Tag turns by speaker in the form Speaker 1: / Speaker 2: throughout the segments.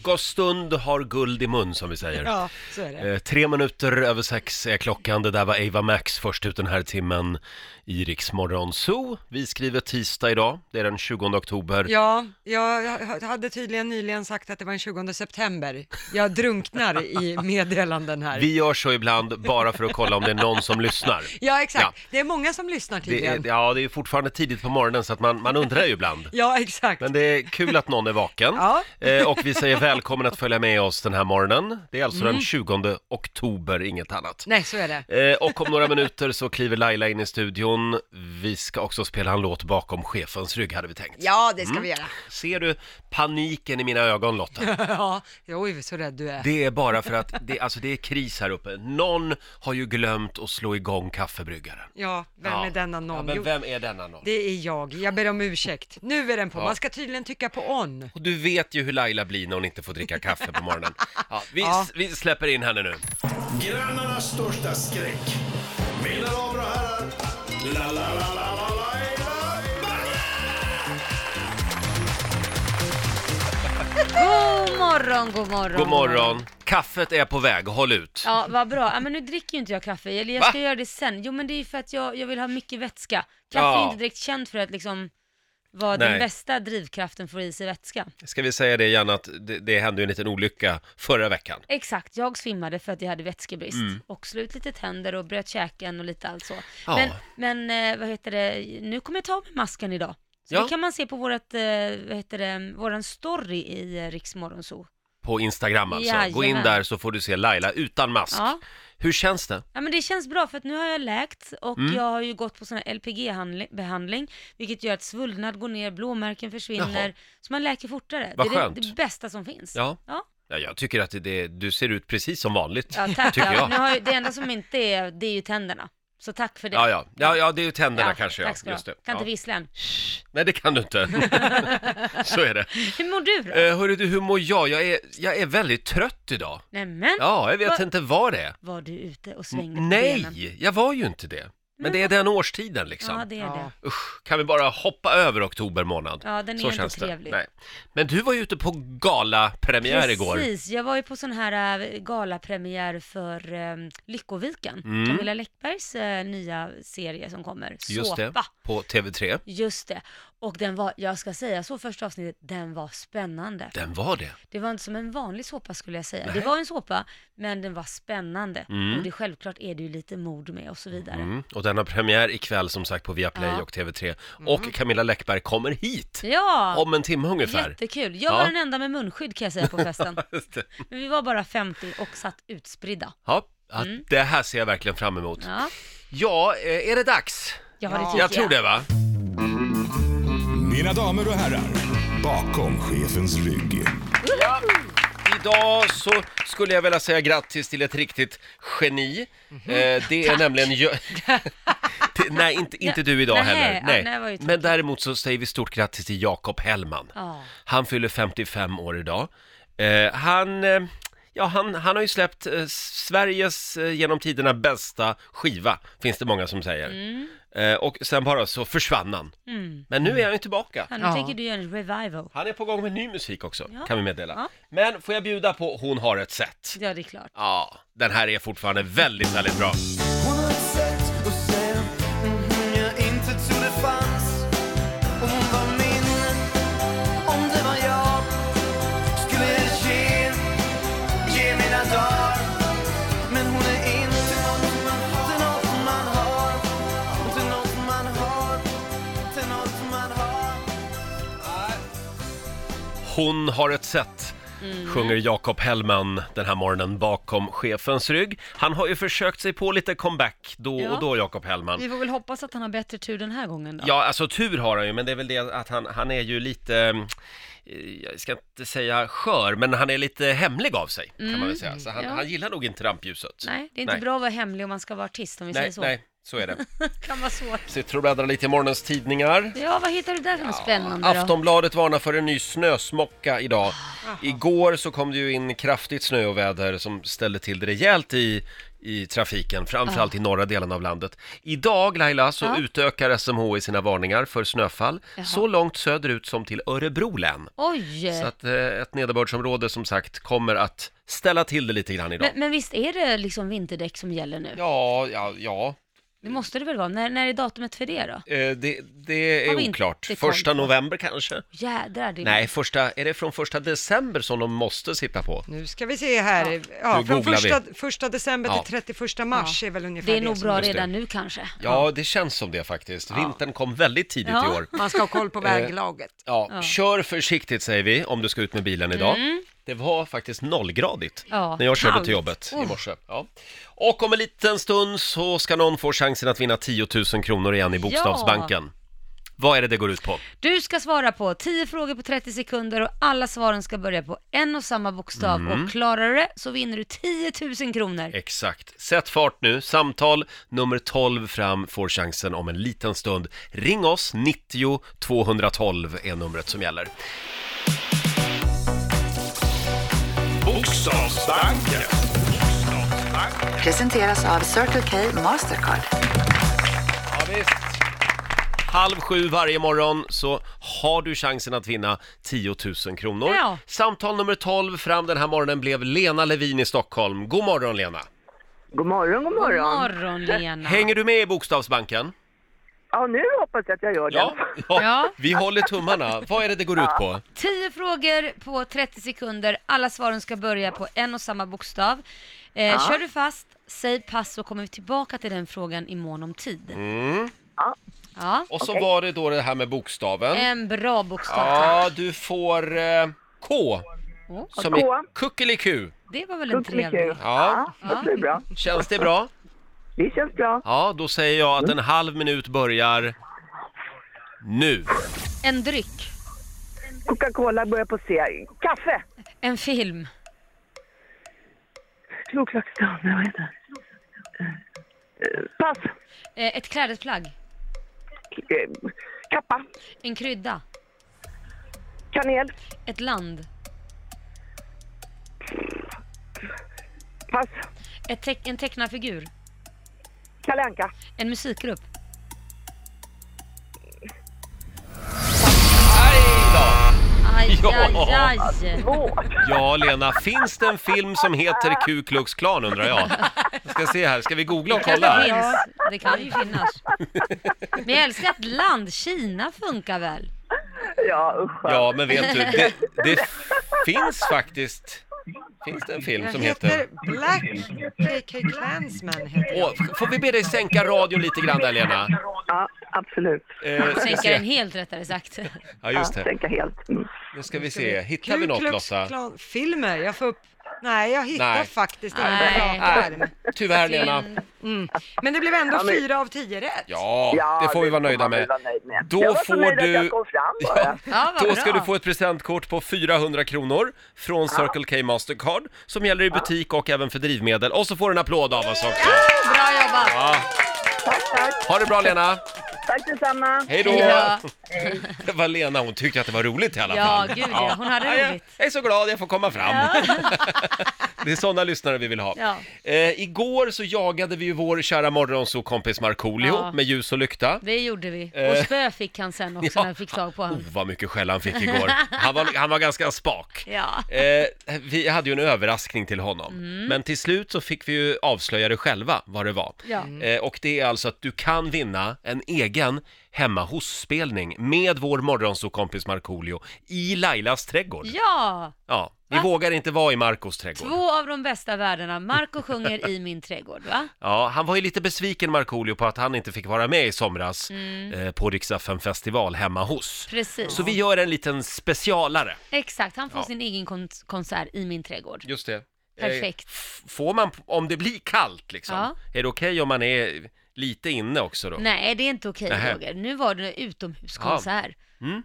Speaker 1: Frukoststund har guld i mun som vi säger.
Speaker 2: Ja, så är det.
Speaker 1: Eh, tre minuter över sex är klockan. Det där var Ava Max först ut den här timmen i Rix Morgon Zoo. Vi skriver tisdag idag. Det är den 20 oktober.
Speaker 2: Ja, jag hade tydligen nyligen sagt att det var den 20 september. Jag drunknar i meddelanden här.
Speaker 1: Vi gör så ibland bara för att kolla om det är någon som lyssnar.
Speaker 2: Ja, exakt.
Speaker 1: Ja.
Speaker 2: Det är många som lyssnar
Speaker 1: Det
Speaker 2: tydligen.
Speaker 1: är, ja, det är ju fortfarande tidigt på morgonen så att man, man undrar ju ibland.
Speaker 2: Ja, exakt.
Speaker 1: Men det är kul att någon är vaken.
Speaker 2: Ja.
Speaker 1: Eh, och vi säger välkommen att följa med oss den här morgonen. Det är alltså den
Speaker 2: Mm.
Speaker 1: 20 oktober, inget annat.
Speaker 2: Nej, så är det.
Speaker 1: Eh, och om några minuter så kliver Laila in i studion. Vi ska också spela en låt bakom chefens rygg hade vi tänkt.
Speaker 2: Ja, det ska vi göra.
Speaker 1: Ser du paniken i mina ögon Lotta?
Speaker 2: Ja, oj så rädd du är.
Speaker 1: Det är bara för att det, alltså det är kris här uppe. Någon har ju glömt att slå igång kaffebryggaren.
Speaker 2: Ja, vem
Speaker 1: Ja.
Speaker 2: är denna
Speaker 1: Ja,
Speaker 2: någon?
Speaker 1: men
Speaker 2: Jo,
Speaker 1: vem är denna någon?
Speaker 2: det är jag. Jag ber om ursäkt. Nu är den på.
Speaker 1: Ja.
Speaker 2: Man ska tydligen tycka på on.
Speaker 1: Och du vet ju hur Laila blir när hon inte får dricka kaffe på morgonen. Ja, vi,
Speaker 2: Ja.
Speaker 1: vi släpper in henne nu.
Speaker 3: Grannarnas största skräck. Mina damer och herrar, la la la la la la
Speaker 4: God morgon, god morgon.
Speaker 1: God morgon. Kaffet är på väg, håll ut.
Speaker 4: Ja, vad bra. Ja, men nu dricker ju inte jag kaffe. Eller jag ska göra det sen. Jo, men det är ju för att jag, jag vill ha mycket vätska. Kaffe är
Speaker 1: Ja.
Speaker 4: ju inte direkt känt för att liksom vara
Speaker 1: Nej.
Speaker 4: den bästa drivkraften för att få i sig vätska.
Speaker 1: Ska vi säga det igen att det, det hände ju en liten olycka förra veckan.
Speaker 4: Exakt, jag svimmade för att jag hade vätskebrist och slut lite tänder och bröt käken och lite allt så.
Speaker 1: Mm. Ja.
Speaker 4: Men, men eh, vad heter det, nu kommer jag ta av mig masken idag. Så
Speaker 1: Ja.
Speaker 4: det kan man se på vårat, eh, vad heter det, våran story i eh, Riks Morgonzoo.
Speaker 1: På Instagram alltså. Gå in
Speaker 4: Jajamän.
Speaker 1: där så får du se Laila utan mask.
Speaker 4: Ja.
Speaker 1: Hur känns det?
Speaker 4: Ja men det känns bra för att nu har jag läkt och
Speaker 1: Mm.
Speaker 4: jag har ju gått på sån här LPG-behandling vilket gör att svullnad går ner, blåmärken försvinner,
Speaker 1: Jaha.
Speaker 4: så man läker fortare.
Speaker 1: Vad
Speaker 4: det är det,
Speaker 1: skönt.
Speaker 4: det bästa som finns.
Speaker 1: Ja.
Speaker 4: Ja,
Speaker 1: Ja, jag tycker att det, det, du ser ut precis som vanligt,
Speaker 4: ja tack.
Speaker 1: tycker
Speaker 4: Ja.
Speaker 1: jag.
Speaker 4: Nu har ju, det enda som inte är, det är ju tänderna. Så tack för det.
Speaker 1: Ja, ja. Ja, ja, det är ju tänderna
Speaker 4: Ja,
Speaker 1: kanske. Ja.
Speaker 4: tack ska du ha.
Speaker 1: Just det.
Speaker 4: Kan
Speaker 1: Ja.
Speaker 4: inte vissla än.
Speaker 1: Nej, det kan du inte. så är det.
Speaker 4: Hur mår du då?
Speaker 1: Eh, hörru du, hur mår jag? Jag är, jag är väldigt trött idag.
Speaker 4: Nämen,
Speaker 1: Ja, jag vet
Speaker 4: Va-
Speaker 1: inte vad det är.
Speaker 4: var du ute och svängde på benen?
Speaker 1: Nej, jag var ju inte det. Men det är den årstiden liksom.
Speaker 4: Ja, det är det.
Speaker 2: Ja.
Speaker 1: Usch, kan vi bara hoppa över oktober månad?
Speaker 4: Ja, den är
Speaker 1: så
Speaker 4: inte
Speaker 1: känns
Speaker 4: trevlig.
Speaker 1: det. Nej. Men du var ju ute på galapremiär igår.
Speaker 4: Precis, jag var ju på sån här äh, galapremiär för um, Lyckoviken,
Speaker 1: Mm.
Speaker 4: Camilla Läckbergs äh, nya serie som kommer,
Speaker 1: Just det,
Speaker 4: Såpa.
Speaker 1: på TV3.
Speaker 4: Just det. Och den var, jag ska säga så första avsnittet, den var spännande.
Speaker 1: Den var det.
Speaker 4: Det var inte som en vanlig såpa skulle jag säga. Det var en såpa, men den var spännande. Och det självklart är det ju lite mord med och så vidare.
Speaker 1: Mm. Och den har premiär ikväll som sagt på Viaplay
Speaker 4: Ja. Mm.
Speaker 1: och TV3. Och Camilla Läckberg kommer hit
Speaker 4: Ja!
Speaker 1: om en timme ungefär.
Speaker 4: Jättekul. Jag
Speaker 1: Ja.
Speaker 4: var den enda med munskydd kan jag säga på festen.
Speaker 1: Just det.
Speaker 4: Men vi var bara 50 och satt utspridda.
Speaker 1: Ja, ja, det här ser jag verkligen fram emot. Ja,
Speaker 4: Mm. Ja,
Speaker 1: eh, är det dags?
Speaker 4: ja, det
Speaker 2: Ja.
Speaker 4: tycker
Speaker 1: Jag tror det va?
Speaker 3: Mina damer och herrar, bakom chefens rygg.
Speaker 1: Idag så skulle jag vilja säga grattis till ett riktigt geni.
Speaker 4: Mhm.
Speaker 1: Eh, det är nämligen... Gö- Det- nej, inte, inte du idag
Speaker 4: Nej,
Speaker 1: heller.
Speaker 4: ja, nej, det var ju tråkigt.
Speaker 1: Men däremot så säger vi stort grattis till Jakob Hellman.
Speaker 4: Ja.
Speaker 1: Han fyller 55 år idag. Eh, han, eh, ja, han, han har ju släppt eh, Sveriges eh, genom tiderna bästa skiva, finns det många som säger.
Speaker 4: Mm.
Speaker 1: Eh, och sen bara så försvann han. Men nu är
Speaker 4: Mm.
Speaker 1: han ju tillbaka.
Speaker 4: Ja, nu
Speaker 2: Ja.
Speaker 4: tänker du göra en revival.
Speaker 1: Han är på gång med ny musik också,
Speaker 4: Ja.
Speaker 1: kan vi meddela.
Speaker 4: Ja.
Speaker 1: Men får jag bjuda på Hon har ett sätt?
Speaker 4: Ja, det är klart.
Speaker 1: Ja, den här är fortfarande väldigt, väldigt bra.
Speaker 5: Hon har ett sätt att säga mhm jag inte trodde fanns Och hon var min Om det var jag skulle jag ge Ge mina dagar Men hon är inte något man har Det är något man har Det är något man har Det är något man har
Speaker 1: Hon har ett sätt.
Speaker 4: Mm.
Speaker 1: sjunger Jakob Hellman den här morgonen bakom chefens rygg. Han har ju försökt sig på lite comeback då
Speaker 4: Ja.
Speaker 1: och då, Jakob Hellman.
Speaker 4: Vi får väl hoppas att han har bättre tur den här gången då.
Speaker 1: Ja, alltså tur har han ju, men det är väl det att han, han är ju lite, mm, eh, jag ska inte säga skör, men han är lite hemlig av sig, kan man väl säga. Så han,
Speaker 4: Mm. ja.
Speaker 1: han gillar nog inte rampljuset.
Speaker 4: Nej, det är inte
Speaker 1: nej.
Speaker 4: bra att vara hemlig om man ska vara artist om vi säger
Speaker 1: Nej,
Speaker 4: så.
Speaker 1: nej, så är det.
Speaker 4: kan vara svårt.
Speaker 1: Sitter och bläddrar lite i morgonens tidningar.
Speaker 4: Ja, vad hittar du där som är spännande då? Ah.
Speaker 1: Aftonbladet varnar för en ny snösmocka idag. Igår så kom det ju in kraftigt snö och väder som ställde till det rejält i i trafiken,
Speaker 4: Ah.
Speaker 1: framförallt i norra delen av landet. Idag Laila så
Speaker 4: Ja.
Speaker 1: utökar SMHI sina varningar för snöfall
Speaker 4: Ah. Jaha.
Speaker 1: så långt söderut som till Örebro län.
Speaker 4: Oj!
Speaker 1: Så att eh, ett nederbördsområde som sagt kommer att ställa till det lite grann idag.
Speaker 4: Men, men visst är det liksom vinterdäck som gäller nu?
Speaker 1: Ja, ja, ja.
Speaker 4: Det måste det väl vara? När, när är datumet för det då?
Speaker 1: Eh, det, det
Speaker 4: Har vi
Speaker 1: är
Speaker 4: inte
Speaker 1: oklart.
Speaker 4: koll
Speaker 1: Första
Speaker 4: på.
Speaker 1: november kanske?
Speaker 4: Jädrar, det är
Speaker 1: Nej, första, är det från första december som de måste sitta på?
Speaker 2: Nu ska vi se här. Ja.
Speaker 1: Nu
Speaker 2: från
Speaker 1: googlar vi.
Speaker 2: första, första december
Speaker 1: Ja.
Speaker 2: till 31 mars är väl ungefär
Speaker 4: Det är nog
Speaker 2: som-
Speaker 4: bra
Speaker 1: Just det.
Speaker 4: redan nu kanske.
Speaker 1: Ja, det känns som det faktiskt. Vintern kom väldigt tidigt i
Speaker 4: Ja.
Speaker 1: år.
Speaker 2: Man ska ha koll på
Speaker 1: Eh.
Speaker 2: väglaget.
Speaker 1: Ja, kör försiktigt säger vi om du ska ut med bilen idag. Det var faktiskt nollgradigt
Speaker 4: Mm. Ja,
Speaker 1: när jag körde
Speaker 4: kallt. Oh.
Speaker 1: till jobbet i morse. Ja. Och om en liten stund så ska någon få chansen att vinna 10 000 kronor igen i Bokstavsbanken. Vad är det det går ut på?
Speaker 4: Du ska svara på 10 frågor på 30 sekunder och alla svaren ska börja på en och samma bokstav
Speaker 1: Mm.
Speaker 4: och klarar du det så vinner du 10 000 kronor.
Speaker 1: Exakt. Sätt fart nu. Samtal nummer 12 fram får chansen om en liten stund. Ring oss, 90 212 är numret som gäller.
Speaker 3: Bokstavsbanken.
Speaker 6: Presenteras av Circle K Mastercard.
Speaker 1: Ja, visst. Halv sju varje morgon så har du chansen att vinna 10 000 kronor.
Speaker 4: Ja.
Speaker 1: Samtal nummer 12 fram den här morgonen blev Lena Levin i Stockholm. God morgon Lena!
Speaker 7: God morgon, god morgon.
Speaker 4: Morgon Lena.
Speaker 1: Hänger du med i Bokstavsbanken?
Speaker 7: Ja, nu hoppas jag att jag gör det.
Speaker 1: Ja, ja.
Speaker 4: Ja.
Speaker 1: vi håller tummarna. Vad är det det går ut på?
Speaker 4: 10 frågor på 30 sekunder, alla svaren ska börja på en och samma bokstav. Eh, Kör du fast, säg pass så kommer vi tillbaka till den frågan i mån om tid.
Speaker 1: Mm.
Speaker 7: Ja.
Speaker 4: Ja,
Speaker 1: Och så var det då det här med bokstaven.
Speaker 4: en bra bokstav Eh, tack. Mm.
Speaker 1: Ja, du får eh, K
Speaker 4: Åh,
Speaker 1: som i
Speaker 7: K.
Speaker 1: kuckeliku.
Speaker 4: det var väl en trevlig.
Speaker 7: Kuckeliku.
Speaker 1: Ja.
Speaker 7: Ja, det är bra.
Speaker 1: Känns det bra?
Speaker 7: Det känns bra.
Speaker 1: Ja, då säger jag att en halv minut börjar nu.
Speaker 4: En dryck,
Speaker 7: Coca-Cola börjar på C. Kaffe!
Speaker 4: en film,
Speaker 7: Kloklaksdagen, vad heter det? Eh, Pass!
Speaker 4: eh, ett klädesplagg,
Speaker 7: Eh, Kappa!
Speaker 4: en krydda,
Speaker 7: Kanel!
Speaker 4: ett land,
Speaker 7: Pass!
Speaker 4: ett teck- en tecknad figur,
Speaker 7: Kalle Anka.
Speaker 4: en musikgrupp.
Speaker 1: Aj då!
Speaker 4: Aj,
Speaker 1: Ja.
Speaker 4: aj, aj.
Speaker 7: Två!
Speaker 1: Ja, Lena, finns det en film som heter Ku Klux Klan undrar jag? Jag ska se här, ska vi googla och
Speaker 4: Kanske
Speaker 1: kolla?
Speaker 4: finns. Det kan ju finnas. Men jag älskar att land, Kina funkar väl?
Speaker 7: Ja, usch.
Speaker 1: Ja, men vet du, det, det finns faktiskt... Finns det en film
Speaker 2: Jag
Speaker 1: som
Speaker 2: heter,
Speaker 1: heter...
Speaker 2: Black KK Klansman. Heter jag.
Speaker 1: Åh, får vi be dig sänka radion lite grann där, Lena?
Speaker 7: Ja, absolut.
Speaker 1: Eh, ska
Speaker 4: Sänka den
Speaker 1: se.
Speaker 4: helt rättare sagt.
Speaker 1: Ja,
Speaker 7: Ja,
Speaker 1: just det.
Speaker 7: tänka helt. Mm.
Speaker 1: Nu ska vi se, hittar vi något
Speaker 2: Ku Klux
Speaker 1: Lotta?
Speaker 2: Klan- Filmer, jag får upp... Nej, jag hittar
Speaker 1: Nej.
Speaker 2: faktiskt
Speaker 4: Nej.
Speaker 2: inte
Speaker 1: Nej,
Speaker 2: rakar.
Speaker 1: tyvärr Lena.
Speaker 2: Mm. Men det blev ändå
Speaker 7: men-
Speaker 2: fyra av tio rätt.
Speaker 1: Ja, det får vi vara nöjda
Speaker 7: man väl
Speaker 1: med.
Speaker 7: vara nöjd med.
Speaker 1: Då
Speaker 7: jag var så
Speaker 1: får
Speaker 7: nöjd
Speaker 1: du-
Speaker 7: att jag kom fram bara.
Speaker 4: Ja, vad
Speaker 1: Då ska
Speaker 4: bra.
Speaker 1: du få ett presentkort på 400 kronor från Circle K Mastercard som gäller i butik och även för drivmedel. Och så får du en applåd av oss också.
Speaker 4: Bra jobbat!
Speaker 1: Ja.
Speaker 7: Tack, tack.
Speaker 1: Ha det bra Lena!
Speaker 7: Tack detsamma.
Speaker 1: Hej då!
Speaker 4: Ja,
Speaker 1: Det var Lena, hon tyckte att det var roligt i alla
Speaker 4: ja
Speaker 1: fall.
Speaker 4: gud ja, hon hade
Speaker 1: Ja,
Speaker 4: roligt.
Speaker 1: Jag är så glad jag får komma fram. Det är sådana lyssnare vi vill ha.
Speaker 4: Ja.
Speaker 1: Eh, igår så jagade vi ju vår kära morgonsokompis Markoolio
Speaker 4: Ja.
Speaker 1: med ljus och lykta.
Speaker 4: Det gjorde vi.
Speaker 1: Eh.
Speaker 4: Och spö fick han sen också när vi fick tag på
Speaker 1: Oh,
Speaker 4: honom.
Speaker 1: vad mycket skäll han fick igår. Han var, han var ganska spak.
Speaker 4: Ja.
Speaker 1: Eh, vi hade ju en överraskning till honom,
Speaker 4: Mm.
Speaker 1: men till slut så fick vi ju avslöja det själva, vad det var.
Speaker 4: Ja.
Speaker 1: Eh, och det är alltså att du kan vinna en egen hemma hos-spelning med vår morgonsokompis Markoolio i Lailas trädgård.
Speaker 4: Ja,
Speaker 1: Ja, vi vågar inte vara i Marcos trädgård.
Speaker 4: två av de bästa värdena. Marco sjunger i min trädgård, va?
Speaker 1: Ja, han var ju lite besviken Markoolio på att han inte fick vara med i somras
Speaker 4: Mm.
Speaker 1: eh, på Riksdagen festival hemma hos.
Speaker 4: Precis.
Speaker 1: Så vi gör en liten specialare.
Speaker 4: Exakt, han får
Speaker 1: Ja.
Speaker 4: sin egen kon- konsert i min trädgård.
Speaker 1: Just det.
Speaker 4: Perfekt.
Speaker 1: Eh, f- Får man, om det blir kallt liksom,
Speaker 4: Ja.
Speaker 1: är det okej om man är lite inne också då?
Speaker 4: Nej, det är inte okej
Speaker 1: Nähä.
Speaker 4: Roger. Nu var det utomhuskonsert. Ja.
Speaker 1: Mm.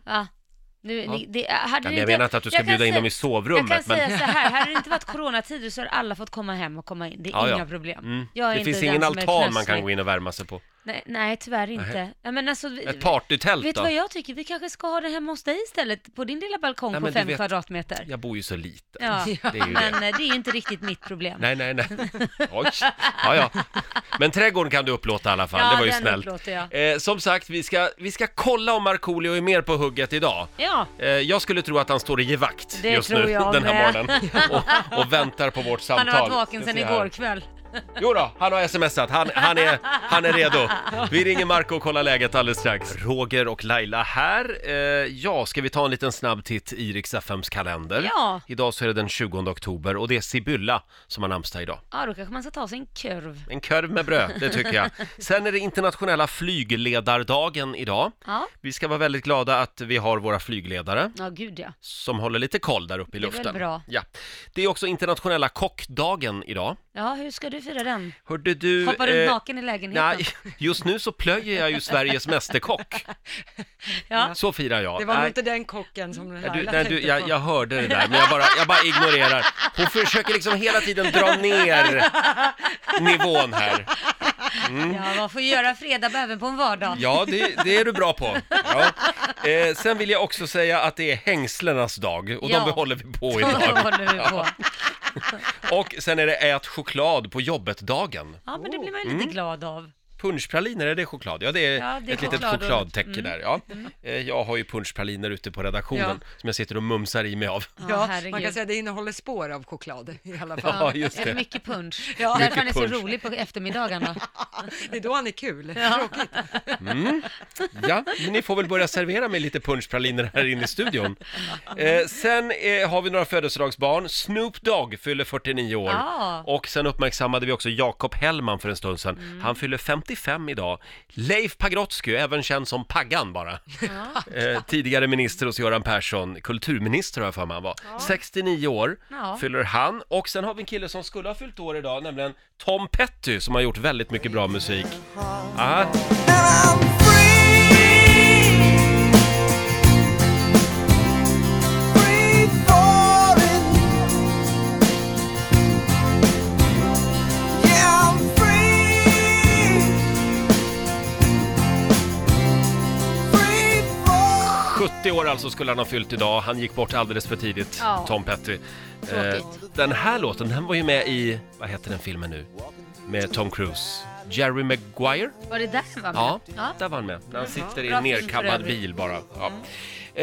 Speaker 4: Nu, ni- det, hade
Speaker 1: Ja,
Speaker 4: det
Speaker 1: men jag
Speaker 4: inte-
Speaker 1: menar inte att du ska
Speaker 4: jag kan
Speaker 1: bjuda in
Speaker 4: säga-
Speaker 1: dem i
Speaker 4: Jag kan
Speaker 1: sovrummet, men
Speaker 4: säga så här, hade det inte varit coronatider så har alla fått komma hem och komma in. Det är
Speaker 1: Ja, ja.
Speaker 4: inga problem.
Speaker 1: Mm.
Speaker 4: Jag är
Speaker 1: det
Speaker 4: inte
Speaker 1: finns
Speaker 4: den
Speaker 1: ingen
Speaker 4: som är
Speaker 1: altan man
Speaker 4: knösig.
Speaker 1: kan gå in och värma sig på.
Speaker 4: Nej, nej tyvärr inte. Ja, men alltså, vi,
Speaker 1: Ett partytält
Speaker 4: Vet du
Speaker 1: då?
Speaker 4: vad jag tycker? Vi kanske ska ha det hemma hos dig istället, på din lilla balkong
Speaker 1: Nej,
Speaker 4: på
Speaker 1: men du
Speaker 4: fem
Speaker 1: vet-
Speaker 4: kvadratmeter.
Speaker 1: Jag bor ju så lite.
Speaker 4: Ja,
Speaker 1: Det är ju
Speaker 4: men
Speaker 1: det.
Speaker 4: eh, det är ju inte riktigt mitt problem.
Speaker 1: Nej, nej, nej. Oj. Ja, ja. Men trädgården kan du upplåta i alla fall,
Speaker 4: Ja,
Speaker 1: det var ju
Speaker 4: den
Speaker 1: snällt.
Speaker 4: upplåter jag.
Speaker 1: Eh, som sagt, vi ska, vi ska kolla om Markoolio är mer på hugget idag.
Speaker 4: Ja,
Speaker 1: Eh, jag skulle tro att han står och ger vakt
Speaker 4: Det
Speaker 1: just
Speaker 4: tror
Speaker 1: nu,
Speaker 4: jag
Speaker 1: den här
Speaker 4: med.
Speaker 1: morgonen. Och, och väntar på vårt samtal.
Speaker 4: han har varit vaken
Speaker 1: Ska
Speaker 4: sedan
Speaker 1: se här.
Speaker 4: igår kväll.
Speaker 1: Jo då, han har smsat. Han, han, är, han är redo. Vi ringer Marco och kollar läget alldeles strax. Roger och Laila här. Eh, ja, ska vi ta en liten snabb titt i Rix FMs kalender?
Speaker 4: Ja.
Speaker 1: Idag så är det den 20 oktober och det är Sibylla som har namnsdag idag.
Speaker 4: Ja, då kanske man ska ta sig en kurv.
Speaker 1: En korv med bröd, det tycker jag. Sen är det internationella flygledardagen idag.
Speaker 4: Ja,
Speaker 1: Vi ska vara väldigt glada att vi har våra flygledare
Speaker 4: ja gud ja.
Speaker 1: som håller lite koll där uppe i
Speaker 4: Det är väl
Speaker 1: luften.
Speaker 4: bra.
Speaker 1: Ja. Det är också internationella kockdagen idag.
Speaker 4: Ja, hur ska du fira den?
Speaker 1: Hörde du...
Speaker 4: Hoppar du
Speaker 1: eh,
Speaker 4: naken i lägenheten?
Speaker 1: Nej, just nu så plöjer jag ju Sveriges mästerkock.
Speaker 4: Ja.
Speaker 1: Så firar jag.
Speaker 2: Det var nog
Speaker 1: Nej,
Speaker 2: inte den kocken
Speaker 1: ja,
Speaker 2: som Laila
Speaker 1: du, nej, du,
Speaker 2: tänkte
Speaker 1: jag,
Speaker 2: på.
Speaker 1: jag hörde det där, men jag bara, jag bara ignorerar. Hon försöker liksom hela tiden dra ner nivån här.
Speaker 4: Ja, vad får göra fredag även på en vardag?
Speaker 1: Ja, det, det är du bra på. Ja. Eh, sen vill jag också säga att det är hängslenas dag och
Speaker 4: Ja.
Speaker 1: de behåller vi på
Speaker 4: Så
Speaker 1: idag.
Speaker 4: håller vi på.
Speaker 1: Och sen är det ät choklad på jobbet-dagen.
Speaker 4: Ja, men det blir man ju lite glad av.
Speaker 1: Punschpraliner, är det choklad? Ja, det är,
Speaker 4: Ja, det är
Speaker 1: ett litet
Speaker 4: choklad och- mm.
Speaker 1: chokladtäcke där. Ja. Eh, Jag har ju punschpraliner ute på redaktionen som jag sitter och mumsar i mig av.
Speaker 4: Ja,
Speaker 2: Ja,
Speaker 4: herregud.
Speaker 2: man kan säga att det innehåller spår av choklad i alla fall.
Speaker 1: Ja, just det.
Speaker 4: Mycket punch.
Speaker 2: Ja.
Speaker 4: Därför han är
Speaker 1: Mycket
Speaker 4: så
Speaker 1: punch.
Speaker 4: rolig på eftermiddagarna.
Speaker 2: Det är då han är kul. Tråkigt.
Speaker 1: Ja, men ni får väl börja servera mig lite punschpraliner här inne i studion. Eh, sen eh, har vi några födelsedagsbarn. Snoop Dogg fyller 49 år.
Speaker 4: Ja. Mm.
Speaker 1: Och sen uppmärksammade vi också Jakob Hellman för en stund sedan. Han fyller 55 idag. Leif Pagrotsky, även känd som Paggan bara. Eh, tidigare minister hos Göran Persson. Kulturminister har jag för mig han var. 69 år
Speaker 4: Ja.
Speaker 1: fyller han. Och sen har vi en kille som skulle ha fyllt år idag, nämligen Tom Petty som har gjort väldigt mycket bra musik. Ah.
Speaker 5: I'm free, free falling. Yeah, I'm free, free falling.
Speaker 1: 70 år alltså skulle han ha fyllt idag. Han gick bort alldeles för tidigt,
Speaker 4: Ja.
Speaker 1: Tom Petty. Eh,
Speaker 4: Tråkigt.
Speaker 1: den här låten, den var ju med i, vad heter den filmen nu? Med Tom Cruise. Jerry Maguire?
Speaker 4: Var det där han var med?
Speaker 1: Ja,
Speaker 4: ja.
Speaker 1: där var han med. När han sitter i
Speaker 4: Bra
Speaker 1: en
Speaker 4: film för
Speaker 1: nerkammad
Speaker 4: övrigt. Mm.
Speaker 1: bil bara. Ja.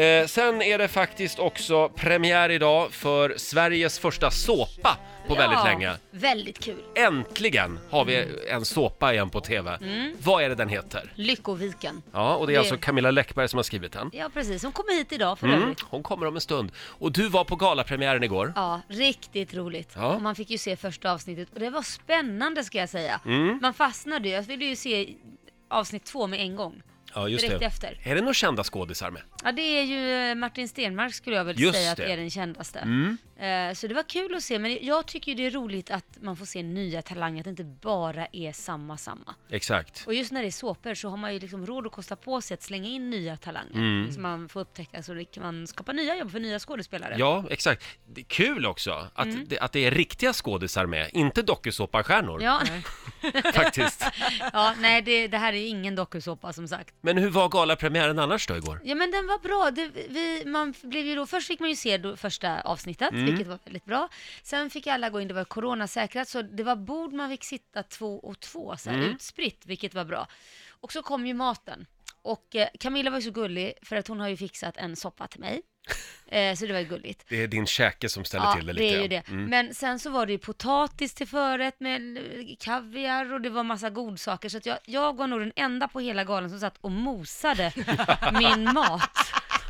Speaker 1: Eh, sen är det faktiskt också premiär idag för Sveriges första såpa på väldigt
Speaker 4: Ja,
Speaker 1: länge.
Speaker 4: Väldigt kul.
Speaker 1: Äntligen har vi en såpa igen på TV. Vad är det den heter?
Speaker 4: Lyckoviken.
Speaker 1: Ja, och det är
Speaker 4: Mm. Det-
Speaker 1: alltså Camilla Läckberg som har skrivit den.
Speaker 4: Ja, precis. Hon kommer hit idag för
Speaker 1: Mm,
Speaker 4: övrigt.
Speaker 1: hon kommer om en stund. Och du var på galapremiären igår.
Speaker 4: Ja, riktigt roligt.
Speaker 1: Ja.
Speaker 4: Och man fick ju se första avsnittet och det var spännande ska jag säga. Man fastnade ju. Jag ville ju se avsnitt två med en gång.
Speaker 1: Ja,
Speaker 4: direkt efter.
Speaker 1: Är det några kända skådisar med?
Speaker 4: Ja, det är ju eh, Martin Stenmark skulle jag väl
Speaker 1: Just
Speaker 4: säga att
Speaker 1: det. Mm.
Speaker 4: är den kändaste. Eh, Så det var kul att se, men jag tycker ju det är roligt att man får se nya talanger, att det inte bara är samma samma.
Speaker 1: Exakt.
Speaker 4: Och just när det är såpor så har man ju liksom råd att kosta på sig att slänga in nya talanger.
Speaker 1: Mm.
Speaker 4: Så man får upptäcka så kan man skapa nya jobb för nya skådespelare.
Speaker 1: Ja, exakt. Det är kul också att,
Speaker 4: Mm.
Speaker 1: det, att det är riktiga skådisar med, inte dokusåpastjärnor
Speaker 4: Ja,
Speaker 1: faktiskt.
Speaker 4: ja nej det, det här är ju ingen dokusåpa som sagt.
Speaker 1: Men hur var galapremiären annars då igår?
Speaker 4: Ja men den var bra. Det, vi, man blev ju då, först fick man ju se då första avsnittet, vilket var väldigt bra. Sen fick alla gå in, det var coronasäkrat, så det var bord man fick sitta två och två, så här, utspritt, vilket var bra. Och så kom ju maten. Och eh, Camilla var ju så gullig, för att hon har ju fixat en soppa till mig. Eh, så det var ju gulligt.
Speaker 1: Det är din käke som ställer till det lite.
Speaker 4: det är
Speaker 1: ja. Mm.
Speaker 4: ju det. Men sen så var det ju potatis till förrätt med eh, kaviar och det var massa godsaker. Så att jag, jag var nog den enda på hela galan som satt och mosade min mat.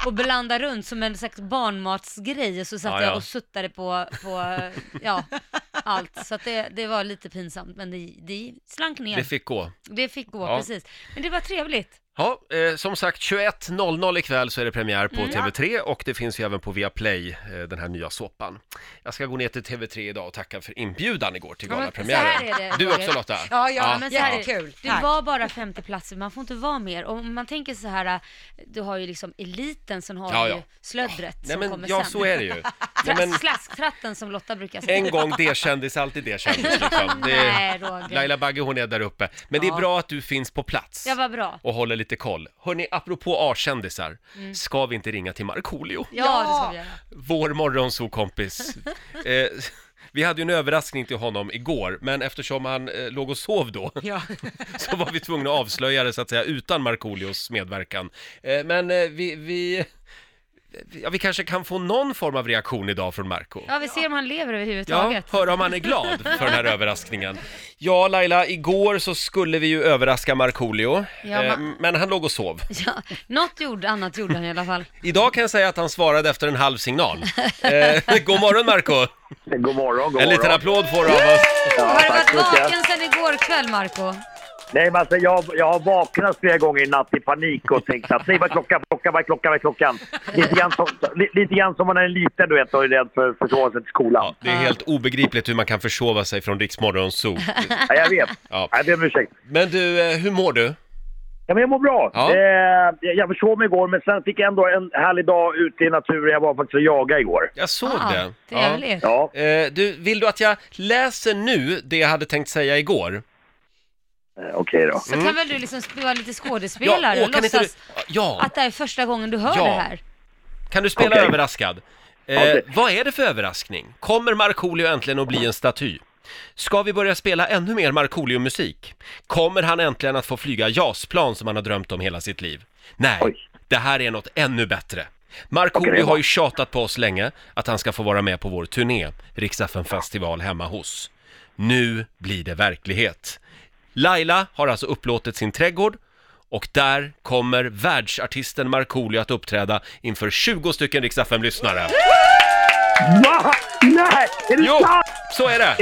Speaker 4: Och blandade runt som en slags barnmatsgrej och så satt
Speaker 1: Ja, ja.
Speaker 4: jag och suttade på, på eh, ja, allt. Så att det, det var lite pinsamt men det, det slank ner.
Speaker 1: Det fick gå.
Speaker 4: Det fick gå,
Speaker 1: Ja.
Speaker 4: precis. Men det var trevligt.
Speaker 1: Ja, eh, som sagt 21.00 ikväll så är det premiär
Speaker 4: Mm,
Speaker 1: på TV3 och det finns ju även på Viaplay, eh, den här nya såpan. Jag ska gå ner till TV3 idag och tacka för inbjudan igår till
Speaker 4: Ja, men
Speaker 1: galapremiären.
Speaker 4: så här är det,
Speaker 1: du också
Speaker 4: Roger.
Speaker 1: Lotta?
Speaker 2: Ja, ja,
Speaker 4: men så här är det.
Speaker 2: Jättekul.
Speaker 4: Det
Speaker 2: Tack.
Speaker 4: var bara 50 platser, man får inte vara mer. Och om man tänker så här, du har ju liksom eliten, som har
Speaker 1: Ja, ja.
Speaker 4: ju slöddret
Speaker 1: Nej
Speaker 4: som
Speaker 1: men
Speaker 4: kommer
Speaker 1: ja,
Speaker 4: sen.
Speaker 1: så är det ju. Nej, men,
Speaker 4: Slasktratten som Lotta brukar säga.
Speaker 1: en gång D-kändis, alltid D-kändis liksom.
Speaker 4: Nej, Roger.
Speaker 1: Laila Bagge hon är där uppe. Men det är bra att du finns på plats.
Speaker 4: Ja, vad bra.
Speaker 1: och håller lite koll. Hörni, apropå A-kändisar,
Speaker 4: Mm.
Speaker 1: ska vi inte ringa till Markoolio?
Speaker 4: Ja, det ska vi göra.
Speaker 1: Vår morgonsokompis. eh, vi hade ju en överraskning till honom igår, men eftersom han eh, låg och sov då
Speaker 2: Ja.
Speaker 1: så var vi tvungna att avslöja det så att säga utan Markoolios medverkan. Eh, men eh, vi, vi, ja, vi kanske kan få någon form av reaktion idag från Marco.
Speaker 4: Ja, vi ser om han lever
Speaker 1: Ja,
Speaker 4: överhuvudtaget.
Speaker 1: hör om han är glad för den här överraskningen. Ja, Laila, igår så skulle vi ju överraska Markoolio,
Speaker 4: Ja,
Speaker 1: eh,
Speaker 4: ma-
Speaker 1: men han låg och sov.
Speaker 4: Ja, något gjorde, annat gjorde han i alla fall.
Speaker 1: Idag kan jag säga att han svarade efter en halv signal. Eh, god morgon Marco!
Speaker 8: God morgon, god
Speaker 1: En liten
Speaker 8: morgon.
Speaker 1: applåd får du av oss.
Speaker 8: Ja,
Speaker 4: har du varit
Speaker 8: tack så mycket.
Speaker 4: vaken sedan igår kväll, Marco?
Speaker 8: Nej, men alltså, jag, jag har vaknat flera gånger i natt i panik och tänkt att nej, vad är klockan, klockan, vad är klockan, vad är klockan? Lite grann, som, li, lite grann som man är liten du vet och är rädd för försvarelsen till skolan.
Speaker 1: Ja, det är helt obegripligt hur man kan försova sig från Riksmorgon Zoo.
Speaker 8: Ja. jag vet.
Speaker 1: Ja.
Speaker 8: Jag ber om ursäkt.
Speaker 1: Men du, eh, hur mår du?
Speaker 8: Ja, men jag mår bra.
Speaker 1: Ja.
Speaker 8: Eh, jag jag försov mig igår, men sen fick jag ändå en härlig dag ute i naturen. Jag var faktiskt och jagade igår.
Speaker 1: Jag såg det.
Speaker 4: Trevligt.
Speaker 8: Ja.
Speaker 1: Ja. Eh, du, vill du att jag läser nu det jag hade tänkt säga igår?
Speaker 8: Eh, Okej då.
Speaker 4: Så kan väl du liksom sp- vara lite skådespelare
Speaker 1: Mm. åh,
Speaker 4: och
Speaker 1: kan inte du...
Speaker 4: låtsas
Speaker 1: Ja,
Speaker 4: att det här är första gången du hör
Speaker 1: Ja.
Speaker 4: det här?
Speaker 1: kan du spela
Speaker 8: Okej.
Speaker 1: överraskad? Eh,
Speaker 8: Okej.
Speaker 1: vad är det för överraskning? Kommer Markoolio äntligen att bli en staty? Ska vi börja spela ännu mer Markoolio-musik? Kommer han äntligen att få flyga JAS-plan som han har drömt om hela sitt liv? Nej,
Speaker 8: Oj.
Speaker 1: det här är något ännu bättre.
Speaker 8: Okej,
Speaker 1: Markoolio
Speaker 8: det var-
Speaker 1: har ju tjatat på oss länge att han ska få vara med på vår turné, Rix FM festival hemma hos. Nu blir det verklighet. Laila har alltså upplåtit sin trädgård och där kommer världsartisten Markoolio att uppträda inför 20 stycken Rix FM-lyssnare.
Speaker 8: Va? Nej! Är det
Speaker 1: Jo,
Speaker 8: sant?
Speaker 1: så är det!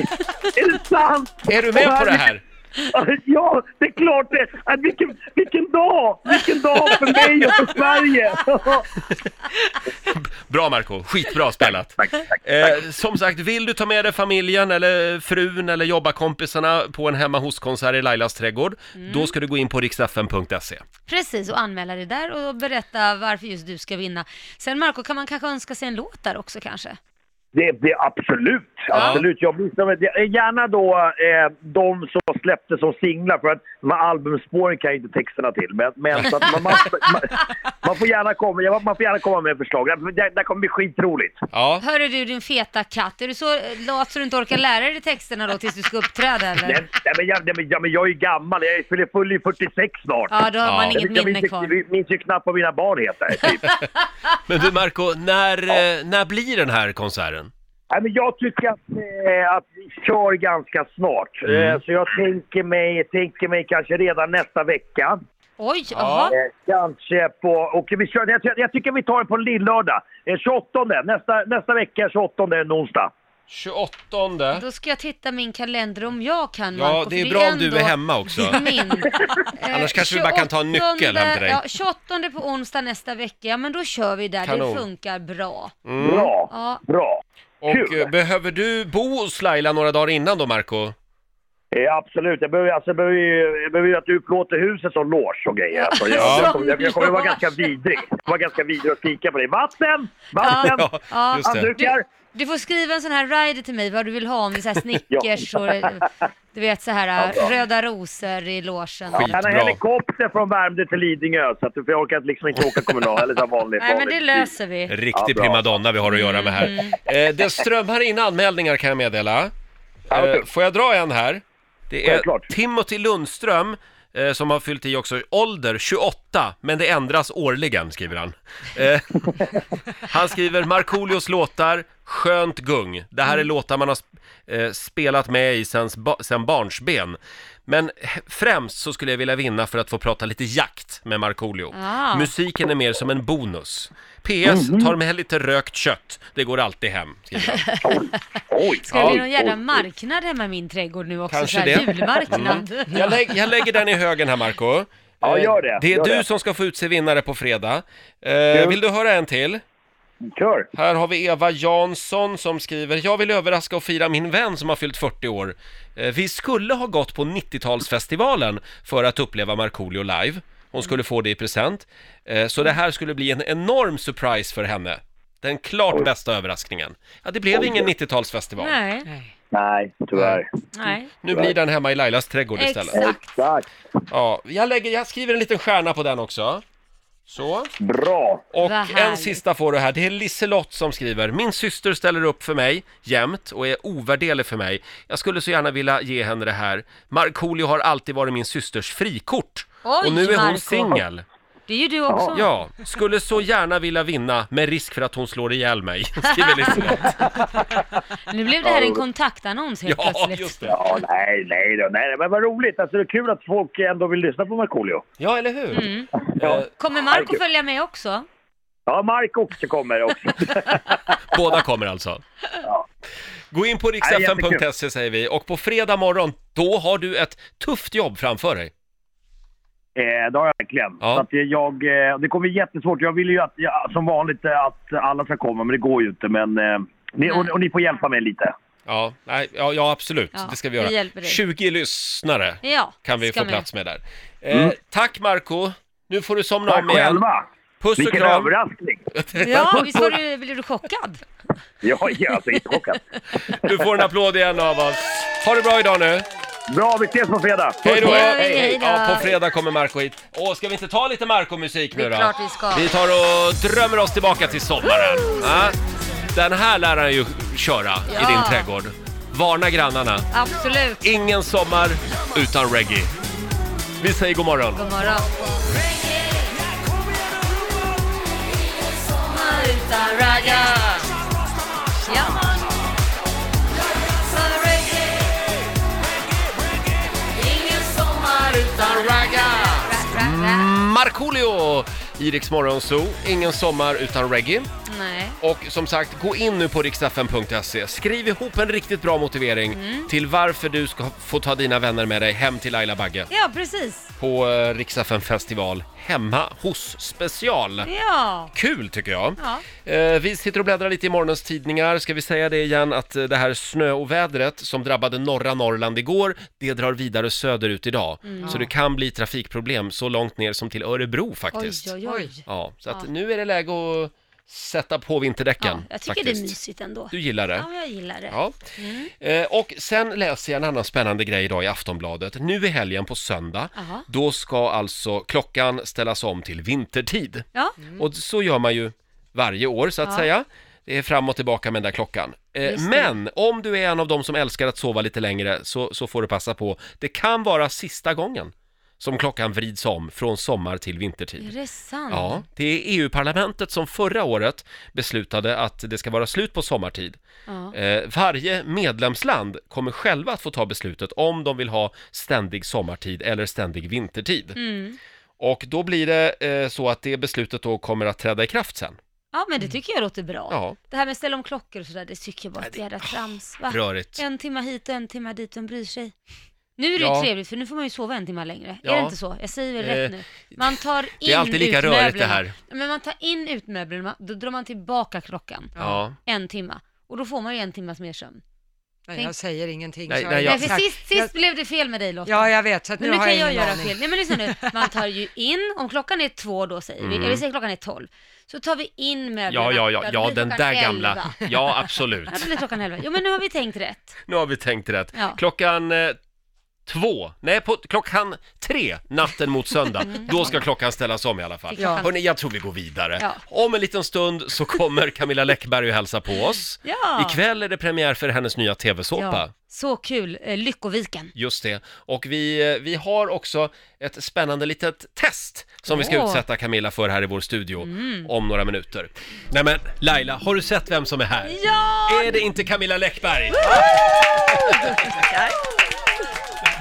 Speaker 8: Är det sant?
Speaker 1: Är du med på det här?
Speaker 8: Ja, det är klart det. Äh, Vilken, vilken dag! Vilken dag för mig och för Sverige!
Speaker 1: Bra Marco, skitbra spelat!
Speaker 8: Tack, tack, tack.
Speaker 1: Eh, som sagt, vill du ta med dig familjen eller frun eller jobbarkompisarna på en hemma hos-konsert i Lailas trädgård,
Speaker 8: Mm.
Speaker 1: då ska du gå in på riksfn.se.
Speaker 4: Precis, och anmäla dig där och berätta varför just du ska vinna. Sen Marco, kan man kanske önska sig en låt där också kanske?
Speaker 8: Det, det absolut, absolut. Jag blir som, jag- gärna då eh, de som släppte som singlar för att de här albumspåren kan jag inte texterna till. Men, men så att man, man, man, man, får gärna komma, ja, man får gärna komma med förslag. Det, det, det kommer bli skitroligt.
Speaker 1: Ja,
Speaker 4: Hörru du din feta katt, är du så eh, lat så du inte orkar lära dig texterna då tills du ska uppträda
Speaker 8: Nej,
Speaker 4: eller?
Speaker 8: nej, men jag, nej, men jag, men jag är ju gammal, jag fyller full i 46 snart.
Speaker 4: Ja, då har
Speaker 1: Ja.
Speaker 4: man
Speaker 8: Jag
Speaker 4: inget
Speaker 8: minns- jag
Speaker 4: minne
Speaker 8: minns,
Speaker 4: kvar.
Speaker 8: ju- minns ju knappt vad mina barn heter. Typ.
Speaker 1: men du Marco, när, eh, när blir den här konserten?
Speaker 8: Nej, men jag tycker att, eh, att vi kör ganska snart.
Speaker 4: Mm.
Speaker 8: Eh, så jag tänker mig, tänker mig kanske redan nästa vecka.
Speaker 4: Oj, jaha.
Speaker 8: Eh, kanske på... Och vi kör, jag, ty- jag tycker vi tar det på en lillördag. Eh, 28. Nästa, nästa vecka 28 är en onsdag.
Speaker 1: 28
Speaker 4: Då ska jag titta min kalender om jag kan
Speaker 1: Ja,
Speaker 4: Marco,
Speaker 1: det är
Speaker 4: för
Speaker 1: bra om du
Speaker 4: ändå
Speaker 1: är hemma också.
Speaker 4: Min. Eh,
Speaker 1: Annars kanske vi bara kan ta en nyckel hem till dig.
Speaker 4: Ja, 28 på onsdag nästa vecka, ja men då kör vi där,
Speaker 1: Kanon.
Speaker 4: det funkar bra.
Speaker 8: Bra,
Speaker 4: Mm. Ja.
Speaker 8: bra.
Speaker 1: Och
Speaker 8: Kul.
Speaker 1: eh, behöver du bo hos Laila några dagar innan då Marco?
Speaker 8: Eh, absolut. Jag behöver, alltså, jag behöver, ju- jag behöver ju att du upplåter huset som loge och grejer. Alltså, jag, jag, kommer- jag, jag kommer vara ganska vidrig. Jag kommer vara ganska vidrig och skrika på dig. Vatten! Vatten!
Speaker 1: Ja,
Speaker 4: Ja.
Speaker 1: just det.
Speaker 8: Handdukar!
Speaker 4: Du får skriva en sån här rider till mig vad du vill ha, om det är så här Snickers och eh, du vet så här eh, röda rosor i logen.
Speaker 8: Han har
Speaker 1: Skitbra.
Speaker 8: helikopter från Värmdö till Lidingö så att du orkar liksom inte åka kommunal eller så här vanlig.
Speaker 4: Nej men
Speaker 8: vanlig
Speaker 4: det
Speaker 8: bil.
Speaker 4: löser vi.
Speaker 1: Riktig
Speaker 8: Ja, bra. Mm.
Speaker 1: primadonna vi har att göra med här. Eh, det strömmar in anmälningar kan jag meddela.
Speaker 8: Ja, vad
Speaker 1: Eh,
Speaker 8: kul.
Speaker 1: får jag dra en här? Det är
Speaker 8: Självklart.
Speaker 1: Timothy Lundström eh, som har fyllt i också ålder 28, men det ändras årligen, skriver han. Eh, han skriver Markoolios låtar, skönt gung. Det här är låtar man har sp- eh, spelat med i sen, sen barnsben. Men h- främst så skulle jag vilja vinna för att få prata lite jakt med Markoolio.
Speaker 4: Ah.
Speaker 1: Musiken är mer som en bonus. PS, tar med lite rökt kött. Det går alltid hem, skriver han.
Speaker 8: Oj!
Speaker 4: Ska det bli någon
Speaker 8: oj,
Speaker 4: jävla
Speaker 8: oj.
Speaker 4: marknad hemma i min trädgård nu också?
Speaker 1: Kanske
Speaker 4: så här
Speaker 1: det. Mm.
Speaker 4: Julmarknad.
Speaker 1: Jag, lä- jag lägger den i högen här, Marco.
Speaker 8: Ja,
Speaker 1: Eh,
Speaker 8: gör det.
Speaker 1: Det är
Speaker 8: gör
Speaker 1: du
Speaker 8: det.
Speaker 1: som ska få utse vinnare på fredag. Eh, vill du höra en till?
Speaker 8: Kör.
Speaker 1: Här har vi Eva Jansson som skriver Jag vill överraska och fira min vän som har fyllt 40 år. Eh, Vi skulle ha gått på 90-talsfestivalen för att uppleva Markoolio live. Hon skulle få det i present. Eh, Så det här skulle bli en enorm surprise för henne. Den klart bästa överraskningen. Ja, det blev ingen 90-talsfestival.
Speaker 4: Nej,
Speaker 8: Nej, tyvärr.
Speaker 4: nej.
Speaker 1: Nu blir den hemma i Lailas trädgård istället.
Speaker 4: Exakt.
Speaker 8: Tack.
Speaker 1: Ja, jag, lägger, jag skriver en liten stjärna på den också. Så.
Speaker 8: Bra.
Speaker 1: Och
Speaker 4: Vad
Speaker 1: en
Speaker 4: härligt.
Speaker 1: sista får du här. Det är Liselott som skriver. Min syster ställer upp för mig jämt och är ovärderlig för mig. Jag skulle så gärna vilja ge henne det här. Markoolio har alltid varit min systers frikort.
Speaker 4: Oj,
Speaker 1: och nu är hon
Speaker 4: Marco.
Speaker 1: singel.
Speaker 4: Det är ju du också.
Speaker 1: Ja, skulle så gärna vilja vinna med risk för att hon slår ihjäl mig, skriver Liselott.
Speaker 4: Nu blev det här en kontaktannons helt
Speaker 1: Ja,
Speaker 4: plötsligt.
Speaker 1: just det.
Speaker 8: Ja, nej, nej, då, nej, men vad roligt. Alltså, det är kul att folk ändå vill lyssna på Markoolio.
Speaker 1: Ja, eller hur?
Speaker 4: Mm.
Speaker 1: Eh,
Speaker 4: Kommer Marco följa med också?
Speaker 8: Ja, Mark också kommer också.
Speaker 1: båda kommer alltså. Gå in på
Speaker 8: Nej, jättekul.
Speaker 1: riksfn.se säger vi och på fredag morgon, då har du ett tufft jobb framför dig.
Speaker 8: Eh, det har jag verkligen.
Speaker 1: Ja.
Speaker 8: Så att jag, eh, det kommer bli jättesvårt. Jag vill ju att, ja, som vanligt eh, att alla ska komma, men det går ju inte. Men, eh, ni, och, och ni får hjälpa mig lite.
Speaker 1: Ja, nej, ja, ja absolut,
Speaker 4: Ja,
Speaker 1: det ska vi
Speaker 4: vi
Speaker 1: göra.
Speaker 4: hjälper dig.
Speaker 1: 20 lyssnare
Speaker 4: Ja,
Speaker 1: kan vi
Speaker 4: ska
Speaker 1: få
Speaker 4: med.
Speaker 1: plats med där. Eh, tack Marco nu får du somna
Speaker 8: Mm. Tack
Speaker 1: om igen.
Speaker 8: själva!
Speaker 1: Puss och
Speaker 8: Vilken
Speaker 1: kram.
Speaker 8: överraskning!
Speaker 4: Ja, visst var du, blev du chockad?
Speaker 8: Ja, alltså, jag är så inchockad.
Speaker 1: Du får en applåd igen av oss. Ha det bra idag nu.
Speaker 8: Bra, vi ses på fredag!
Speaker 1: Hej då!
Speaker 4: Det gör vi, hej då.
Speaker 1: Ja, på fredag kommer Marco hit. Åh, ska vi inte ta lite Marco-musik
Speaker 4: Det
Speaker 1: nu
Speaker 4: är
Speaker 1: då?
Speaker 4: klart vi ska.
Speaker 1: Vi tar och drömmer oss tillbaka till sommaren. Ja. Den här lär han ju köra
Speaker 4: Ja.
Speaker 1: i din trädgård. Varna grannarna.
Speaker 4: Absolut.
Speaker 1: Ingen sommar utan reggae. Vi säger god morgon.
Speaker 4: God morgon. Sommar utan ragga. Ja. För reggae. Ingen sommar utan ragga. Ra, ra, ra.
Speaker 1: Markoolio i Rix Morgon Zoo. Ingen sommar utan reggae.
Speaker 4: Nej.
Speaker 1: Och som sagt, gå in nu på riksdagen.se. Skriv ihop en riktigt bra motivering
Speaker 4: Mm.
Speaker 1: till varför du ska få ta dina vänner med dig hem till Laila Bagge
Speaker 4: Ja, precis.
Speaker 1: på eh, Riksdagen festival hemma hos special.
Speaker 4: Ja.
Speaker 1: Kul tycker jag.
Speaker 4: Ja.
Speaker 1: Eh, vi sitter och bläddrar lite i morgons tidningar. Ska vi säga det igen att eh, det här snöovädret som drabbade norra Norrland igår, det drar vidare söderut idag.
Speaker 4: Mm.
Speaker 1: Så det kan bli trafikproblem så långt ner som till Örebro
Speaker 4: Oj,
Speaker 1: faktiskt.
Speaker 4: oj, oj.
Speaker 1: Ja, så att nu är det läge att sätta på
Speaker 4: Ja,
Speaker 1: vinterdäcken.
Speaker 4: jag tycker
Speaker 1: faktiskt.
Speaker 4: det är mysigt ändå.
Speaker 1: Du gillar det?
Speaker 4: Ja, Mm. men jag gillar det.
Speaker 1: Ja. Eh, och sen läser jag en annan spännande grej idag i Aftonbladet. Nu i helgen på söndag,
Speaker 4: Jaha.
Speaker 1: då ska alltså klockan ställas om till vintertid.
Speaker 4: Ja,
Speaker 1: Och så gör man ju varje år så att
Speaker 4: Mm.
Speaker 1: säga.
Speaker 4: Ja.
Speaker 1: Det är fram och tillbaka med den där klockan. Eh,
Speaker 4: Just det.
Speaker 1: men om du är en av dem som älskar att sova lite längre så, så får du passa på. Det kan vara sista gången som klockan vrids om från sommar till vintertid.
Speaker 4: är det sant?
Speaker 1: Ja, det är EU-parlamentet som förra året beslutade att det ska vara slut på sommartid.
Speaker 4: Ja.
Speaker 1: Eh, varje medlemsland kommer själva att få ta beslutet om de vill ha ständig sommartid eller ständig vintertid.
Speaker 4: Mm.
Speaker 1: Och då blir det eh, så att det beslutet då kommer att träda i kraft sen.
Speaker 4: Ja, men det tycker jag låter bra.
Speaker 1: Ja.
Speaker 4: Det här med ställa om klockor och sådär, det tycker jag bara är ett jädra trams. Va?
Speaker 1: Rörigt.
Speaker 4: En timma hit och en timma dit, vem bryr sig? Nu är det
Speaker 1: Ja.
Speaker 4: ju trevligt för nu får man ju sova en timma längre.
Speaker 1: Ja.
Speaker 4: Är det inte så? Jag säger väl rätt
Speaker 1: Eh,
Speaker 4: nu. Man tar in
Speaker 1: det är alltid lika
Speaker 4: ut
Speaker 1: rörigt det
Speaker 4: möblerna.
Speaker 1: här.
Speaker 4: Men man tar in ut möblerna, då drar man tillbaka klockan
Speaker 1: Ja.
Speaker 4: en timma. Och då får man ju en timmas mer sömn.
Speaker 2: Nej, jag säger ingenting.
Speaker 1: Nej,
Speaker 2: så
Speaker 1: nej,
Speaker 2: jag-
Speaker 1: jag-
Speaker 4: Nej, för
Speaker 2: Tack.
Speaker 4: sist, sist blev det fel med dig Lotta.
Speaker 2: Ja, jag vet, så att
Speaker 4: Men
Speaker 2: nu,
Speaker 4: nu
Speaker 2: har jag
Speaker 4: kan
Speaker 2: ingen
Speaker 4: jag göra
Speaker 2: aning.
Speaker 4: fel. Nej men lyssna nu, man tar ju in, om klockan är två då säger vi, eller vi säger klockan är tolv, så tar vi in möblerna.
Speaker 1: Mm. Ja, ja, ja,
Speaker 4: då
Speaker 1: ja,
Speaker 4: blir
Speaker 1: den
Speaker 4: klockan
Speaker 1: där gamla.
Speaker 4: elva.
Speaker 1: Ja, absolut.
Speaker 4: Ja, då blir klockan elva. Jo men nu har vi tänkt rätt.
Speaker 1: Nu har vi tänkt rätt.
Speaker 4: Ja.
Speaker 1: Klockan eh, två, nej på, klockan tre natten mot söndag,
Speaker 4: Mm.
Speaker 1: då ska klockan ställas om i alla fall.
Speaker 4: Fick klockan-
Speaker 1: Hörni, jag tror vi går vidare.
Speaker 4: Ja.
Speaker 1: Om en liten stund så kommer Camilla Läckberg och hälsa på oss.
Speaker 4: Ja.
Speaker 1: Ikväll är det premiär för hennes nya tv-såpa.
Speaker 4: Ja, så kul, eh, Lyckoviken.
Speaker 1: Just det. Och vi, eh, vi har också ett spännande litet test som vi ska
Speaker 4: Åh. Mm.
Speaker 1: utsätta Camilla för här i vår studio om några minuter. Nej men Laila, har du sett vem som är här?
Speaker 4: Ja!
Speaker 1: Är det inte Camilla Läckberg?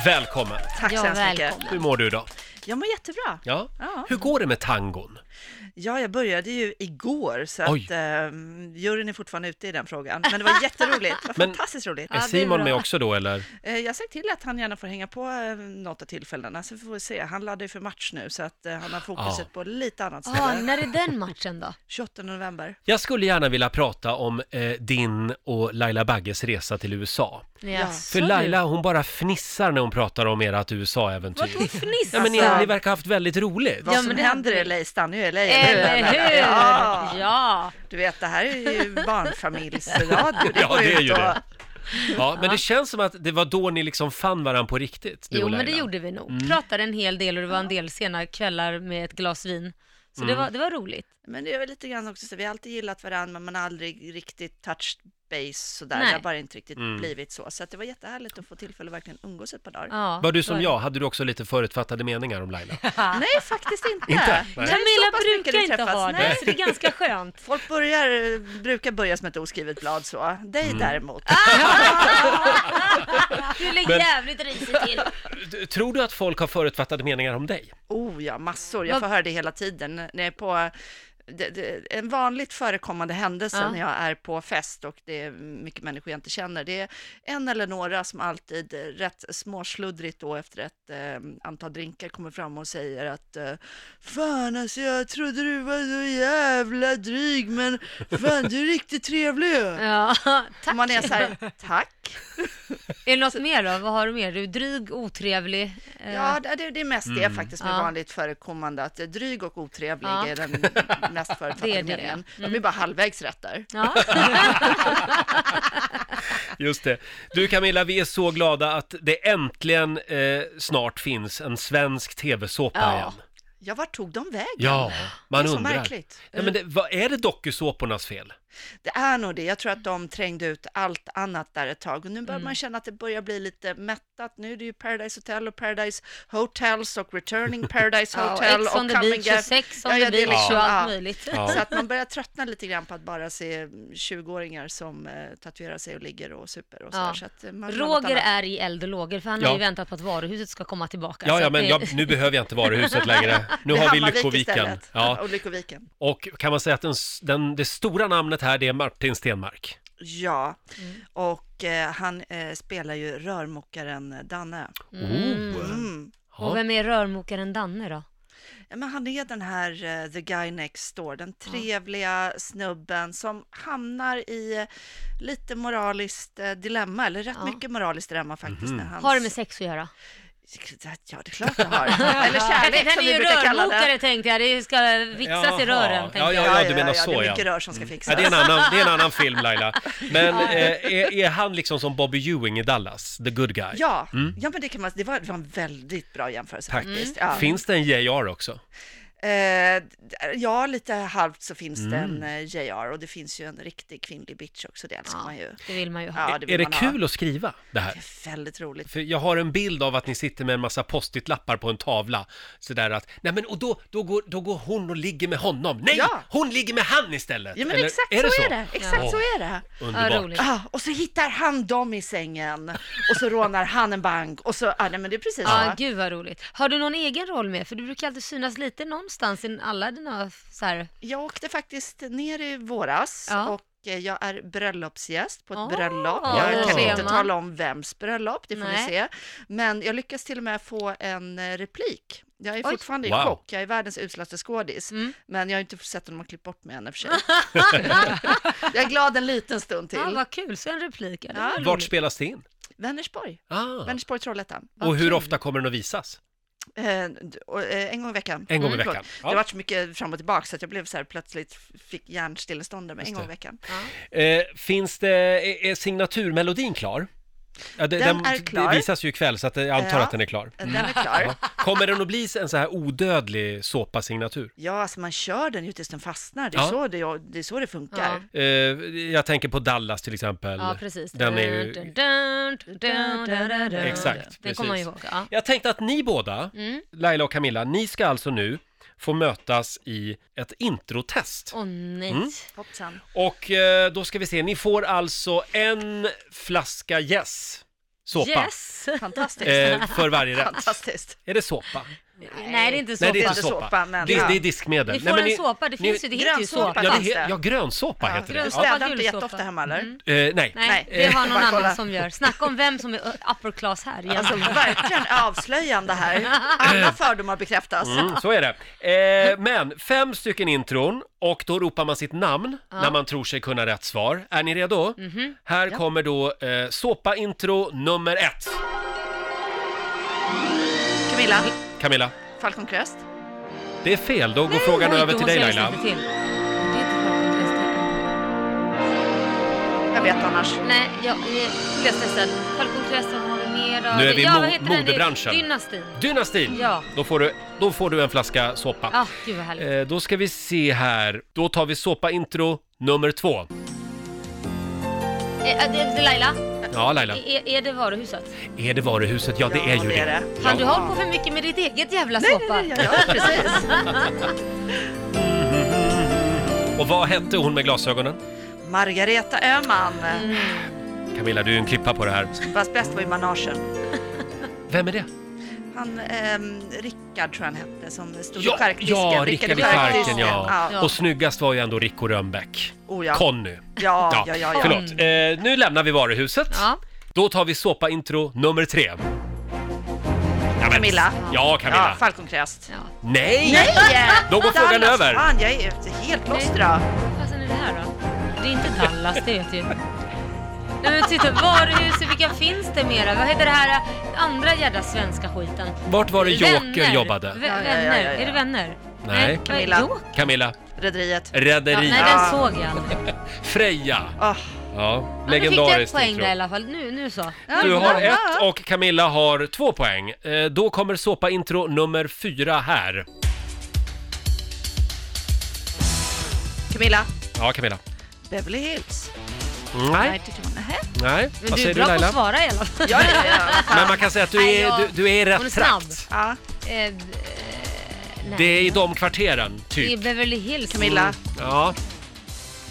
Speaker 1: Välkommen!
Speaker 9: Tack så
Speaker 4: Ja,
Speaker 9: hemskt mycket.
Speaker 4: välkommen.
Speaker 1: Hur mår du idag?
Speaker 9: Jag mår jättebra.
Speaker 1: Ja.
Speaker 9: Ja.
Speaker 1: Hur går det med tangon?
Speaker 9: Ja, jag började ju igår, så
Speaker 1: Oj.
Speaker 9: att eh, juryn är fortfarande ute i den frågan. Men det var jätteroligt, det var
Speaker 1: Men-
Speaker 9: fantastiskt roligt.
Speaker 1: Är
Speaker 4: det är
Speaker 1: Simon
Speaker 4: bra.
Speaker 1: med också då eller?
Speaker 9: Eh, jag har sagt till att han gärna får hänga på eh, något av tillfällena, så får vi se. Han laddar ju för match nu, så att eh, han har fokuset
Speaker 1: Ja.
Speaker 9: på lite annat ställe.
Speaker 4: Ah, när är den matchen då?
Speaker 9: 28 november.
Speaker 1: Jag skulle gärna vilja prata om eh, din och Laila Bagges resa till USA.
Speaker 4: Jaså,
Speaker 1: För
Speaker 4: du.
Speaker 1: Laila, hon bara fnissar när hon pratar om ert USA-äventyr.
Speaker 4: Vadå fniss?
Speaker 1: Ja, men ni,
Speaker 9: Alltså-
Speaker 1: ni verkar ha haft väldigt roligt.
Speaker 9: Vad
Speaker 4: Ja,
Speaker 9: som
Speaker 4: men det-
Speaker 9: händer i LA stannar ju i LA,
Speaker 4: Eller hur?
Speaker 9: Eh, Ja.
Speaker 4: Ja.
Speaker 9: Du vet, det här är ju barnfamiljsradio.
Speaker 1: Ja,
Speaker 9: går
Speaker 1: det är ju
Speaker 9: ut och-
Speaker 1: det. Ja, men det känns som att det var då ni liksom fann varandra på riktigt, du
Speaker 4: Jo,
Speaker 1: och
Speaker 4: men det
Speaker 1: Laila. Mm.
Speaker 4: gjorde vi nog. Pratade en hel del och det var en del sena kvällar med ett glas vin. Så
Speaker 1: Mm.
Speaker 4: det, var, det var roligt.
Speaker 9: Men det är väl lite grann också så, vi har alltid gillat varandra, men man har aldrig riktigt touched base sådär.
Speaker 4: Nej.
Speaker 9: Det har bara inte riktigt blivit så. Så att det var jättehärligt att få tillfälle att verkligen umgås ett par dagar.
Speaker 4: Ja,
Speaker 1: Var du
Speaker 4: var
Speaker 1: som
Speaker 4: det.
Speaker 1: jag? Hade du också lite förutfattade meningar om Laila?
Speaker 9: Nej, faktiskt inte.
Speaker 1: Inte? Nej.
Speaker 9: Nej,
Speaker 4: Camilla
Speaker 9: så pass mycket
Speaker 4: brukar
Speaker 9: vi
Speaker 4: inte
Speaker 9: träffas.
Speaker 4: ha det,
Speaker 9: Nej.
Speaker 4: så det är ganska skönt.
Speaker 9: Folk börjar, brukar börja som ett oskrivet blad så. Dig däremot.
Speaker 4: Ah! Du ligger
Speaker 1: Men-
Speaker 4: jävligt risigt till.
Speaker 1: D- Tror du att folk har förutfattade meningar om dig?
Speaker 9: Oh ja, massor. Jag
Speaker 4: Vad-
Speaker 9: får höra det hela tiden. När jag är på, det, det, en vanligt förekommande händelse
Speaker 4: Ja.
Speaker 9: när jag är på fest och det är mycket människor jag inte känner, det är en eller några som alltid eh, rätt småsluddrigt då efter ett eh, antal drinkar kommer fram och säger att eh, Fan alltså jag trodde du var så jävla dryg men fan du är riktigt trevlig.
Speaker 4: Ja,
Speaker 9: Och
Speaker 4: tack.
Speaker 9: man är så här, tack.
Speaker 4: Är det något mer då? Vad har du mer? Du är dryg, otrevlig. eh,
Speaker 9: Ja, det, det- det är mest det faktiskt med
Speaker 4: Mm. Ja.
Speaker 9: vanligt förekommande, att dryg och otrevlig
Speaker 4: Ja.
Speaker 9: är den mest
Speaker 4: Det är
Speaker 9: förekommande
Speaker 4: det. Mm.
Speaker 9: meningen. De är bara halvvägs rätt där.
Speaker 4: ja.
Speaker 1: Just det. Du Camilla, vi är så glada att det äntligen eh, snart finns en svensk tv-såpa
Speaker 4: Ja.
Speaker 1: igen.
Speaker 9: Ja, vart tog de vägen?
Speaker 1: Ja, man
Speaker 9: det är så
Speaker 1: undrar.
Speaker 9: märkligt.
Speaker 1: Ja, men det, vad är det dokusåpornas fel?
Speaker 9: Det är nog det. Jag tror att de trängde ut allt annat där ett tag. Och nu
Speaker 4: Mm.
Speaker 9: börjar man känna att det börjar bli lite mättat. Nu är det ju Paradise Hotel och Paradise Hotels och Returning Paradise
Speaker 4: Ja, och
Speaker 9: Hotel
Speaker 4: Ex on the
Speaker 9: Come and
Speaker 4: beach
Speaker 9: Get-
Speaker 4: och Sex on
Speaker 9: Ja, ja,
Speaker 4: the
Speaker 9: det är
Speaker 4: beach
Speaker 9: liksom-
Speaker 4: och
Speaker 9: ja.
Speaker 4: allt möjligt.
Speaker 1: Ja.
Speaker 9: Så att man börjar tröttna lite grann på att bara se 20-åringar som eh, tatuerar sig och ligger och super och så,
Speaker 4: Ja.
Speaker 9: så att eh, man vill ha något
Speaker 4: Roger
Speaker 9: annat.
Speaker 4: är i eld och lågor för han
Speaker 1: Ja.
Speaker 4: har ju väntat på att varuhuset ska komma tillbaka.
Speaker 1: Ja,
Speaker 4: så
Speaker 1: ja,
Speaker 4: att
Speaker 1: men
Speaker 4: det-
Speaker 1: jag, nu behöver jag inte varuhuset längre. Nu
Speaker 9: Det är
Speaker 1: har vi
Speaker 9: Hammarvik
Speaker 1: Lyckoviken.
Speaker 9: istället.
Speaker 1: Ja,
Speaker 9: Och Lyckoviken.
Speaker 1: och kan man säga att den, s- den, det stora namnet här, det är Martin Stenmark.
Speaker 9: Ja,
Speaker 4: Mm.
Speaker 9: och eh, han eh, spelar ju rörmokaren Danne.
Speaker 1: Oh.
Speaker 9: Mm.
Speaker 4: Och vem är rörmokaren Danne då?
Speaker 9: Ja, men han är den här eh, the guy next door, den trevliga snubben som hamnar i eh, lite moraliskt eh, dilemma, eller rätt
Speaker 4: Ja.
Speaker 9: mycket moraliskt dilemma faktiskt.
Speaker 1: Mhm.
Speaker 9: När hans...
Speaker 4: Har det med sex att göra?
Speaker 9: Ja, det är klart jag har. eller kärlek
Speaker 4: han
Speaker 9: som vi
Speaker 4: är ju
Speaker 9: brukar kalla det.
Speaker 4: rörmokare tänkte jag, det ska fixas i
Speaker 1: Jaha.
Speaker 4: rören. tänkte
Speaker 1: Ja,
Speaker 4: jag.
Speaker 1: ja, du menar så,
Speaker 9: Det är
Speaker 1: ja. Mm.
Speaker 9: mycket rör som ska fixas.
Speaker 1: Ja, det, är en annan, det är en annan film Laila. Men eh, är, är han liksom som Bobby Ewing i Dallas, the good guy?
Speaker 9: Ja, ja men det, kan man, det, var, det var en väldigt bra jämförelse
Speaker 1: Mm. Tack.
Speaker 9: faktiskt.
Speaker 4: Mm.
Speaker 9: Ja.
Speaker 1: Finns det en JR också?
Speaker 9: Eh, ja, lite halvt så finns det
Speaker 1: Mm.
Speaker 9: en eh, JR och det finns ju en riktig kvinnlig bitch också, det älskar man ju.
Speaker 4: Det vill man ju ha.
Speaker 9: Ja, det vill
Speaker 1: är det
Speaker 9: man ha.
Speaker 1: kul att skriva det
Speaker 9: Det
Speaker 1: här?
Speaker 9: är väldigt roligt.
Speaker 1: För jag har en bild av att ni sitter med en massa post-it-lappar på en tavla. Sådär att, nej men och då, då, går, då går hon och ligger med honom. Nej!
Speaker 9: Ja.
Speaker 1: Hon ligger med han istället!
Speaker 9: Ja, men
Speaker 1: Eller
Speaker 9: exakt
Speaker 1: är det
Speaker 9: så,
Speaker 1: så
Speaker 9: är det. Exakt
Speaker 1: Ja.
Speaker 9: så är det.
Speaker 1: Underbart.
Speaker 4: Ja, roligt.
Speaker 9: Ah, och så hittar han dem i sängen och så rånar han en bank och så, ah, nej men det är precis
Speaker 4: Ja,
Speaker 9: så.
Speaker 4: gud vad roligt. Har du någon egen roll med? För du brukar alltid synas lite någonstans i alla dina så här...
Speaker 9: Jag åkte faktiskt ner i våras
Speaker 4: Ja.
Speaker 9: och eh, jag är bröllopsgäst på ett
Speaker 4: Ah,
Speaker 9: bröllop.
Speaker 1: det
Speaker 9: Jag kan
Speaker 1: ser
Speaker 9: inte
Speaker 4: man.
Speaker 9: tala om vems bröllop, det får
Speaker 4: Nej.
Speaker 9: ni se. Men jag lyckas till och med få en eh, replik. Jag är
Speaker 4: Oj. Mm.
Speaker 9: fortfarande
Speaker 1: Wow.
Speaker 9: i chock, jag är världens uslaste skådis. Men jag har inte sett om de har klippt bort mig än i och för sig. jag är glad en liten stund till.
Speaker 4: Ja, Ah, vad kul. Så en replik. Ja, det
Speaker 9: Ja.
Speaker 4: var
Speaker 1: Vart
Speaker 4: roligt.
Speaker 1: spelas det in?
Speaker 9: Vänersborg,
Speaker 1: Ah.
Speaker 9: Vänersborg, Trollhättan.
Speaker 1: Och hur ofta kommer den att visas?
Speaker 9: Eh, d- och, eh, en gång i veckan.
Speaker 1: En gång i
Speaker 9: Mm,
Speaker 1: veckan.
Speaker 9: förlåt.
Speaker 1: Ja.
Speaker 9: Det var så mycket fram och tillbaka så att jag blev så här plötsligt fick hjärnstillestånd med en gång i veckan.
Speaker 1: Eh, finns det, är- är signaturmelodin klar? Ja, det,
Speaker 9: Den är klar.
Speaker 1: Det visas ju ikväll så att jag antar
Speaker 9: Ja.
Speaker 1: att den är klar.
Speaker 9: Eh, Den är klar.
Speaker 1: Kommer den att bli en så här odödlig såpasignatur?
Speaker 9: Ja, alltså man kör den ju tills den fastnar. Det är,
Speaker 1: Ja.
Speaker 9: så, det, det, är så det funkar.
Speaker 1: Eh, jag tänker på Dallas till exempel.
Speaker 4: Ja, precis.
Speaker 1: Den är ju...
Speaker 4: Dun, dun, dun, dun, dun, dun, dun.
Speaker 1: Exakt,
Speaker 4: Den
Speaker 1: precis.
Speaker 4: kommer man ju ihåg. Ja.
Speaker 1: Jag tänkte att ni båda,
Speaker 4: Mm.
Speaker 1: Laila och Camilla, ni ska alltså nu få mötas i ett introtest.
Speaker 4: Åh nej.
Speaker 1: Mm,
Speaker 9: Hoppsan.
Speaker 1: Och eh, då ska vi se, ni får alltså en flaska Yes såpa
Speaker 4: Yes!
Speaker 9: Fantastiskt.
Speaker 1: eh, för varje rätt.
Speaker 9: Fantastiskt.
Speaker 1: Är det såpa?
Speaker 4: Nej, det är inte så.
Speaker 1: Nej, det är
Speaker 9: Det är
Speaker 1: inte
Speaker 9: inte
Speaker 1: såpa.
Speaker 9: såpa, men...
Speaker 1: Det,
Speaker 9: ja.
Speaker 1: det är diskmedel.
Speaker 4: Ni får
Speaker 1: Nej, men
Speaker 4: en
Speaker 1: ni-
Speaker 4: såpa, det
Speaker 1: ni-
Speaker 4: finns ju, det heter ju
Speaker 9: grönsåpa.
Speaker 4: såpa.
Speaker 1: Ja, det
Speaker 4: fast.
Speaker 1: he, ja grönsåpa
Speaker 9: Ja, Mm.
Speaker 1: heter det.
Speaker 9: du
Speaker 1: Ja.
Speaker 9: städar
Speaker 4: Ja.
Speaker 9: inte jätteofta hemma eller?
Speaker 1: Eh, nej.
Speaker 4: Nej,
Speaker 9: Nej.
Speaker 4: det har
Speaker 9: Bara
Speaker 4: någon
Speaker 9: kolla.
Speaker 4: annan som gör. Snacka om vem som är upper class här.
Speaker 9: Alltså
Speaker 4: egentligen.
Speaker 9: verkligen avslöjande här. Alla fördomar bekräftas.
Speaker 1: Mm, så är det. Eh, men fem stycken intron och då ropar man sitt namn när man tror sig kunna rätt svar. Är ni redo?
Speaker 4: Mhm.
Speaker 1: Här kommer då eh, såpa-intro nummer ett.
Speaker 9: Camilla,
Speaker 1: Camilla,
Speaker 9: Falcon Crest.
Speaker 1: det är fel. Då går
Speaker 4: Nej,
Speaker 1: frågan
Speaker 4: oj, då
Speaker 1: över till
Speaker 4: måste
Speaker 1: dig
Speaker 4: jag lyssna
Speaker 1: Laila.
Speaker 4: lite till. Det är inte Falcon Crest, det är-
Speaker 9: Jag vet annars.
Speaker 4: Nej, jag är löstestad. Falcon Crest, vad har vi mer då?
Speaker 1: Nu är vi i
Speaker 4: ja,
Speaker 1: mo-
Speaker 4: vad heter den?
Speaker 1: modebranschen.
Speaker 4: Dynastin.
Speaker 1: Dynastin!
Speaker 4: Ja.
Speaker 1: Då, får du, då får du en flaska såpa.
Speaker 4: Ja, gud vad härligt.
Speaker 1: Eh, då ska vi se här. Då tar vi såpa-intro nummer två.
Speaker 4: Eh, eh, det- det- Laila,
Speaker 1: Ja, Laila.
Speaker 4: är, är det varuhuset?
Speaker 1: Är det varuhuset? Ja, det
Speaker 9: Ja,
Speaker 1: är ju
Speaker 9: det är det.
Speaker 1: det.
Speaker 4: Fan, du har hållit på för mycket med ditt eget jävla såpa.
Speaker 9: Ja, precis.
Speaker 1: Och vad hette hon med glasögonen?
Speaker 9: Margareta Öhman.
Speaker 1: Camilla, du är en klippa på det här.
Speaker 9: Fast bäst var ju managen.
Speaker 1: Vem är det?
Speaker 9: Han, ehm, Rickard tror jag han hette, som stod
Speaker 1: Ja,
Speaker 9: i charkdisken.
Speaker 1: ja Rickard i charken, ja.
Speaker 9: ja.
Speaker 1: Och snyggast var ju ändå Rico Rönnbäck.
Speaker 9: Oh, ja.
Speaker 1: Conny.
Speaker 9: Ja, ja, ja, ja.
Speaker 1: Förlåt. Eh, nu lämnar vi varuhuset.
Speaker 4: Ja.
Speaker 1: Då tar vi såpa-intro nummer tre. Ja, men-
Speaker 9: Camilla.
Speaker 1: Ja, Camilla.
Speaker 9: Ja, Falcon Crest.
Speaker 1: Nej!
Speaker 9: Nej!
Speaker 1: Då går frågan
Speaker 9: Dallas,
Speaker 1: över.
Speaker 9: Fan, jag är ute helt lostra.
Speaker 4: Vad fasen är det här då? Det är inte Dallas, det vet ju. Nej men titta, varuhuset, vilka finns det mera? Vad heter det här eh, andra jävla svenska skiten?
Speaker 1: Vart var det Joker
Speaker 4: Vänner.
Speaker 1: jobbade?
Speaker 4: V-
Speaker 9: Ja, ja, ja,
Speaker 4: vänner,
Speaker 9: ja, ja.
Speaker 4: är det vänner?
Speaker 1: Nej.
Speaker 4: vad är
Speaker 9: Camilla.
Speaker 4: Joker?
Speaker 1: Camilla,
Speaker 9: Rederiet.
Speaker 4: Ja,
Speaker 1: Rederiet,
Speaker 4: nej, den såg jag.
Speaker 1: Freja.
Speaker 9: Ah,
Speaker 1: Ja,
Speaker 4: Ja, nu fick jag ett
Speaker 1: legendariskt
Speaker 4: poäng
Speaker 1: intro.
Speaker 4: där i alla fall. Nu, nu så.
Speaker 1: Du
Speaker 9: bra,
Speaker 1: har
Speaker 9: bra.
Speaker 1: ett och Camilla har två poäng. Eh, Då kommer såpa-intro nummer fyra här.
Speaker 9: Camilla.
Speaker 1: Ja, Camilla.
Speaker 9: Beverly Hills.
Speaker 1: Nej,
Speaker 9: Nähä.
Speaker 1: nej. Vad
Speaker 4: Men du är
Speaker 1: säger du
Speaker 4: bra på
Speaker 1: Laila?
Speaker 4: att svara i alla fall.
Speaker 9: Ja, ja, ja.
Speaker 1: Men man kan säga att du
Speaker 4: Nej,
Speaker 1: är,
Speaker 4: jag-
Speaker 1: du, du är i
Speaker 4: Hon är
Speaker 1: rätt
Speaker 4: snabb.
Speaker 1: trakt.
Speaker 9: ja.
Speaker 4: Eh, eh, nej.
Speaker 1: Det är i de kvarteren,
Speaker 4: Det är
Speaker 1: typ.
Speaker 4: Beverly Hills.
Speaker 1: Mm.
Speaker 9: Camilla.
Speaker 1: Ja.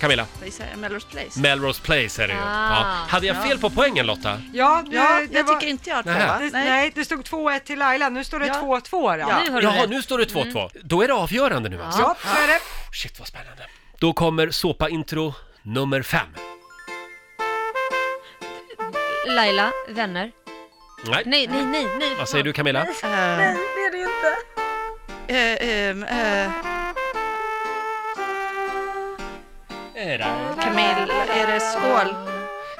Speaker 1: Camilla,
Speaker 9: Vad gissar jag? Melrose Place?
Speaker 1: Melrose Place är det ju.
Speaker 4: Ah,
Speaker 1: Ja. Hade jag fel på poängen Lotta?
Speaker 2: Ja, det,
Speaker 9: Ja,
Speaker 2: det
Speaker 9: jag
Speaker 2: var-
Speaker 9: tycker inte jag har två
Speaker 1: Nähä.
Speaker 9: va?
Speaker 2: det, nej.
Speaker 9: Nej.
Speaker 2: det stod 2-1 till Laila. Nu står det
Speaker 9: Ja.
Speaker 2: 2-2 då.
Speaker 9: Ja.
Speaker 4: Nu har du
Speaker 1: Jaha,
Speaker 4: rätt. Mm.
Speaker 1: nu står det 2-2. Då är det avgörande nu alltså.
Speaker 2: Ja, så är det.
Speaker 1: Shit vad spännande. Då kommer såpa-intro nummer fem.
Speaker 4: Laila, vänner.
Speaker 1: Nej.
Speaker 4: Nej, nej, nej, nej.
Speaker 1: Vad säger du Camilla?
Speaker 9: Nej, det är det inte. Camilla, är det skål?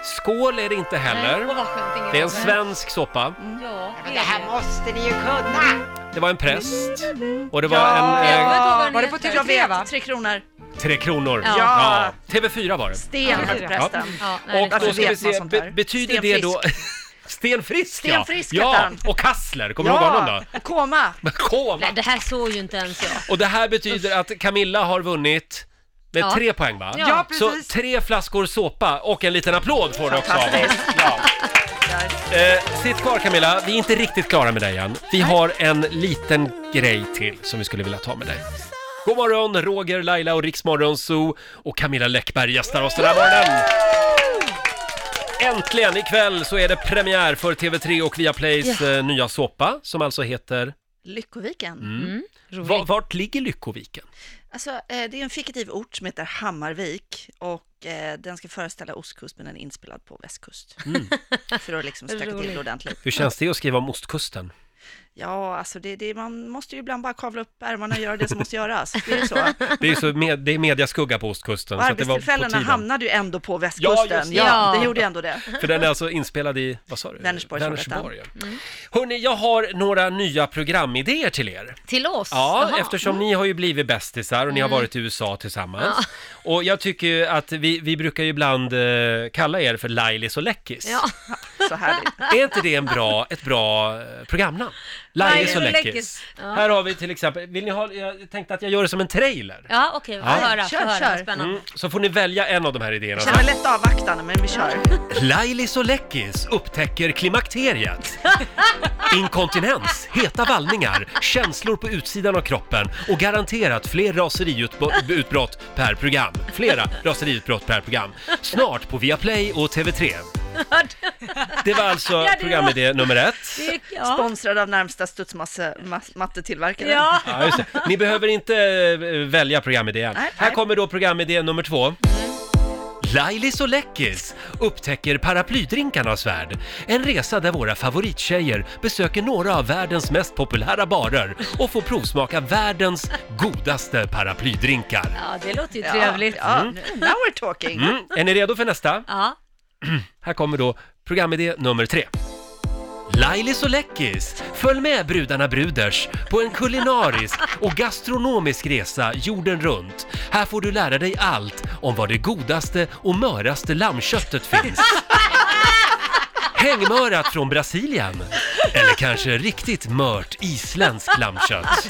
Speaker 1: Skål är det inte
Speaker 4: Nej, åh,
Speaker 1: heller.
Speaker 4: vad skönt, ingen
Speaker 1: Det är en
Speaker 4: annan.
Speaker 1: svensk soppa.
Speaker 4: Ja, det är
Speaker 5: Det här
Speaker 4: det.
Speaker 5: måste ni ju kunna!
Speaker 1: Det var en präst och det var en... Eh,
Speaker 4: Ja,
Speaker 2: Var det på
Speaker 9: Jag
Speaker 2: TV3 va?
Speaker 9: vet, Tre Kronor.
Speaker 1: tre kronor.
Speaker 4: Ja.
Speaker 1: TV4 var det.
Speaker 9: Sten hette prästen.
Speaker 4: Ja, nej,
Speaker 1: Och alltså, då
Speaker 4: det är
Speaker 1: ska
Speaker 9: Varför
Speaker 1: vi
Speaker 9: vet man
Speaker 1: se,
Speaker 9: sånt
Speaker 1: be,
Speaker 9: där?
Speaker 1: betyder det
Speaker 9: Stenfrisk.
Speaker 1: då... Stenfrisk,
Speaker 9: Stenfrisk
Speaker 1: ja!
Speaker 9: hette
Speaker 1: Ja,
Speaker 9: han.
Speaker 1: och Kassler, kommer du ihåg honom då?
Speaker 9: Koma.
Speaker 1: Koma!
Speaker 4: Nej, det här såg ju inte ens jag.
Speaker 1: Och det här betyder att Camilla har vunnit med
Speaker 4: Ja.
Speaker 1: tre poäng va?
Speaker 4: Ja.
Speaker 2: Ja,
Speaker 1: Så
Speaker 2: precis.
Speaker 1: tre flaskor såpa och en liten applåd får du också av oss.
Speaker 9: Fantastiskt.
Speaker 1: Ja. Eh, sitt kvar Camilla, vi är inte riktigt klara med dig än. Vi har en liten grej till som vi skulle vilja ta med dig. God morgon, Roger, Laila och Riksmorgon Zoo och Camilla Läckberg gästar oss den här morgonen. Äntligen! Ikväll så är det premiär för TV3 och Viaplays eh, nya såpa som alltså heter...
Speaker 9: Lyckoviken.
Speaker 1: Mm. Va- Vart ligger Lyckoviken?
Speaker 9: Alltså, eh, det är en fiktiv ort som heter Hammarvik och eh, den ska föreställa ostkust men den är inspelad på västkust.
Speaker 1: Mm.
Speaker 9: För att liksom stöka till
Speaker 4: Roligt.
Speaker 9: det ordentligt.
Speaker 1: Hur känns det att skriva om ostkusten?
Speaker 9: Ja, alltså det, det, man måste ju ibland bara kavla upp ärmarna och göra det som måste göras. Det är ju så.
Speaker 1: Det är ju så med, det är mediaskugga på ostkusten.
Speaker 9: Och
Speaker 1: Så att det var på
Speaker 9: arbetstillfällena
Speaker 1: tiden.
Speaker 9: hamnade ju ändå på västkusten.
Speaker 1: Ja,
Speaker 9: Ja,
Speaker 1: just det.
Speaker 4: Ja.
Speaker 9: det gjorde ju ändå det.
Speaker 1: För den är alltså inspelad i, vad sa du?
Speaker 9: Vänersborg,
Speaker 1: Vänersborg ja.
Speaker 4: Mm.
Speaker 1: Hörni, jag har några nya programidéer till er.
Speaker 4: Till oss?
Speaker 1: Ja,
Speaker 4: Jaha. Mm.
Speaker 1: eftersom ni har ju blivit bästisar och ni har varit i USA tillsammans. Och jag tycker ju att vi, vi brukar ju ibland eh, kalla er för Lailis och Läckis.
Speaker 4: Ja.
Speaker 9: Så härligt.
Speaker 1: Är inte det en bra, ett bra eh, programnamn? Lailis
Speaker 4: Lailis
Speaker 1: och
Speaker 4: och
Speaker 1: Läckis.
Speaker 4: Läckis. Ja.
Speaker 1: Här har vi till exempel, vill ni ha, jag tänkte att jag gör det som en trailer.
Speaker 4: Ja, okej,
Speaker 1: Ja.
Speaker 4: få höra, få
Speaker 9: Kör,
Speaker 4: höra,
Speaker 9: kör.
Speaker 4: spännande.
Speaker 1: Mm, så får ni välja en av de här idéerna.
Speaker 9: Det känns väl lätt avvaktande, men vi kör.
Speaker 1: Lailis och Läckis upptäcker klimakteriet. Inkontinens, heta vallningar, känslor på utsidan av kroppen och garanterat fler raseriutbrott per program. Flera raseriutbrott per program. Snart på Viaplay och TV3. Det var alltså
Speaker 4: Ja, det
Speaker 1: programidé nummer ett.
Speaker 4: Det, ja.
Speaker 9: Sponsrad av närmsta studsmattetillverkare.
Speaker 4: ja.
Speaker 1: Ja, just det. Ni behöver inte eh, välja programidén.
Speaker 9: Nej,
Speaker 1: Här
Speaker 9: nej.
Speaker 1: kommer då programidé nummer två. Lailis och Läckis upptäcker paraplydrinkarnas värld. En resa där våra favorittjejer besöker några av världens mest populära barer och får provsmaka världens godaste paraplydrinkar.
Speaker 4: ja, det låter ju trevligt.
Speaker 9: Ja, nu- now we're talking.
Speaker 1: Mm, är ni redo för nästa?
Speaker 4: Ja.
Speaker 1: Här kommer då programidé nummer tre. Lailis och Läckis, följ med brudarna Bruders på en kulinarisk och gastronomisk resa jorden runt. Här får du lära dig allt om var det godaste och möraste lammköttet finns. Hängmörat från Brasilien. Eller kanske riktigt mört isländskt lammkött.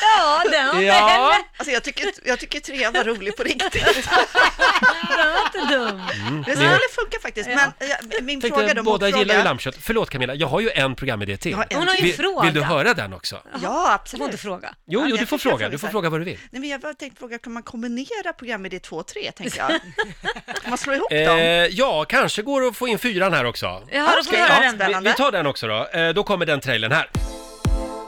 Speaker 4: Ja, den var,
Speaker 1: Ja,
Speaker 9: Alltså jag tycker, jag tycker tre var rolig på riktigt.
Speaker 4: den var inte dum.
Speaker 9: Det skulle funka faktiskt. Men eh, min fråga
Speaker 1: tänkte
Speaker 9: då,
Speaker 1: båda gillar ju
Speaker 9: motfråga.
Speaker 1: lammkött. Förlåt Camilla, jag har ju en programidé till.
Speaker 9: Ja, en
Speaker 4: Hon har ju
Speaker 1: Vill,
Speaker 4: fråga.
Speaker 1: vill du höra den också?
Speaker 9: Ja,
Speaker 4: Jag får inte
Speaker 9: absolut.
Speaker 4: fråga.
Speaker 1: Jo,
Speaker 9: Ja,
Speaker 1: jo,
Speaker 9: jag
Speaker 1: du får
Speaker 9: tycker jag
Speaker 1: fråga. Du får
Speaker 9: frågar.
Speaker 1: fråga vad du vill.
Speaker 9: Nej, men jag bara tänkte fråga, kan man kombinera programidé 2 och 3, tänker jag? Kan man slå ihop
Speaker 1: Eh,
Speaker 9: dem?
Speaker 1: ja, kanske går det att få in fyran här också.
Speaker 4: Ja, då får vi
Speaker 9: Okej,
Speaker 4: höra
Speaker 9: ja,
Speaker 4: den.
Speaker 1: Vi,
Speaker 9: spännande.
Speaker 1: vi tar den också då. Eh, då kommer den trailern här.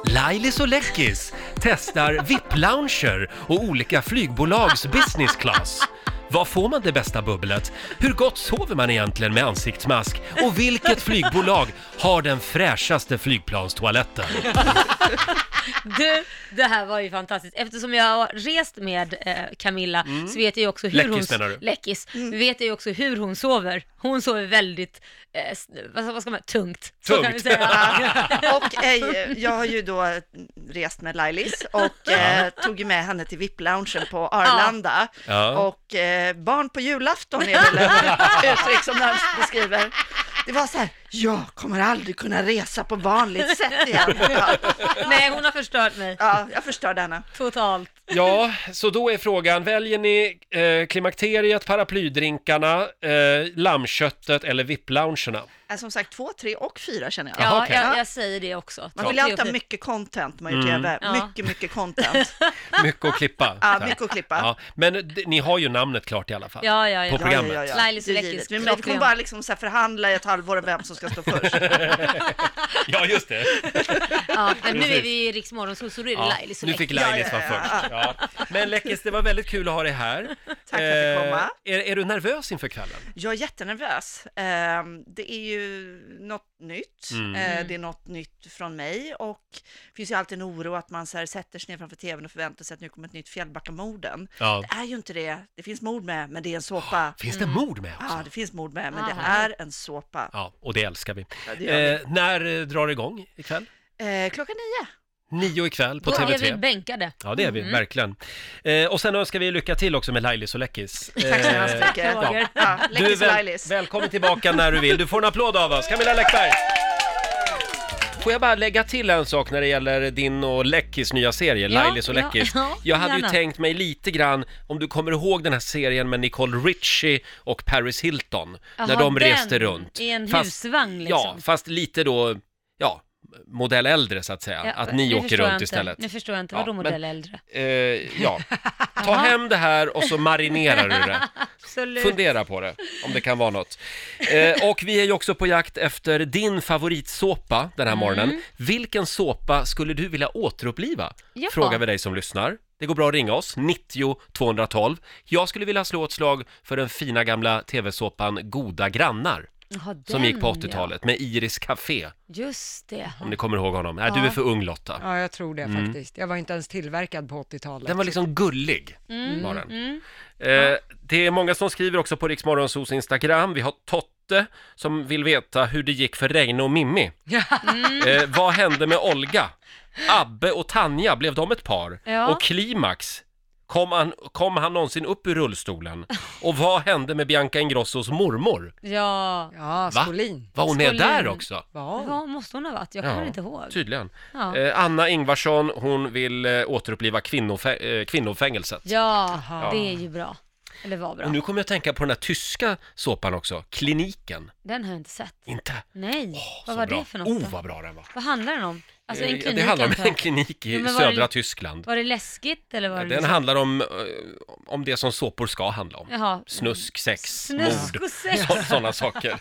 Speaker 1: Lailis och Läckis testar VIP-lounger och olika flygbolags business class. Var får man det bästa bubblet? Hur gott sover man egentligen med ansiktsmask? Och vilket flygbolag har den fräschaste flygplanstoaletten?
Speaker 4: Du, det här var ju fantastiskt. Eftersom jag har rest med eh, Camilla så vet jag ju också hur
Speaker 1: Mm. Läckis,
Speaker 4: hon...
Speaker 1: menar du?
Speaker 4: Läckis. Vet jag ju också hur hon sover. Hon sover väldigt, eh, s- vad, vad ska man tungt. Så kan vi
Speaker 1: Tungt.
Speaker 4: säga.
Speaker 9: Och eh, jag har ju då rest med Lailis och eh, tog ju med henne till VIP-loungen på Arlanda.
Speaker 1: Ja.
Speaker 9: Och eh, barn på julafton är väl ett uttryck som närmast beskriver. Det var så här, jag kommer aldrig kunna resa på vanligt sätt igen. Ja,
Speaker 4: Nej, hon har förstört mig
Speaker 9: ja jag förstörde henne.
Speaker 4: totalt.
Speaker 1: Ja, så då är frågan, väljer ni eh, klimakteriet, paraplydrinkarna, eh, lammköttet eller VIP-loungerna?
Speaker 9: Eh, Som sagt, två, tre och fyra känner jag.
Speaker 4: Ja,
Speaker 1: okej.
Speaker 4: jag, jag säger det också.
Speaker 9: Man vill ju alltid ha mycket content man gör TV.
Speaker 4: Mm. Ja.
Speaker 9: Mycket, mycket content.
Speaker 1: Mycket att klippa.
Speaker 9: Ja,
Speaker 1: Så.
Speaker 9: mycket att klippa.
Speaker 1: Ja, men d- ni har ju namnet klart i alla fall.
Speaker 4: Ja, ja,
Speaker 1: På
Speaker 4: ja.
Speaker 1: program- programmet.
Speaker 4: Lailis och
Speaker 9: Det är givet.
Speaker 4: Läckis,
Speaker 9: Vi, vi kommer
Speaker 4: klockrent.
Speaker 9: bara liksom så här förhandla i ett halvår om vem som ska stå först.
Speaker 1: Ja, just det.
Speaker 4: ja men nu är
Speaker 1: Precis.
Speaker 4: vi i Rix Morgonzoo, så då är det
Speaker 1: Ja,
Speaker 4: Lailis och
Speaker 1: nu fick
Speaker 4: Läckis.
Speaker 1: Lailis vara först. Ja. Men Läckis, det var väldigt kul att ha dig här. Tack
Speaker 9: för att jag fick komma.
Speaker 1: Är, är du nervös inför kvällen?
Speaker 9: Jag är jättenervös. Ehm, Det är ju något nytt.
Speaker 1: Mm.
Speaker 7: Mm.
Speaker 9: Eh, Det är något nytt från mig och det finns ju alltid en oro att man så här sätter sig ner framför tvn och förväntar sig att nu kommer ett nytt Fjällbackamorden.
Speaker 1: Ja.
Speaker 9: Det är ju inte det. Det finns mord med, men det är en såpa.
Speaker 1: Finns
Speaker 4: Mm.
Speaker 1: det mord med också?
Speaker 9: Ja, det finns mord med, men det
Speaker 4: Ah,
Speaker 9: är en såpa.
Speaker 1: Ja, och det älskar vi.
Speaker 9: Ja, det gör
Speaker 1: Eh, när eh, drar det igång ikväll?
Speaker 9: Eh, Klockan nio.
Speaker 1: Nio ikväll på
Speaker 4: Då är vi Mm.
Speaker 1: TV3.
Speaker 4: bänkade.
Speaker 1: Ja, det är vi, verkligen. Eh, och sen önskar vi lycka till också med Lailis och Läckis.
Speaker 9: Tack så hemskt
Speaker 1: Eh,
Speaker 9: mycket.
Speaker 4: Roger.
Speaker 9: Ja,
Speaker 1: Du är
Speaker 9: Läckis och
Speaker 1: väl,
Speaker 9: Lailis.
Speaker 1: välkommen tillbaka när du vill. Du får en applåd av oss. Camilla Läckberg! Får jag bara lägga till en sak när det gäller din och Läckis nya serie,
Speaker 4: Ja,
Speaker 1: Lailis och
Speaker 4: ja,
Speaker 1: Läckis.
Speaker 4: ja,
Speaker 1: jag hade ju
Speaker 4: gärna.
Speaker 1: tänkt mig lite grann, om du kommer ihåg den här serien med Nicole Richie och Paris Hilton, när
Speaker 4: Jaha,
Speaker 1: de
Speaker 4: den
Speaker 1: reste runt.
Speaker 4: i en husvagn, liksom.
Speaker 1: Ja, fast lite då, ja, modell äldre så att säga.
Speaker 4: Ja,
Speaker 1: att ni
Speaker 4: nu
Speaker 1: åker
Speaker 4: förstår jag
Speaker 1: runt
Speaker 4: inte.
Speaker 1: istället.
Speaker 4: Nu förstår jag inte,
Speaker 1: Ja,
Speaker 4: vadå
Speaker 1: men-
Speaker 4: modell äldre?
Speaker 1: Eh, ja, ta hem det här och så marinerar du det.
Speaker 4: Absolut.
Speaker 1: Fundera på det, om det kan vara något. Eh, och vi är ju också på jakt efter din favoritsåpa den här
Speaker 4: Mm.
Speaker 1: morgonen. Vilken såpa skulle du vilja återuppliva?
Speaker 4: Ja.
Speaker 1: Frågar vi dig som lyssnar. Det går bra att ringa oss, 90 212. Jag skulle vilja slå ett slag för den fina gamla tv-såpan Goda grannar,
Speaker 4: Jaha,
Speaker 1: som
Speaker 4: den,
Speaker 1: gick på
Speaker 4: ja.
Speaker 1: 80-talet med Iris Café,
Speaker 4: Just det.
Speaker 1: om ni kommer ihåg honom. Nej, du är för ung Lotta.
Speaker 2: Ja, jag tror det
Speaker 1: Mm.
Speaker 2: faktiskt. Jag var inte ens tillverkad på 80-talet.
Speaker 1: Den var liksom gullig,
Speaker 4: Mm.
Speaker 1: var den. Eh, Det är många som skriver också på Riksmorgonsos Instagram. Vi har Totte som vill veta hur det gick för Regne och Mimmi.
Speaker 4: Mm.
Speaker 1: Eh, vad hände med Olga? Abbe och Tanja, blev de ett par?
Speaker 4: Ja.
Speaker 1: Och Klimax, kom han, kom han någonsin upp ur rullstolen? Och vad hände med Bianca Ingrossos mormor?
Speaker 4: Ja,
Speaker 2: Ja,
Speaker 1: Va?
Speaker 2: Skolin.
Speaker 1: Var hon med
Speaker 4: Skulle-
Speaker 1: där också?
Speaker 2: Va?
Speaker 4: vad måste hon ha varit? Jag kommer inte ihåg.
Speaker 1: Tydligen.
Speaker 4: Ja.
Speaker 1: Eh, Anna Ingvarsson, hon vill eh, återuppliva kvinnofä- eh, kvinnofängelset.
Speaker 4: Ja, det är ju bra. Eller var bra.
Speaker 1: Och nu kommer jag att tänka på den här tyska såpan också, Kliniken.
Speaker 4: Den har jag inte sett.
Speaker 1: Inte?
Speaker 4: Nej,
Speaker 1: Åh,
Speaker 4: vad
Speaker 1: så
Speaker 4: var
Speaker 1: bra.
Speaker 4: det för något
Speaker 1: Oh,
Speaker 4: då?
Speaker 1: vad bra den var.
Speaker 4: Vad handlar den om? Alltså en
Speaker 1: Eh,
Speaker 4: klinik
Speaker 1: det handlar om
Speaker 4: antar jag.
Speaker 1: en klinik i
Speaker 4: Ja, men var det-
Speaker 1: södra Tyskland.
Speaker 4: Var det läskigt eller var det...
Speaker 1: Den
Speaker 4: liksom-
Speaker 1: handlar om, eh, om det som såpor ska handla om.
Speaker 4: Jaha.
Speaker 1: Snusk, sex,
Speaker 4: Snusk
Speaker 1: mord.
Speaker 4: och sex.
Speaker 1: Sådana saker.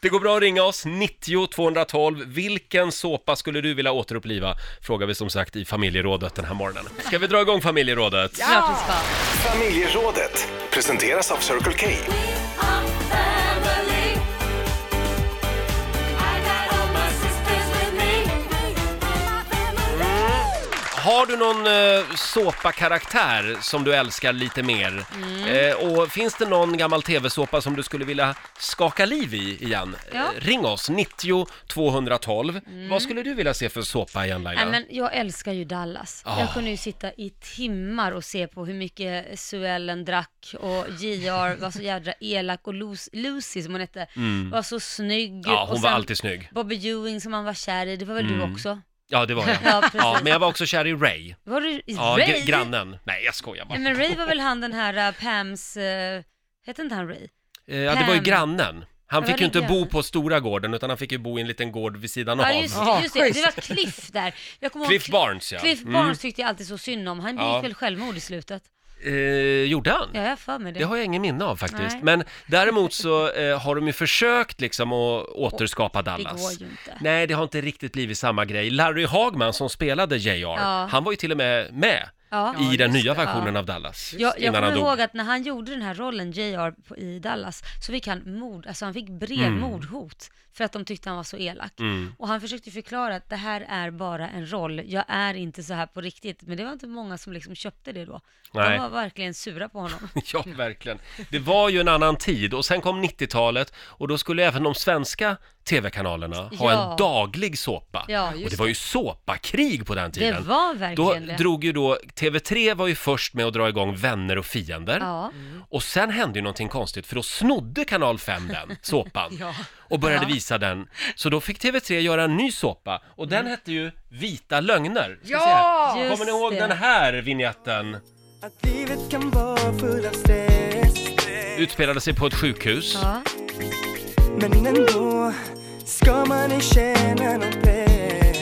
Speaker 1: Det går bra att ringa oss, 90 212. Vilken såpa skulle du vilja återuppliva? Frågar vi som sagt i familjerådet den här morgonen. Ska vi dra igång familjerådet?
Speaker 4: Ja, precis, fan.
Speaker 3: Familjerådet presenteras av Circle K.
Speaker 1: Har du någon eh, såpakaraktär som du älskar lite mer?
Speaker 4: Mm.
Speaker 1: Eh, och finns det någon gammal tv-såpa som du skulle vilja skaka liv i igen?
Speaker 4: Ja. Mm.
Speaker 1: Eh, ring oss, 90 212. Vad skulle du vilja se för såpa igen Laila?
Speaker 4: Nej, men jag älskar ju Dallas.
Speaker 1: Ah.
Speaker 4: Jag kunde ju sitta i timmar och se på hur mycket Suellen drack och JR var så jädra elak och Lu- Lucy som hon hette var så snygg.
Speaker 1: Mm. Ja, hon
Speaker 4: och
Speaker 1: var
Speaker 4: sen
Speaker 1: alltid snygg.
Speaker 4: Bobby Ewing som han var kär i, det var väl du också?
Speaker 1: Ja, det var jag.
Speaker 4: Ja, precis.
Speaker 1: Ja, men jag var också kär i Ray.
Speaker 4: Var du
Speaker 1: Ja,
Speaker 4: Ray?
Speaker 1: gr- grannen. Nej, jag skojar bara.
Speaker 4: Nej, men Ray var väl han den här äh, Pams, äh, hette inte han Ray?
Speaker 1: Eh, ja, det var ju
Speaker 4: Pam.
Speaker 1: grannen. Han
Speaker 4: Ja,
Speaker 1: fick
Speaker 4: det
Speaker 1: ju
Speaker 4: är
Speaker 1: inte bo
Speaker 4: grannen.
Speaker 1: på stora gården utan han fick ju bo i en liten gård vid sidan av.
Speaker 4: Ja just,
Speaker 2: Ja,
Speaker 4: just det, det
Speaker 2: schysst.
Speaker 4: var Cliff där. Jag kommer
Speaker 1: Cliff
Speaker 4: Cl-
Speaker 1: Barnes, ja.
Speaker 4: Cliff
Speaker 1: Mm.
Speaker 4: Barnes tyckte jag alltid så synd om, han
Speaker 1: Ja.
Speaker 4: gick väl självmord i slutet.
Speaker 1: Eh, gjorde han?
Speaker 4: Ja, jag har för mig det.
Speaker 1: Det har jag ingen minne av faktiskt.
Speaker 4: Nej.
Speaker 1: Men däremot så eh, har de ju försökt liksom att återskapa Dallas.
Speaker 4: går ju inte.
Speaker 1: Nej, det har inte riktigt blivit samma grej. Larry Hagman som spelade JR,
Speaker 4: Ja.
Speaker 1: han var ju till och med med
Speaker 4: Ja.
Speaker 1: i den
Speaker 2: just
Speaker 1: nya
Speaker 2: det.
Speaker 1: versionen av Dallas
Speaker 4: Jag, jag
Speaker 1: innan
Speaker 4: kommer
Speaker 1: han dog.
Speaker 4: ihåg att när han gjorde den här rollen, JR, på- i Dallas, så fick han mord, alltså han fick brev
Speaker 1: Mm.
Speaker 4: mordhot för att de tyckte han var så elak. Och han försökte förklara att det här är bara en roll, jag är inte så här på riktigt. Men det var inte många som liksom köpte det då.
Speaker 1: Nej.
Speaker 4: De var verkligen sura på honom.
Speaker 1: Ja, verkligen. Det var ju en annan tid och sen kom 90-talet och då skulle även de svenska TV-kanalerna ha
Speaker 4: Ja.
Speaker 1: en daglig såpa.
Speaker 4: Ja,
Speaker 1: och
Speaker 4: just
Speaker 1: det var ju såpakrig på den
Speaker 4: Det
Speaker 1: tiden.
Speaker 4: var
Speaker 1: Då
Speaker 4: verkligen det.
Speaker 1: drog ju då, TV3 var ju först med att dra igång Vänner och fiender.
Speaker 4: Ja.
Speaker 1: Och sen hände ju någonting konstigt för då snodde kanal 5 den såpan och började visa den. Så då fick TV3 göra en ny såpa och den hette ju Vita lögner. Ska se här.
Speaker 4: Mm. Ja!
Speaker 1: Kommer ni ihåg
Speaker 4: Just det.
Speaker 1: den här vignetten?
Speaker 5: Att livet kan vara full av stress
Speaker 1: Utspelade sig på ett sjukhus.
Speaker 4: Ja.
Speaker 5: Men ändå ska man inte känna någon press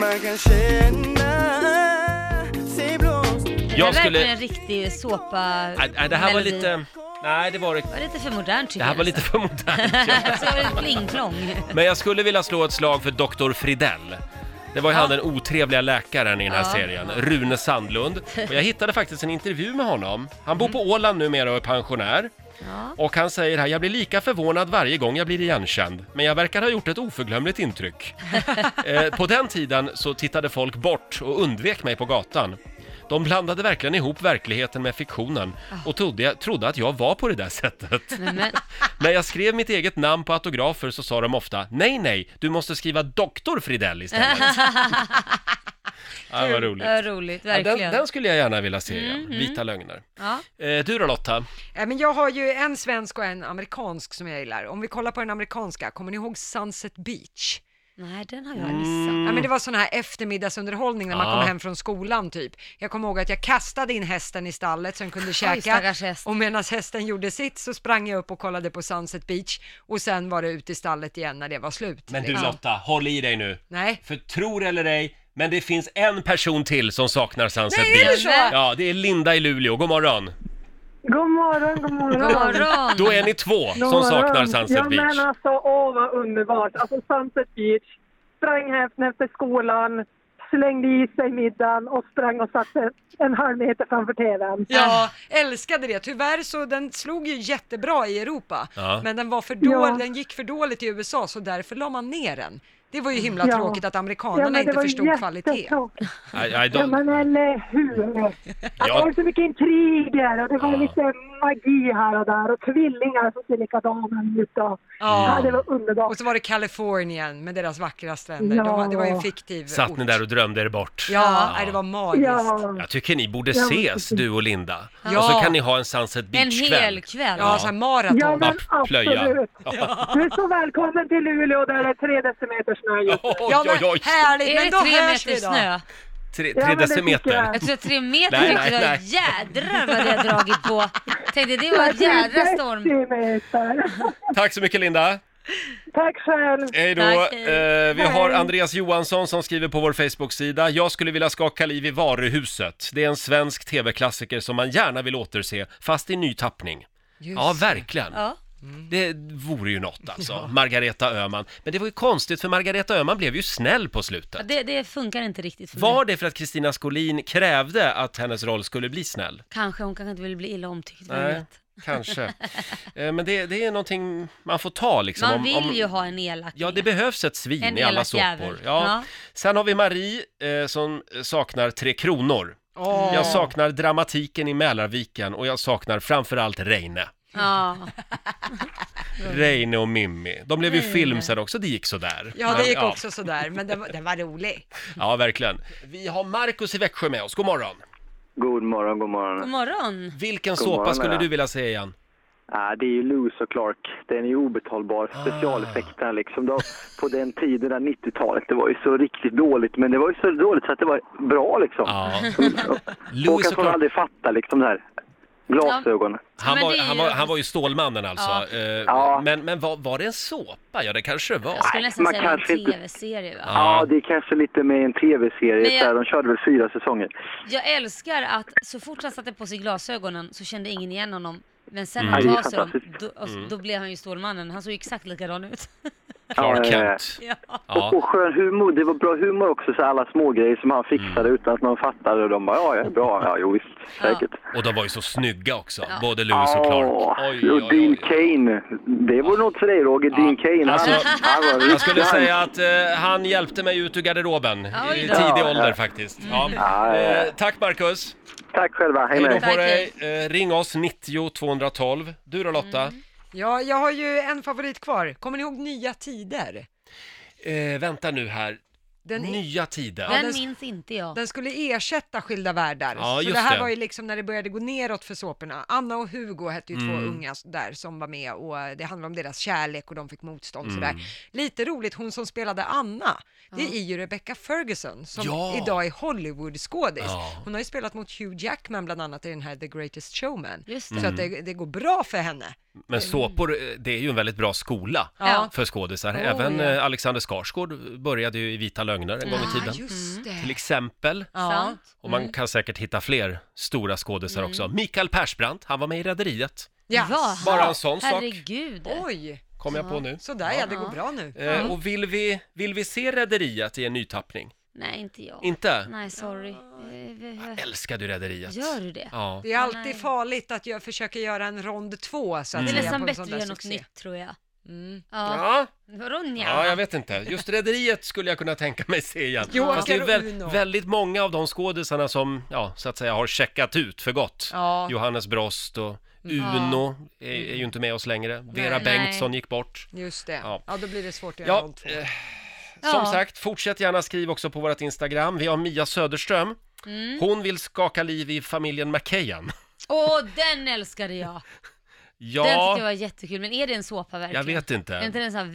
Speaker 5: Man kan känna sig blåst
Speaker 1: Jag
Speaker 4: det är
Speaker 1: skulle...
Speaker 4: verkligen en riktig såpa
Speaker 1: Nej, nej, det här var
Speaker 4: melodi.
Speaker 1: lite... Nej, det var det...
Speaker 4: Det var lite för modernt tycker
Speaker 1: Det här var lite för modernt.
Speaker 4: jag. Så var det pling-plong.
Speaker 1: Men jag skulle vilja slå ett slag för Dr. Fridell. Det var ju han den otrevliga läkaren i den här
Speaker 4: Ja.
Speaker 1: serien, Rune Sandlund. Och jag hittade faktiskt en intervju med honom. Han bor på Åland numera och är pensionär.
Speaker 4: Mm. Ja.
Speaker 1: Och han säger här, jag blir lika förvånad varje gång jag blir igenkänd, men jag verkar ha gjort ett oförglömligt intryck. eh, på den tiden så tittade folk bort och undvek mig på gatan. De blandade verkligen ihop verkligheten med fiktionen
Speaker 4: Ah.
Speaker 1: och trodde, jag, trodde att jag var på det där sättet.
Speaker 4: Men, men,
Speaker 1: När jag skrev mitt eget namn på autografer så sa de ofta Nej, nej, du måste skriva Doktor Fridell istället. ja, vad roligt.
Speaker 4: Ja, roligt,
Speaker 1: Ja, den,
Speaker 4: verkligen.
Speaker 1: den skulle jag gärna vilja se igen, Vita lögner.
Speaker 4: Ja.
Speaker 1: Eh, du då Lotta?
Speaker 2: Ja, Äh, men jag har ju en svensk och en amerikansk som jag gillar. Om vi kollar på den amerikanska, kommer ni ihåg Sunset Beach?
Speaker 4: Nej, den har
Speaker 1: Mm.
Speaker 4: jag missat.
Speaker 2: Ja, men det var sån här eftermiddagsunderhållning när man
Speaker 1: Ja.
Speaker 2: kom hem från skolan typ. Jag kommer ihåg att jag kastade in hästen i stallet så den kunde käka
Speaker 4: stackars häst.
Speaker 2: och medan hästen gjorde sitt så sprang jag upp och kollade på Sunset Beach och sen var det ut i stallet igen när det var slut.
Speaker 1: Men du
Speaker 2: liksom.
Speaker 1: Lotta, håll i dig nu.
Speaker 2: Nej.
Speaker 1: För tror eller ej, men det finns en person till som saknar Sunset
Speaker 2: Nej, är det
Speaker 1: Beach.
Speaker 2: så?
Speaker 1: Ja, det är Linda i Luleå. God morgon.
Speaker 7: God morgon, god morgon.
Speaker 4: God morgon!
Speaker 1: Då är ni två
Speaker 7: God
Speaker 1: som saknar
Speaker 7: morgon.
Speaker 1: Sunset
Speaker 7: Ja,
Speaker 1: Beach.
Speaker 7: men alltså, åh vad underbart. Alltså Sunset Beach, sprang hästen efter skolan, slängde i sig middagen och sprang och satte en halv meter framför tvn.
Speaker 2: Ja, älskade det. Tyvärr så den slog ju jättebra i Europa,
Speaker 1: Ja.
Speaker 2: men den var för dålig,
Speaker 7: Ja.
Speaker 2: den gick för dåligt i USA så därför la man ner den. Det var ju himla
Speaker 7: Ja.
Speaker 2: tråkigt att amerikanerna inte förstod kvalitet.
Speaker 1: Aj, aj,
Speaker 7: Ja, men
Speaker 1: de...
Speaker 7: eller hur? Att
Speaker 1: Ja.
Speaker 7: Det var så mycket intriger och det var
Speaker 1: Ja.
Speaker 7: lite magi här och där och tvillingar som ser likadana ut. Och... Ja,
Speaker 2: Ja.
Speaker 7: det var underbart.
Speaker 2: Och så var det Kalifornien med deras vackra stränder.
Speaker 7: Ja.
Speaker 2: De, var- det var ju en fiktiv
Speaker 1: Satt
Speaker 2: ort.
Speaker 1: ni där och drömde er bort?
Speaker 2: Ja, nej, det var magiskt. Ja,
Speaker 7: Ja.
Speaker 1: Jag tycker ni borde
Speaker 7: Ja,
Speaker 1: ses,
Speaker 7: precis.
Speaker 1: du och Linda.
Speaker 2: Ja.
Speaker 1: Och så kan ni ha en Sunset
Speaker 4: En hel
Speaker 1: Beach-kväll.
Speaker 4: kväll.
Speaker 1: Ja.
Speaker 2: så
Speaker 7: Ja,
Speaker 2: här maraton.
Speaker 7: men
Speaker 1: Bara plöja.
Speaker 7: absolut. Du är så välkommen till Luleå där det är tre decimeter snö just nu.
Speaker 1: Oj,
Speaker 2: Ja, men
Speaker 1: oj, oj!
Speaker 2: härligt,
Speaker 4: Är
Speaker 2: men
Speaker 4: det
Speaker 2: då
Speaker 4: tre
Speaker 2: hörs
Speaker 4: meter
Speaker 2: vi då.
Speaker 4: snö?
Speaker 1: Tre,
Speaker 7: Ja,
Speaker 1: tre
Speaker 7: men det tycker
Speaker 1: decimeter.
Speaker 7: jag.
Speaker 4: Jag tror att tre meter
Speaker 1: Nej,
Speaker 4: tyckte
Speaker 1: nej,
Speaker 4: jag,
Speaker 1: nej.
Speaker 4: jädrar vad det har dragit på. Tänkte det var ett jädra storm.
Speaker 7: 30 meter.
Speaker 1: Tack så mycket Linda!
Speaker 7: Tack själv.
Speaker 1: Hej då!
Speaker 4: Tack, hej.
Speaker 1: Eh, vi har
Speaker 7: Hej.
Speaker 1: Andreas Johansson som skriver på vår Facebook-sida. Jag skulle vilja skaka liv i varuhuset. Det är en svensk tv-klassiker som man gärna vill återse, fast i ny tappning.
Speaker 2: Just
Speaker 1: Ja,
Speaker 2: det.
Speaker 1: verkligen.
Speaker 4: Ja.
Speaker 1: Det vore ju något alltså. Margareta Öhman. Men det var ju konstigt för Margareta Öhman blev ju snäll på
Speaker 4: Ja,
Speaker 1: slutet.
Speaker 4: Det, det funkar inte riktigt för mig.
Speaker 1: Var det för att Kristina Skolin krävde att hennes roll skulle bli snäll?
Speaker 4: Kanske, hon kanske inte vill bli illa omtyckt, vem
Speaker 1: Nej.
Speaker 4: vet.
Speaker 1: Kanske. Eh, Men det, det är någonting man får ta liksom.
Speaker 4: Man
Speaker 1: om-
Speaker 4: vill
Speaker 1: om-
Speaker 4: ju ha en elak
Speaker 1: Ja,
Speaker 4: med.
Speaker 1: det behövs ett svin
Speaker 4: En
Speaker 1: i alla
Speaker 4: elak
Speaker 1: såpor.
Speaker 4: jävel.
Speaker 1: Ja.
Speaker 4: Ja.
Speaker 1: Sen har vi Marie eh, som saknar Tre Kronor. Jag saknar dramatiken i Mälarviken och jag saknar framförallt Reine.
Speaker 4: Ja, Mm.
Speaker 1: Reine och Mimmi. De blev ju
Speaker 4: Reine.
Speaker 1: film sen också, det gick sådär.
Speaker 2: Ja, det
Speaker 1: Men,
Speaker 2: gick också sådär, men den var, den var rolig.
Speaker 1: Ja, verkligen. Vi har Markus i Växjö med oss, god morgon.
Speaker 10: God morgon, god morgon.
Speaker 4: god morgon.
Speaker 1: Vilken
Speaker 10: God
Speaker 1: såpa
Speaker 10: morgon,
Speaker 1: skulle
Speaker 10: ja.
Speaker 1: du vilja se igen?
Speaker 10: Ah, det är ju Lewis och Clark. Den är ju obetalbar. Specialeffekterna liksom. Då, på den tiden, där 90-talet, det var ju så riktigt dåligt. Men det var ju så dåligt så att det var bra liksom.
Speaker 1: Ja. Lewis
Speaker 10: Håkan
Speaker 1: och
Speaker 10: får
Speaker 1: Clark,
Speaker 10: aldrig fatta liksom det här. Glasögonen.
Speaker 1: han
Speaker 4: Men
Speaker 1: var,
Speaker 4: det är
Speaker 1: han,
Speaker 4: ju-
Speaker 1: var, han var ju Stålmannen alltså. Eh,
Speaker 10: Ja.
Speaker 1: Men, men var, var det en såpa? Ja, det kanske det var.
Speaker 4: Jag skulle nästan
Speaker 10: man
Speaker 4: säga en
Speaker 10: kanske inte-
Speaker 4: tv-serie va?
Speaker 10: Ja, det är kanske lite med en tv-serie.
Speaker 4: Men jag-
Speaker 10: så här, De körde väl fyra säsonger.
Speaker 4: Jag älskar att så fort han satte på sig glasögonen så kände ingen igen honom. Men sen när
Speaker 10: Mm.
Speaker 4: han
Speaker 10: Ja,
Speaker 4: tar
Speaker 10: det
Speaker 4: sig
Speaker 10: är
Speaker 4: dem,
Speaker 10: fantastiskt.
Speaker 4: då, och
Speaker 1: Mm.
Speaker 4: så- då blev han ju Stålmannen. Han såg ju exakt likadan ut.
Speaker 1: Clark
Speaker 10: Ja, ja, ja.
Speaker 1: Kent.
Speaker 4: ja.
Speaker 1: Ja.
Speaker 10: Och, och skön humor. Det var bra humor också. Så här, alla små grejer som han fixade utan att någon fattade. Och de bara, ja, jag är bra. Ja, jo, visst.
Speaker 4: Ja.
Speaker 10: Säkert.
Speaker 1: Och de var ju så snygga också,
Speaker 4: Ja.
Speaker 1: både Lewis och Clark.
Speaker 10: Åh, och Dean Kane. Det vore något för dig Roger, Dean Kane.
Speaker 1: Alltså,
Speaker 10: han, han var
Speaker 1: Jag skulle
Speaker 10: riktigt-
Speaker 1: säga att eh, han hjälpte mig ut ur garderoben i
Speaker 4: Oj
Speaker 1: tidig
Speaker 4: då. Mm.
Speaker 1: ålder faktiskt. Ja.
Speaker 10: Ja, ja, ja.
Speaker 1: Eh, tack Marcus!
Speaker 10: Tack själva, hej
Speaker 1: Hej
Speaker 10: med
Speaker 1: då
Speaker 10: er.
Speaker 1: på
Speaker 4: Tack,
Speaker 1: dig! Eh, ring oss 90 212. Du då Lotta?
Speaker 2: Ja, jag har ju en favorit kvar. Kommer ni ihåg Nya Tider?
Speaker 4: Mm.
Speaker 1: Eh, vänta nu här.
Speaker 2: Den,
Speaker 1: Nya tider.
Speaker 4: Den
Speaker 2: den-
Speaker 4: minns inte jag.
Speaker 2: den skulle ersätta Skilda Världar.
Speaker 1: Ja,
Speaker 2: så
Speaker 1: just
Speaker 2: det här
Speaker 1: det.
Speaker 2: var ju liksom när det började gå neråt för såporna. Anna och Hugo hette ju
Speaker 1: Mm.
Speaker 2: två unga där som var med och eh, det handlade om deras kärlek och de fick motstånd
Speaker 1: Mm.
Speaker 2: sådär. Lite roligt, hon som spelade Anna, det är ju Rebecca Ferguson som
Speaker 1: Ja.
Speaker 2: idag är Hollywood-skådis.
Speaker 1: Ja.
Speaker 2: Hon har ju spelat mot Hugh Jackman bland annat i den här The Greatest Showman.
Speaker 4: Just
Speaker 2: Så att det, det går bra för henne.
Speaker 1: Men såpor, eh, det är ju en väldigt bra skola
Speaker 2: Ja.
Speaker 1: för skådisar.
Speaker 2: Oh,
Speaker 1: Även
Speaker 2: ja.
Speaker 1: eh, Alexander Skarsgård började ju i Vita lögner en gång i
Speaker 2: Ah,
Speaker 1: tiden. Mm.
Speaker 2: just det. Mm.
Speaker 1: Till exempel.
Speaker 2: Ja.
Speaker 4: Sant.
Speaker 1: Och man kan säkert hitta fler stora skådisar också.
Speaker 2: Mm.
Speaker 1: Mikael Persbrandt, han var med i Rederiet.
Speaker 2: Yes.
Speaker 4: Va?
Speaker 1: Bara en sån sak
Speaker 4: Herregud.
Speaker 2: Oj,
Speaker 1: kom jag på nu.
Speaker 2: sådär ja, det går bra nu.
Speaker 1: Eh, och vill vi, vill vi se Rederiet i en nytappning?
Speaker 4: Nej, inte jag.
Speaker 1: Inte?
Speaker 4: Nej, sorry. Eh, vi- vi-
Speaker 1: Älskar du Rederiet?
Speaker 4: Gör du det?
Speaker 1: Ja.
Speaker 2: Det är alltid
Speaker 4: nej.
Speaker 2: farligt att jag försöker göra en rond två så att
Speaker 4: Mm. Det är
Speaker 2: säga, på
Speaker 4: nästan
Speaker 2: en
Speaker 4: bättre
Speaker 2: sån
Speaker 4: att
Speaker 2: där
Speaker 4: göra något
Speaker 2: succé.
Speaker 4: nytt tror jag.
Speaker 2: Mm.
Speaker 4: Ja.
Speaker 1: Ja.
Speaker 4: Vadå nja?
Speaker 1: ja, jag vet inte. Just Rederiet skulle jag kunna tänka mig se igen.
Speaker 2: Joakim
Speaker 1: Fast det är väl,
Speaker 2: Uno.
Speaker 1: väldigt många av de skådisarna som, ja, så att säga har checkat ut för gott.
Speaker 2: Ja.
Speaker 1: Johannes Brost och Uno är, är ju inte med oss längre. Vera
Speaker 4: Mm. Nej.
Speaker 1: Bengtsson gick bort.
Speaker 2: Just det.
Speaker 1: Ja.
Speaker 2: Ja. då blir det svårt att göra
Speaker 1: Ja,
Speaker 2: rond två.
Speaker 1: eh,
Speaker 4: Ja.
Speaker 1: som sagt, fortsätt gärna skriva också på vårt Instagram. Vi har Mia Söderström.
Speaker 4: Mm.
Speaker 1: Hon vill skaka liv i familjen McKayan.
Speaker 4: Åh, den älskade jag.
Speaker 1: Ja,
Speaker 4: Den tyckte jag var jättekul. Men är det en såpa
Speaker 1: jag
Speaker 4: verkligen?
Speaker 1: vet inte. Mm.
Speaker 4: Är inte det en sån här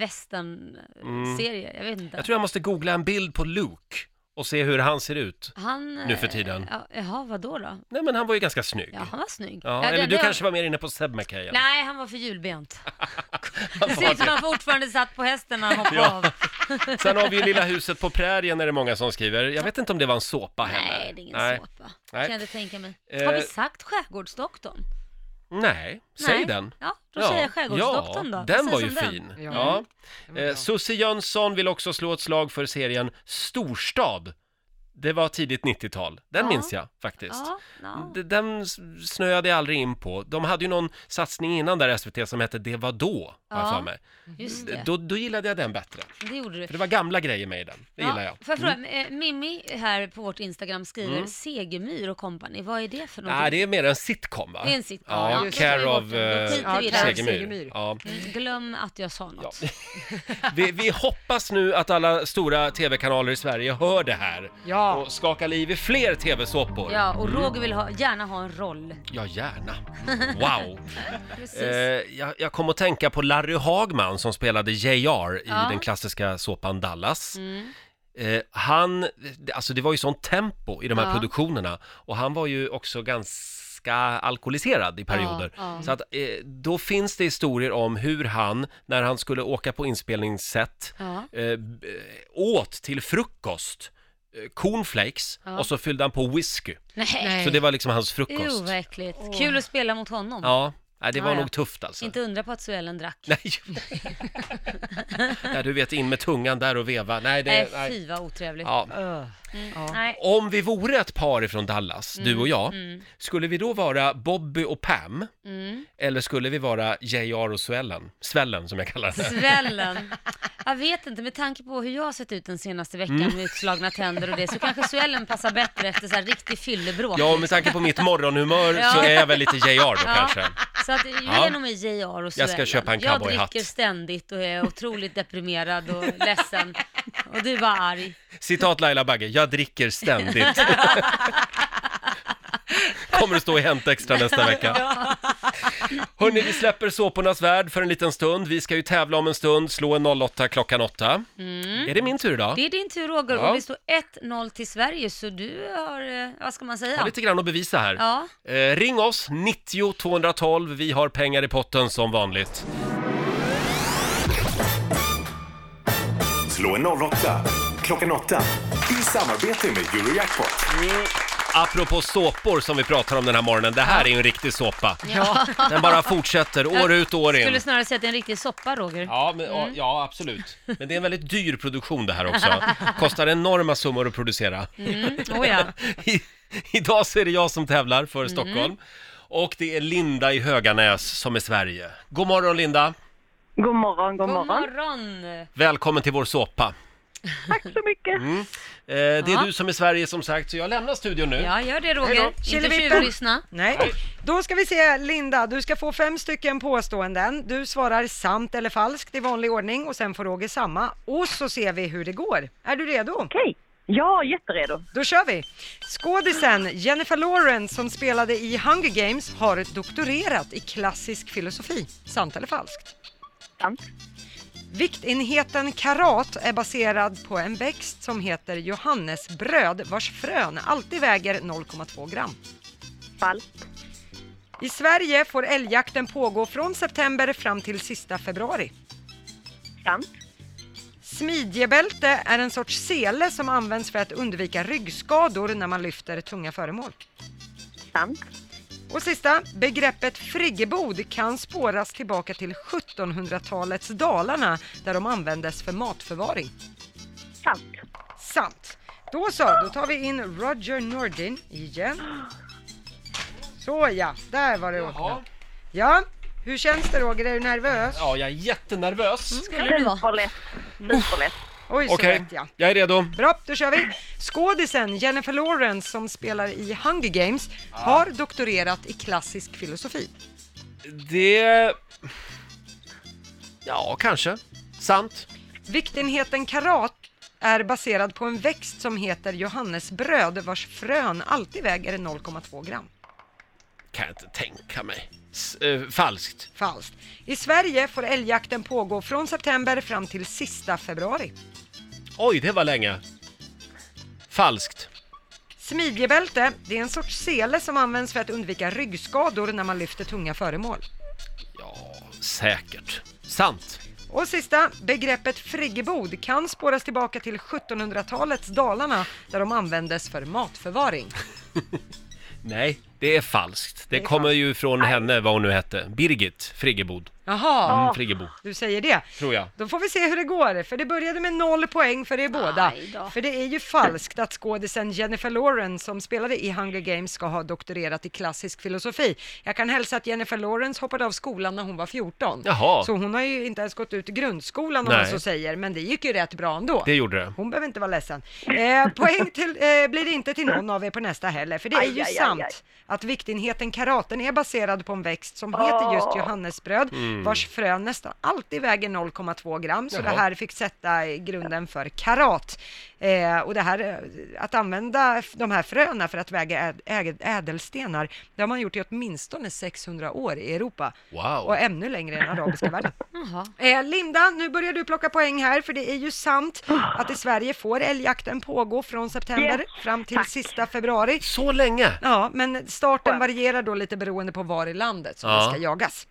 Speaker 4: western-serie? Jag vet inte.
Speaker 1: Jag tror jag måste googla en bild på Luke och se hur han ser ut.
Speaker 4: Han...
Speaker 1: Nu för tiden.
Speaker 4: eh, Ja, jaha, vadå då?
Speaker 1: Nej men han var ju ganska snygg.
Speaker 4: Ja, han var snygg.
Speaker 1: Ja,
Speaker 4: det-
Speaker 1: eller du
Speaker 4: det-
Speaker 1: kanske var mer inne på Seb McKayan.
Speaker 4: Nej, han var för hjulbent.
Speaker 1: Han var
Speaker 4: Det ser ut som
Speaker 1: det.
Speaker 4: han fortfarande satt på hästen när han hoppade
Speaker 1: Ja.
Speaker 4: av.
Speaker 1: Sen har vi ju Lilla huset på prärien är det många som skriver. Jag vet inte om det var en såpa heller.
Speaker 4: Nej, det är ingen såpa.
Speaker 1: Nej.
Speaker 4: Kan jag inte tänka mig.
Speaker 1: Eh.
Speaker 4: Har vi sagt Skärgårdsdoktorn?
Speaker 1: Nej, säg
Speaker 4: Nej.
Speaker 1: den.
Speaker 4: Ja, då säger jag Skärgårdsdoktorn
Speaker 1: ja,
Speaker 4: då.
Speaker 1: den
Speaker 4: Säg
Speaker 1: var
Speaker 4: som
Speaker 1: ju fin.
Speaker 2: Ja.
Speaker 1: Ja.
Speaker 2: var
Speaker 1: Eh,
Speaker 2: bra.
Speaker 1: Susie Jönsson vill också slå ett slag för serien Storstad. Det var tidigt 90-tal. Den
Speaker 4: Ja.
Speaker 1: minns jag faktiskt.
Speaker 4: Ja, ja.
Speaker 1: D- Den s- snöade jag aldrig in på. De hade ju någon satsning innan där SVT som hette Det var då, har jag
Speaker 4: Ja.
Speaker 1: för mig.
Speaker 4: just det.
Speaker 1: Då, då gillade jag den bättre.
Speaker 4: Det gjorde du.
Speaker 1: För det var gamla grejer med i den. Det gillar jag. Mm.
Speaker 4: Får jag fråga, eh, Mimmi här på vårt Instagram skriver Segemyhr och kompani. Vad är det för någonting?
Speaker 1: Nej, det är mer en sitcom va?
Speaker 4: Det är en sitcom.
Speaker 1: Ja,
Speaker 4: Ja,
Speaker 2: just det.
Speaker 1: Care
Speaker 4: Då
Speaker 1: of
Speaker 4: skiter vi i
Speaker 1: eh,
Speaker 4: det.
Speaker 2: Care of
Speaker 1: Segemyhr.
Speaker 2: Segemyhr.
Speaker 1: Ja.
Speaker 4: Mm, Glöm att jag sa något.
Speaker 1: Ja. Vi, vi hoppas nu att alla stora tv-kanaler i Sverige hör det här
Speaker 2: Ja.
Speaker 1: och skakar liv i fler tv-såpor.
Speaker 4: Ja, och Roger vill ha, gärna ha en roll.
Speaker 1: Ja, gärna. Wow!
Speaker 4: Precis.
Speaker 1: eh, jag, jag kom att tänka på Larry Hagman som spelade JR i
Speaker 4: Ja. Mm.
Speaker 1: den klassiska såpan Dallas. Eh, han, alltså det var ju sånt tempo i de här
Speaker 4: Ja.
Speaker 1: produktionerna och han var ju också ganska ganska alkoholiserad i perioder.
Speaker 5: Ja, ja.
Speaker 1: Så att, eh, då finns det historier om hur han, när han skulle åka på inspelningssätt,
Speaker 5: Ja.
Speaker 1: eh, b- åt till frukost eh, cornflakes
Speaker 4: Ja.
Speaker 1: och så fyllde han på whisky.
Speaker 4: Nej.
Speaker 1: Så det var liksom hans frukost.
Speaker 4: Jo, vad äckligt. Kul att spela mot honom.
Speaker 1: Ja, nej, det var
Speaker 4: Ja, ja.
Speaker 1: nog tufft alltså.
Speaker 4: Inte undra på att Suellen drack.
Speaker 1: Nej. Ja, du vet, in med tungan där och veva. Nej, det,
Speaker 4: Nej,
Speaker 1: nej.
Speaker 4: Eh, fy vad otrevligt.
Speaker 1: Ja.
Speaker 4: Mm, Nej.
Speaker 1: Om vi vore ett par ifrån Dallas, du
Speaker 4: Mm,
Speaker 1: och jag,
Speaker 4: mm.
Speaker 1: skulle vi då vara Bobby och Pam?
Speaker 4: Mm.
Speaker 1: Eller skulle vi vara JR och Svällen? Svällen som jag kallar det.
Speaker 4: Svällen. Jag vet inte, med tanke på hur jag har sett ut den senaste veckan
Speaker 1: Mm.
Speaker 4: med utslagna tänder och det, så kanske Suellen passar bättre efter så här riktig fyllebråk.
Speaker 1: Ja, och med tanke på mitt morgonhumör så
Speaker 4: Ja.
Speaker 1: är jag väl lite JR då
Speaker 4: Ja.
Speaker 1: kanske.
Speaker 4: Så att jag
Speaker 1: Ja.
Speaker 4: är nog med JR och
Speaker 1: Jag ska
Speaker 4: Suellen.
Speaker 1: köpa en
Speaker 4: Jag
Speaker 1: cowboyhatt.
Speaker 4: dricker ständigt och är otroligt deprimerad och ledsen. Och du var arg.
Speaker 1: Citat Laila Bagge, jag dricker ständigt. Kommer att stå i Hänt Extra nästa vecka. Hörni, vi släpper såpornas värld för en liten stund. Vi ska ju tävla om en stund, slå en 08 klockan 8.
Speaker 4: Mm.
Speaker 1: Är det min tur idag?
Speaker 4: Det är din tur Roger
Speaker 1: Ja.
Speaker 4: och det står 1-0 till Sverige så du har, eh, vad ska man säga?
Speaker 1: har lite grann att bevisa här.
Speaker 4: Ja.
Speaker 1: Eh, ring oss, 90 212. Vi har pengar i potten som vanligt.
Speaker 11: Slå en 08 klockan 8 i samarbete med Eurojackpot.
Speaker 1: Apropå såpor som vi pratar om den här morgonen, det här är ju en riktig såpa.
Speaker 4: Ja.
Speaker 1: Den bara fortsätter år ut och år in.
Speaker 4: Skulle snarare säga att det är en riktig soppa Roger.
Speaker 1: Ja, men, ja, ja, absolut. Men det är en väldigt dyr produktion det här också. Kostar enorma summor att producera.
Speaker 4: Mm. Oh, ja.
Speaker 1: I, idag så är det jag som tävlar för Stockholm. Och det är Linda i Höganäs som är Sverige. God morgon Linda!
Speaker 12: God morgon, god
Speaker 4: God
Speaker 12: morgon.
Speaker 4: morgon.
Speaker 1: Välkommen till vår såpa.
Speaker 12: Tack så mycket.
Speaker 1: Mm. Eh, det är
Speaker 4: Ja.
Speaker 1: du som är Sverige som sagt, så jag lämnar studion nu.
Speaker 4: Ja, gör det
Speaker 2: Hej
Speaker 4: Roger.
Speaker 2: då.
Speaker 4: Inte
Speaker 2: Killevippen.
Speaker 4: tjuvlyssna.
Speaker 2: Nej. Då ska vi se, Linda, du ska få fem stycken påståenden. Du svarar sant eller falskt i vanlig ordning och sen får Roger samma. Och så ser vi hur det går. Är du redo? Okej.
Speaker 12: Ja, jätteredo.
Speaker 2: Då kör vi! Skådisen Jennifer Lawrence som spelade i Hunger Games har doktorerat i klassisk filosofi. Sant eller falskt?
Speaker 12: Sant.
Speaker 2: Viktenheten karat är baserad på en växt som heter johannesbröd vars frön alltid väger 0,2 gram.
Speaker 12: Falskt.
Speaker 2: I Sverige får älgjakten pågå från september fram till sista februari.
Speaker 12: Sant.
Speaker 2: Smidjebälte är en sorts sele som används för att undvika ryggskador när man lyfter tunga föremål.
Speaker 12: Sant.
Speaker 2: Och sista, begreppet friggebod kan spåras tillbaka till 1700-talets Dalarna där de användes för matförvaring.
Speaker 12: Sant.
Speaker 2: Sant. Då så, då tar vi in Roger Nordin igen. Så ja, där var det Jaha. Ja, hur känns det Roger? Är du nervös?
Speaker 1: Ja, jag är jättenervös.
Speaker 2: Skulle du vara?
Speaker 12: Superlätt. Superlätt.
Speaker 2: Oj, så
Speaker 1: Okej,
Speaker 2: lätt ja.
Speaker 1: jag är redo.
Speaker 2: Bra, då kör vi! Skådisen Jennifer Lawrence som spelar i Hunger Games har doktorerat i klassisk filosofi.
Speaker 1: Det... Ja, kanske. Sant.
Speaker 2: Viktenheten karat är baserad på en växt som heter johannesbröd vars frön alltid väger 0,2 gram.
Speaker 1: Kan jag inte tänka mig. S- eh, falskt.
Speaker 2: Falskt. I Sverige får älgjakten pågå från september fram till sista februari.
Speaker 1: Oj, det var länge. Falskt.
Speaker 2: Smidjebälte, det är en sorts sele som används för att undvika ryggskador när man lyfter tunga föremål.
Speaker 1: Säkert. Sant.
Speaker 2: Och sista, begreppet friggebod kan spåras tillbaka till 1700-talets Dalarna där de användes för matförvaring.
Speaker 1: Nej, det är falskt. Det, kommer ju från henne, vad hon nu hette. Birgit Friggebod.
Speaker 2: Jaha,
Speaker 1: Mm, Friggebo,
Speaker 2: du säger det.
Speaker 1: tror jag.
Speaker 2: Då får vi se hur det går, för det började med noll poäng för er båda. För det är ju falskt att skådisen Jennifer Lawrence som spelade i Hunger Games ska ha doktorerat i klassisk filosofi. Jag kan hälsa att Jennifer Lawrence hoppade av skolan när hon var 14.
Speaker 1: Jaha.
Speaker 2: Så hon har ju inte ens gått ut grundskolan om
Speaker 1: Nej.
Speaker 2: man så säger, men det gick ju rätt bra ändå.
Speaker 1: Det gjorde det.
Speaker 2: Hon behöver inte vara ledsen. Eh, poäng till, eh, blir det inte till någon av er på nästa heller, för det är
Speaker 12: Aj, aj,
Speaker 2: ju
Speaker 12: aj,
Speaker 2: sant
Speaker 12: aj.
Speaker 2: att viktenheten karaten är baserad på en växt som heter just
Speaker 12: Åh.
Speaker 2: johannesbröd,
Speaker 12: Mm.
Speaker 2: vars frön nästan alltid väger 0,2 gram, så
Speaker 12: Jaha.
Speaker 2: det här fick sätta grunden för karat. Eh, och det här, eh, att använda f- de här fröna för att väga äd- äg- ädelstenar, det har man gjort i åtminstone 600 år i Europa.
Speaker 1: Wow.
Speaker 2: Och ännu längre än arabiska världen. Eh, Linda, nu börjar du plocka poäng här, för det är ju sant att i Sverige får älgjakten pågå från september
Speaker 12: Yes,
Speaker 2: fram till
Speaker 12: tack.
Speaker 2: sista februari.
Speaker 1: Så länge?
Speaker 2: Ja, men starten varierar då lite beroende på var i landet som
Speaker 1: Ja.
Speaker 2: det ska jagas.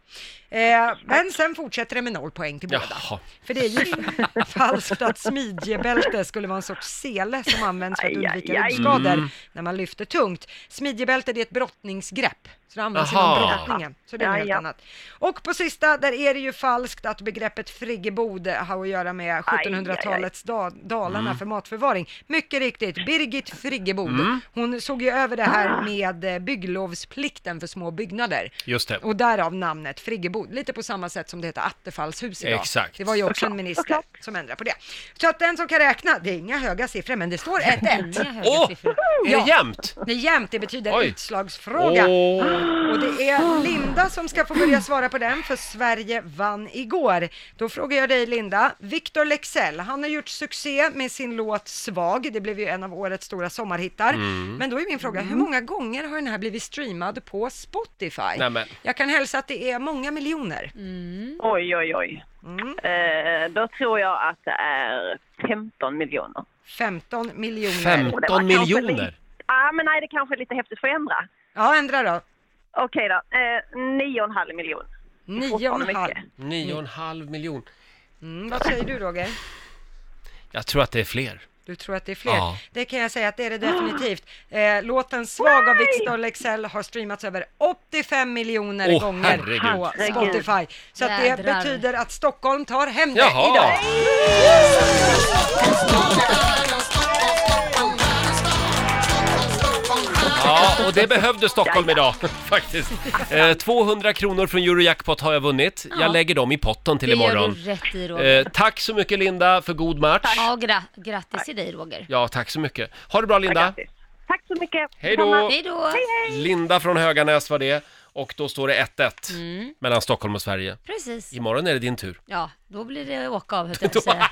Speaker 2: Eh, men sen fortsätter det med noll poäng till båda.
Speaker 1: Jaha.
Speaker 2: För det är ju falskt att smidjebälte skulle vara en sorts sele som används för att
Speaker 12: Aj, aj,
Speaker 2: undvika
Speaker 12: aj.
Speaker 2: ryggskador
Speaker 12: Mm.
Speaker 2: när man lyfter tungt. Smidjebälte det är ett brottningsgrepp, så det används
Speaker 12: Jaha.
Speaker 2: inom brottningen. Så det är
Speaker 12: Ja,
Speaker 2: något helt
Speaker 12: ja.
Speaker 2: annat. Och på sista, där är det ju falskt att begreppet friggebod har att göra med 1700-talets da- Dalarna
Speaker 12: Mm.
Speaker 2: för matförvaring. Mycket riktigt, Birgit Friggebod,
Speaker 1: Mm.
Speaker 2: hon såg ju över det
Speaker 12: Ah.
Speaker 2: här med eh, bygglovsplikten för små byggnader.
Speaker 1: Just det.
Speaker 2: Och därav namnet Friggebod, lite på samma sätt som det heter Attefallshus idag.
Speaker 1: Exakt.
Speaker 2: Det var ju också en minister som ändrade på det. Så att den som kan räkna, det är inga höga siffror, men det står 1-1.
Speaker 1: Åh! Är det jämnt?
Speaker 2: Det är jämnt, det betyder
Speaker 1: Oj.
Speaker 2: utslagsfråga.
Speaker 1: Åh.
Speaker 2: Och det är Linda som ska få börja svara på den, för Sverige vann igår. Då frågar jag dig Linda, Victor Lexell, han har gjort succé med sin låt Svag, det blev ju en av årets stora sommarhittar.
Speaker 1: Mm.
Speaker 2: Men då är min fråga, hur många gånger har den här blivit streamad på Spotify?
Speaker 1: Nämen.
Speaker 2: Jag kan hälsa att det är många miljoner.
Speaker 12: Oj, oj, oj.
Speaker 5: Mm.
Speaker 12: Eh, då tror jag att det är 15 miljoner.
Speaker 2: 15 miljoner.
Speaker 1: 15
Speaker 12: Det var kanske
Speaker 1: miljoner?
Speaker 12: lite- Ja, Ah, men nej, det kanske är lite häftigt. Får jag ändra?
Speaker 2: Ja, ändra då.
Speaker 12: Okej då. Eh, 9,5 miljoner.
Speaker 2: Nio och en halv.
Speaker 1: Nio och en halv miljon.
Speaker 2: Mm, vad säger du Roger?
Speaker 1: Jag tror att det är fler.
Speaker 2: Du tror att det är fler?
Speaker 1: Ja.
Speaker 2: Det kan jag säga att det är det definitivt. Eh, låten Svag av Victor Lexell har streamats över 85 miljoner
Speaker 1: Åh,
Speaker 2: gånger
Speaker 1: herregud.
Speaker 2: på
Speaker 1: Herregud.
Speaker 2: Spotify. Så att det
Speaker 4: Jädrar.
Speaker 2: betyder att Stockholm tar hem det
Speaker 1: Jaha.
Speaker 2: Eh, idag.
Speaker 1: Ja, och det behövde Stockholm idag faktiskt. Eh, 200 kronor från Eurojackpot har jag vunnit.
Speaker 4: Ja.
Speaker 1: Jag lägger dem i potten till
Speaker 4: det
Speaker 1: imorgon.
Speaker 4: gör du rätt i Roger.
Speaker 1: Eh, tack så mycket Linda för god match.
Speaker 4: Ja, gra- grattis till dig Roger.
Speaker 1: Ja, tack så mycket. Ha det bra Linda.
Speaker 12: Tack så mycket.
Speaker 1: Hej då.
Speaker 4: Hej då.
Speaker 1: Linda från Höganäs var det. Och då står det 1-1
Speaker 4: Mm.
Speaker 1: mellan Stockholm och Sverige.
Speaker 4: Precis.
Speaker 1: Imorgon är det din tur.
Speaker 4: Ja, då blir det åka av höll jag på att säga.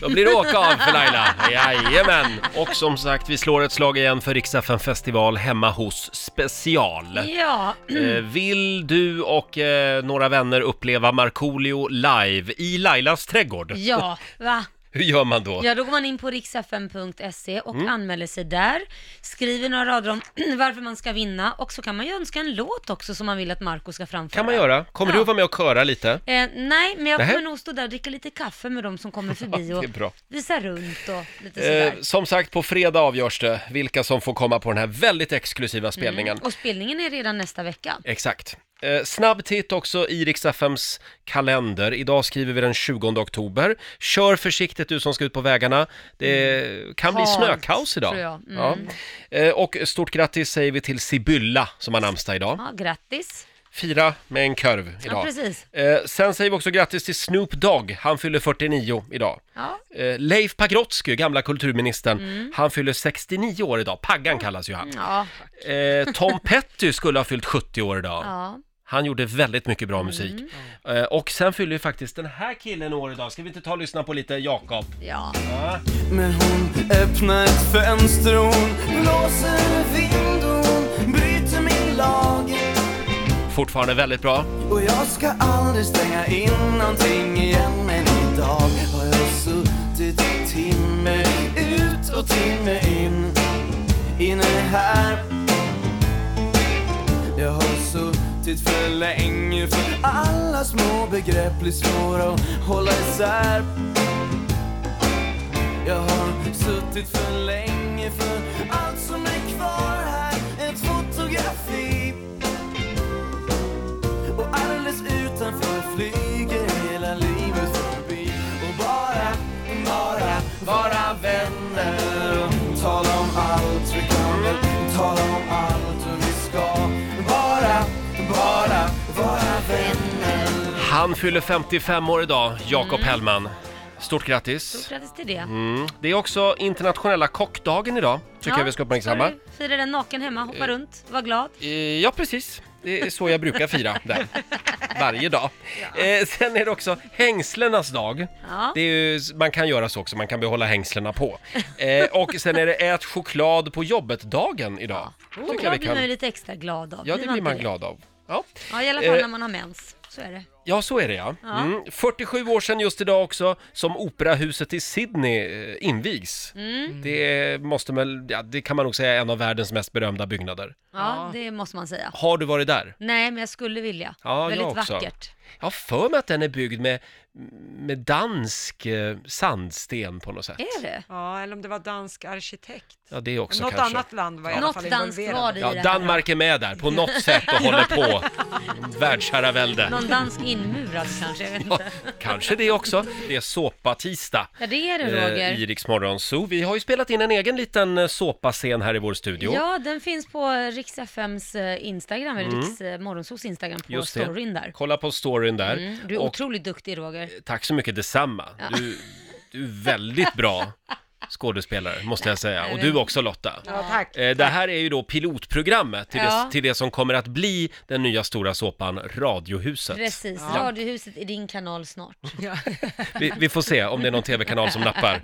Speaker 1: Då blir det åka av för Laila. Jajamän! Och som sagt, vi slår ett slag igen för Riksdagen festival hemma hos special.
Speaker 4: Ja.
Speaker 1: Eh, vill du och eh, några vänner uppleva Markoolio live i Lailas trädgård?
Speaker 4: Ja, va?
Speaker 1: Hur gör man då?
Speaker 4: Ja, då går man in på riksfm.se och
Speaker 1: Mm.
Speaker 4: anmäler sig där, skriver några rader om varför man ska vinna och så kan man ju önska en låt också som man vill att Marco ska framföra.
Speaker 1: kan man göra. Kommer
Speaker 4: Ja.
Speaker 1: du vara med och köra lite?
Speaker 4: Eh, nej, men jag
Speaker 1: Nähä.
Speaker 4: kommer nog stå där och dricka lite kaffe med de som kommer förbi och
Speaker 1: Det är bra.
Speaker 4: visa runt och lite
Speaker 1: Eh,
Speaker 4: sådär.
Speaker 1: som sagt, på fredag avgörs det vilka som får komma på den här väldigt exklusiva spelningen.
Speaker 4: Mm. Och spelningen är redan nästa vecka.
Speaker 1: Exakt. Eh, snabb titt också i Rix FMs kalender. Idag skriver vi den 20 oktober. Kör försiktigt du som ska ut på vägarna. Det kan bli
Speaker 4: Mm. Halt,
Speaker 1: snökaos idag.
Speaker 4: tror jag. Mm.
Speaker 1: Ja. Eh, och stort grattis säger vi till Sibylla som har namnsdag idag.
Speaker 4: Ja, grattis.
Speaker 1: Fira med en korv idag.
Speaker 4: Ja, precis.
Speaker 1: Eh, sen säger vi också grattis till Snoop Dogg. Han fyller 49 idag.
Speaker 4: Ja.
Speaker 1: Eh, Leif Pagrotsky, gamla kulturministern,
Speaker 4: Mm.
Speaker 1: han fyller 69 år idag. Paggan kallas ju han.
Speaker 4: Ja.
Speaker 1: Eh, Tom Petty skulle ha fyllt 70 år idag.
Speaker 4: ja. Mm.
Speaker 1: Han gjorde väldigt mycket bra musik. Eh, Och sen fyller ju faktiskt den här killen år idag. Ska vi inte ta och lyssna på lite Jakob?
Speaker 4: Ja.
Speaker 5: Men hon öppnar ett fönster och hon blåser vind och hon bryter min lag
Speaker 1: Fortfarande väldigt bra.
Speaker 5: Och jag ska aldrig stänga in någonting igen Men idag har jag suttit timme ut och timme in Inne här Jag har suttit för länge För alla små begrepp blir svåra att hålla isär Jag har suttit för länge För allt som är kvar här Ett fotografi och alldeles utanför flyger hela livet förbi Och bara, bara vara vänner och tala om allt vi kan väl tala om allt och vi ska bara, bara vara vänner
Speaker 1: Han fyller 55 år idag, Jakob
Speaker 4: Mm.
Speaker 1: Hellman. Stort grattis!
Speaker 4: Grattis till det.
Speaker 1: Mm. Det är också internationella kockdagen idag, tycker
Speaker 4: ja.
Speaker 1: jag vi ska uppmärksamma.
Speaker 4: Ska du fira den naken hemma, hoppa
Speaker 1: Eh.
Speaker 4: runt, var glad.
Speaker 1: Eh, Ja, precis. Det är så jag brukar fira det. Varje dag. Eh, sen är det också hängslenas dag.
Speaker 4: Ja.
Speaker 1: Det är ju, man kan göra så också, man kan behålla hängslena på. Eh, och sen är det ät choklad på jobbet-dagen idag.
Speaker 4: Oh, Och då blir man ju lite extra glad av.
Speaker 1: Ja, det
Speaker 4: man
Speaker 1: blir man
Speaker 4: inte
Speaker 1: glad av. Ja.
Speaker 4: Ja, i alla fall
Speaker 1: Eh,
Speaker 4: när man har mens. Så är det.
Speaker 1: Ja, så är det ja.
Speaker 4: Ja.
Speaker 1: Mm. 47 år sedan just idag också som operahuset i Sydney eh, invigs.
Speaker 4: Mm.
Speaker 1: Det måste väl, ja, det kan man nog säga är en av världens mest berömda byggnader.
Speaker 4: Ja, det måste man säga.
Speaker 1: Har du varit där?
Speaker 4: Nej, men jag skulle vilja.
Speaker 1: Ja,
Speaker 4: Väldigt
Speaker 1: jag också.
Speaker 4: vackert.
Speaker 1: Jag har för mig att den är byggd med, med dansk eh, sandsten på något sätt.
Speaker 4: Är det?
Speaker 2: Ja, eller om det var dansk arkitekt.
Speaker 1: Ja, det också
Speaker 2: Något
Speaker 1: kanske.
Speaker 2: annat land var i
Speaker 1: Ja.
Speaker 2: alla fall
Speaker 4: Något danskt
Speaker 2: involverade.
Speaker 4: var det i
Speaker 1: Ja,
Speaker 4: det här.
Speaker 1: Danmark är med där på något sätt och håller på. Världsherravälde.
Speaker 4: Någon dansk inmurad kanske, jag vet inte.
Speaker 1: Kanske det också. Det är såpa-tisdag.
Speaker 4: Ja, det är det
Speaker 1: eh,
Speaker 4: Roger.
Speaker 1: I Rix Morgon Zoo. Vi har ju spelat in en egen liten eh, såpascen här i vår studio.
Speaker 4: Ja, den finns på Rix FMs eh, Instagram, eller
Speaker 1: Mm.
Speaker 4: Riks eh, Morgonzos Instagram, på storyn där.
Speaker 1: Kolla på storyn där.
Speaker 4: Mm, du är
Speaker 1: Och
Speaker 4: otroligt duktig Roger.
Speaker 1: tack så mycket detsamma.
Speaker 4: Ja.
Speaker 1: Du, du är väldigt bra skådespelare, måste jag säga. Och
Speaker 4: det-
Speaker 1: du också Lotta.
Speaker 2: Ja, tack.
Speaker 1: Eh, Det här är ju då pilotprogrammet till,
Speaker 4: Ja.
Speaker 1: det, till det som kommer att bli den nya stora såpan Radiohuset.
Speaker 4: Precis,
Speaker 1: Ja. Mm.
Speaker 4: Radiohuset är din kanal snart.
Speaker 1: Vi, vi får se om det är någon tv-kanal som nappar.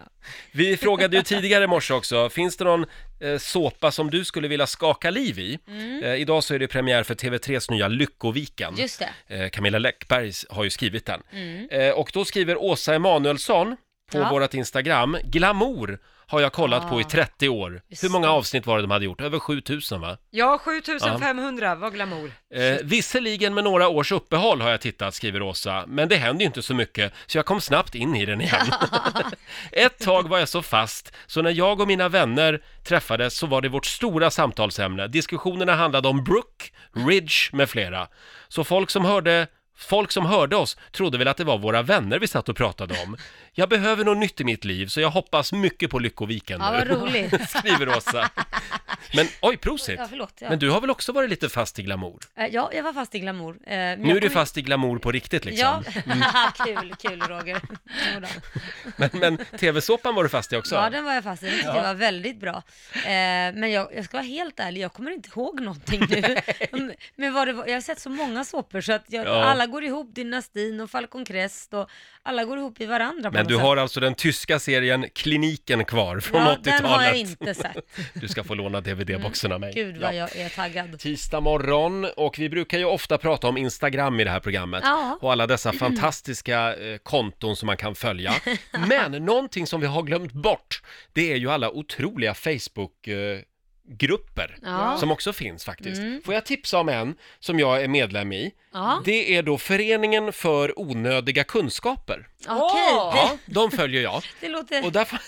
Speaker 1: Vi frågade ju tidigare i morse också, finns det någon eh, såpa som du skulle vilja skaka liv i?
Speaker 4: Mm.
Speaker 1: Eh, idag så är det premiär för TV3s nya Lyckoviken.
Speaker 4: Just det.
Speaker 1: Eh, Camilla Läckberg s- har ju skrivit den.
Speaker 4: Mm.
Speaker 1: Eh, och då skriver Åsa Emanuelsson på
Speaker 4: Ja.
Speaker 1: vårt Instagram, glamour har jag kollat på i
Speaker 2: Ah.
Speaker 1: 30 år. Hur många avsnitt var det de hade gjort? Över 7000 va?
Speaker 2: Ja, 7500 var glamour.
Speaker 1: Eh, visserligen med några års uppehåll har jag tittat, skriver Åsa, men det händer ju inte så mycket, så jag kom snabbt in i den igen. Ett tag var jag så fast, så när jag och mina vänner träffades så var det vårt stora samtalsämne. Diskussionerna handlade om Brooke, Ridge med flera. Så folk som hörde Folk som hörde oss trodde väl att det var våra vänner vi satt och pratade om. Jag behöver något nytt i mitt liv, så jag hoppas mycket på Lyckoviken
Speaker 4: Ja, vad
Speaker 1: nu."
Speaker 4: roligt.
Speaker 1: skriver Åsa. Men oj, prosit!
Speaker 4: Ja, förlåt, ja.
Speaker 1: Men du har väl också varit lite fast i glamour?
Speaker 4: Eh, Ja, jag var fast i glamour. Eh, men
Speaker 1: Nu
Speaker 4: jag
Speaker 1: är du
Speaker 4: kommer-
Speaker 1: fast i glamour på riktigt liksom.
Speaker 4: Ja, kul, kul Roger. Jodå.
Speaker 1: Men, men tv-såpan var du fast i också?
Speaker 4: Ja, den var jag fast i. Jag tyckte
Speaker 1: Ja.
Speaker 4: det var väldigt bra. Eh, men jag, jag ska vara helt ärlig, jag kommer inte ihåg någonting nu. Mm, men vad det var, jag har sett så många såpor så att jag,
Speaker 1: Ja.
Speaker 4: alla går ihop, Dynastin och Falcon Crest och alla går ihop i varandra på
Speaker 1: Men
Speaker 4: något
Speaker 1: du
Speaker 4: sätt.
Speaker 1: har alltså den tyska serien Kliniken kvar från
Speaker 4: Ja,
Speaker 1: 80-talet.
Speaker 4: den har jag inte sett.
Speaker 1: Du ska få låna DVD-boxen av mig.
Speaker 4: Mm. Gud vad
Speaker 1: Ja.
Speaker 4: jag är taggad.
Speaker 1: Tisdag morgon och vi brukar ju ofta prata om Instagram i det här programmet
Speaker 4: Ja.
Speaker 1: och alla dessa fantastiska eh, konton som man kan följa. Men någonting som vi har glömt bort, det är ju alla otroliga Facebook eh, grupper
Speaker 5: Ja.
Speaker 1: som också finns faktiskt.
Speaker 5: Mm.
Speaker 1: Får jag tipsa om en som jag är medlem i?
Speaker 4: Ja.
Speaker 1: Det är då Föreningen för onödiga kunskaper.
Speaker 4: Okej,
Speaker 1: Ja,
Speaker 4: det,
Speaker 1: de följer jag.
Speaker 4: det låter
Speaker 1: Och därför,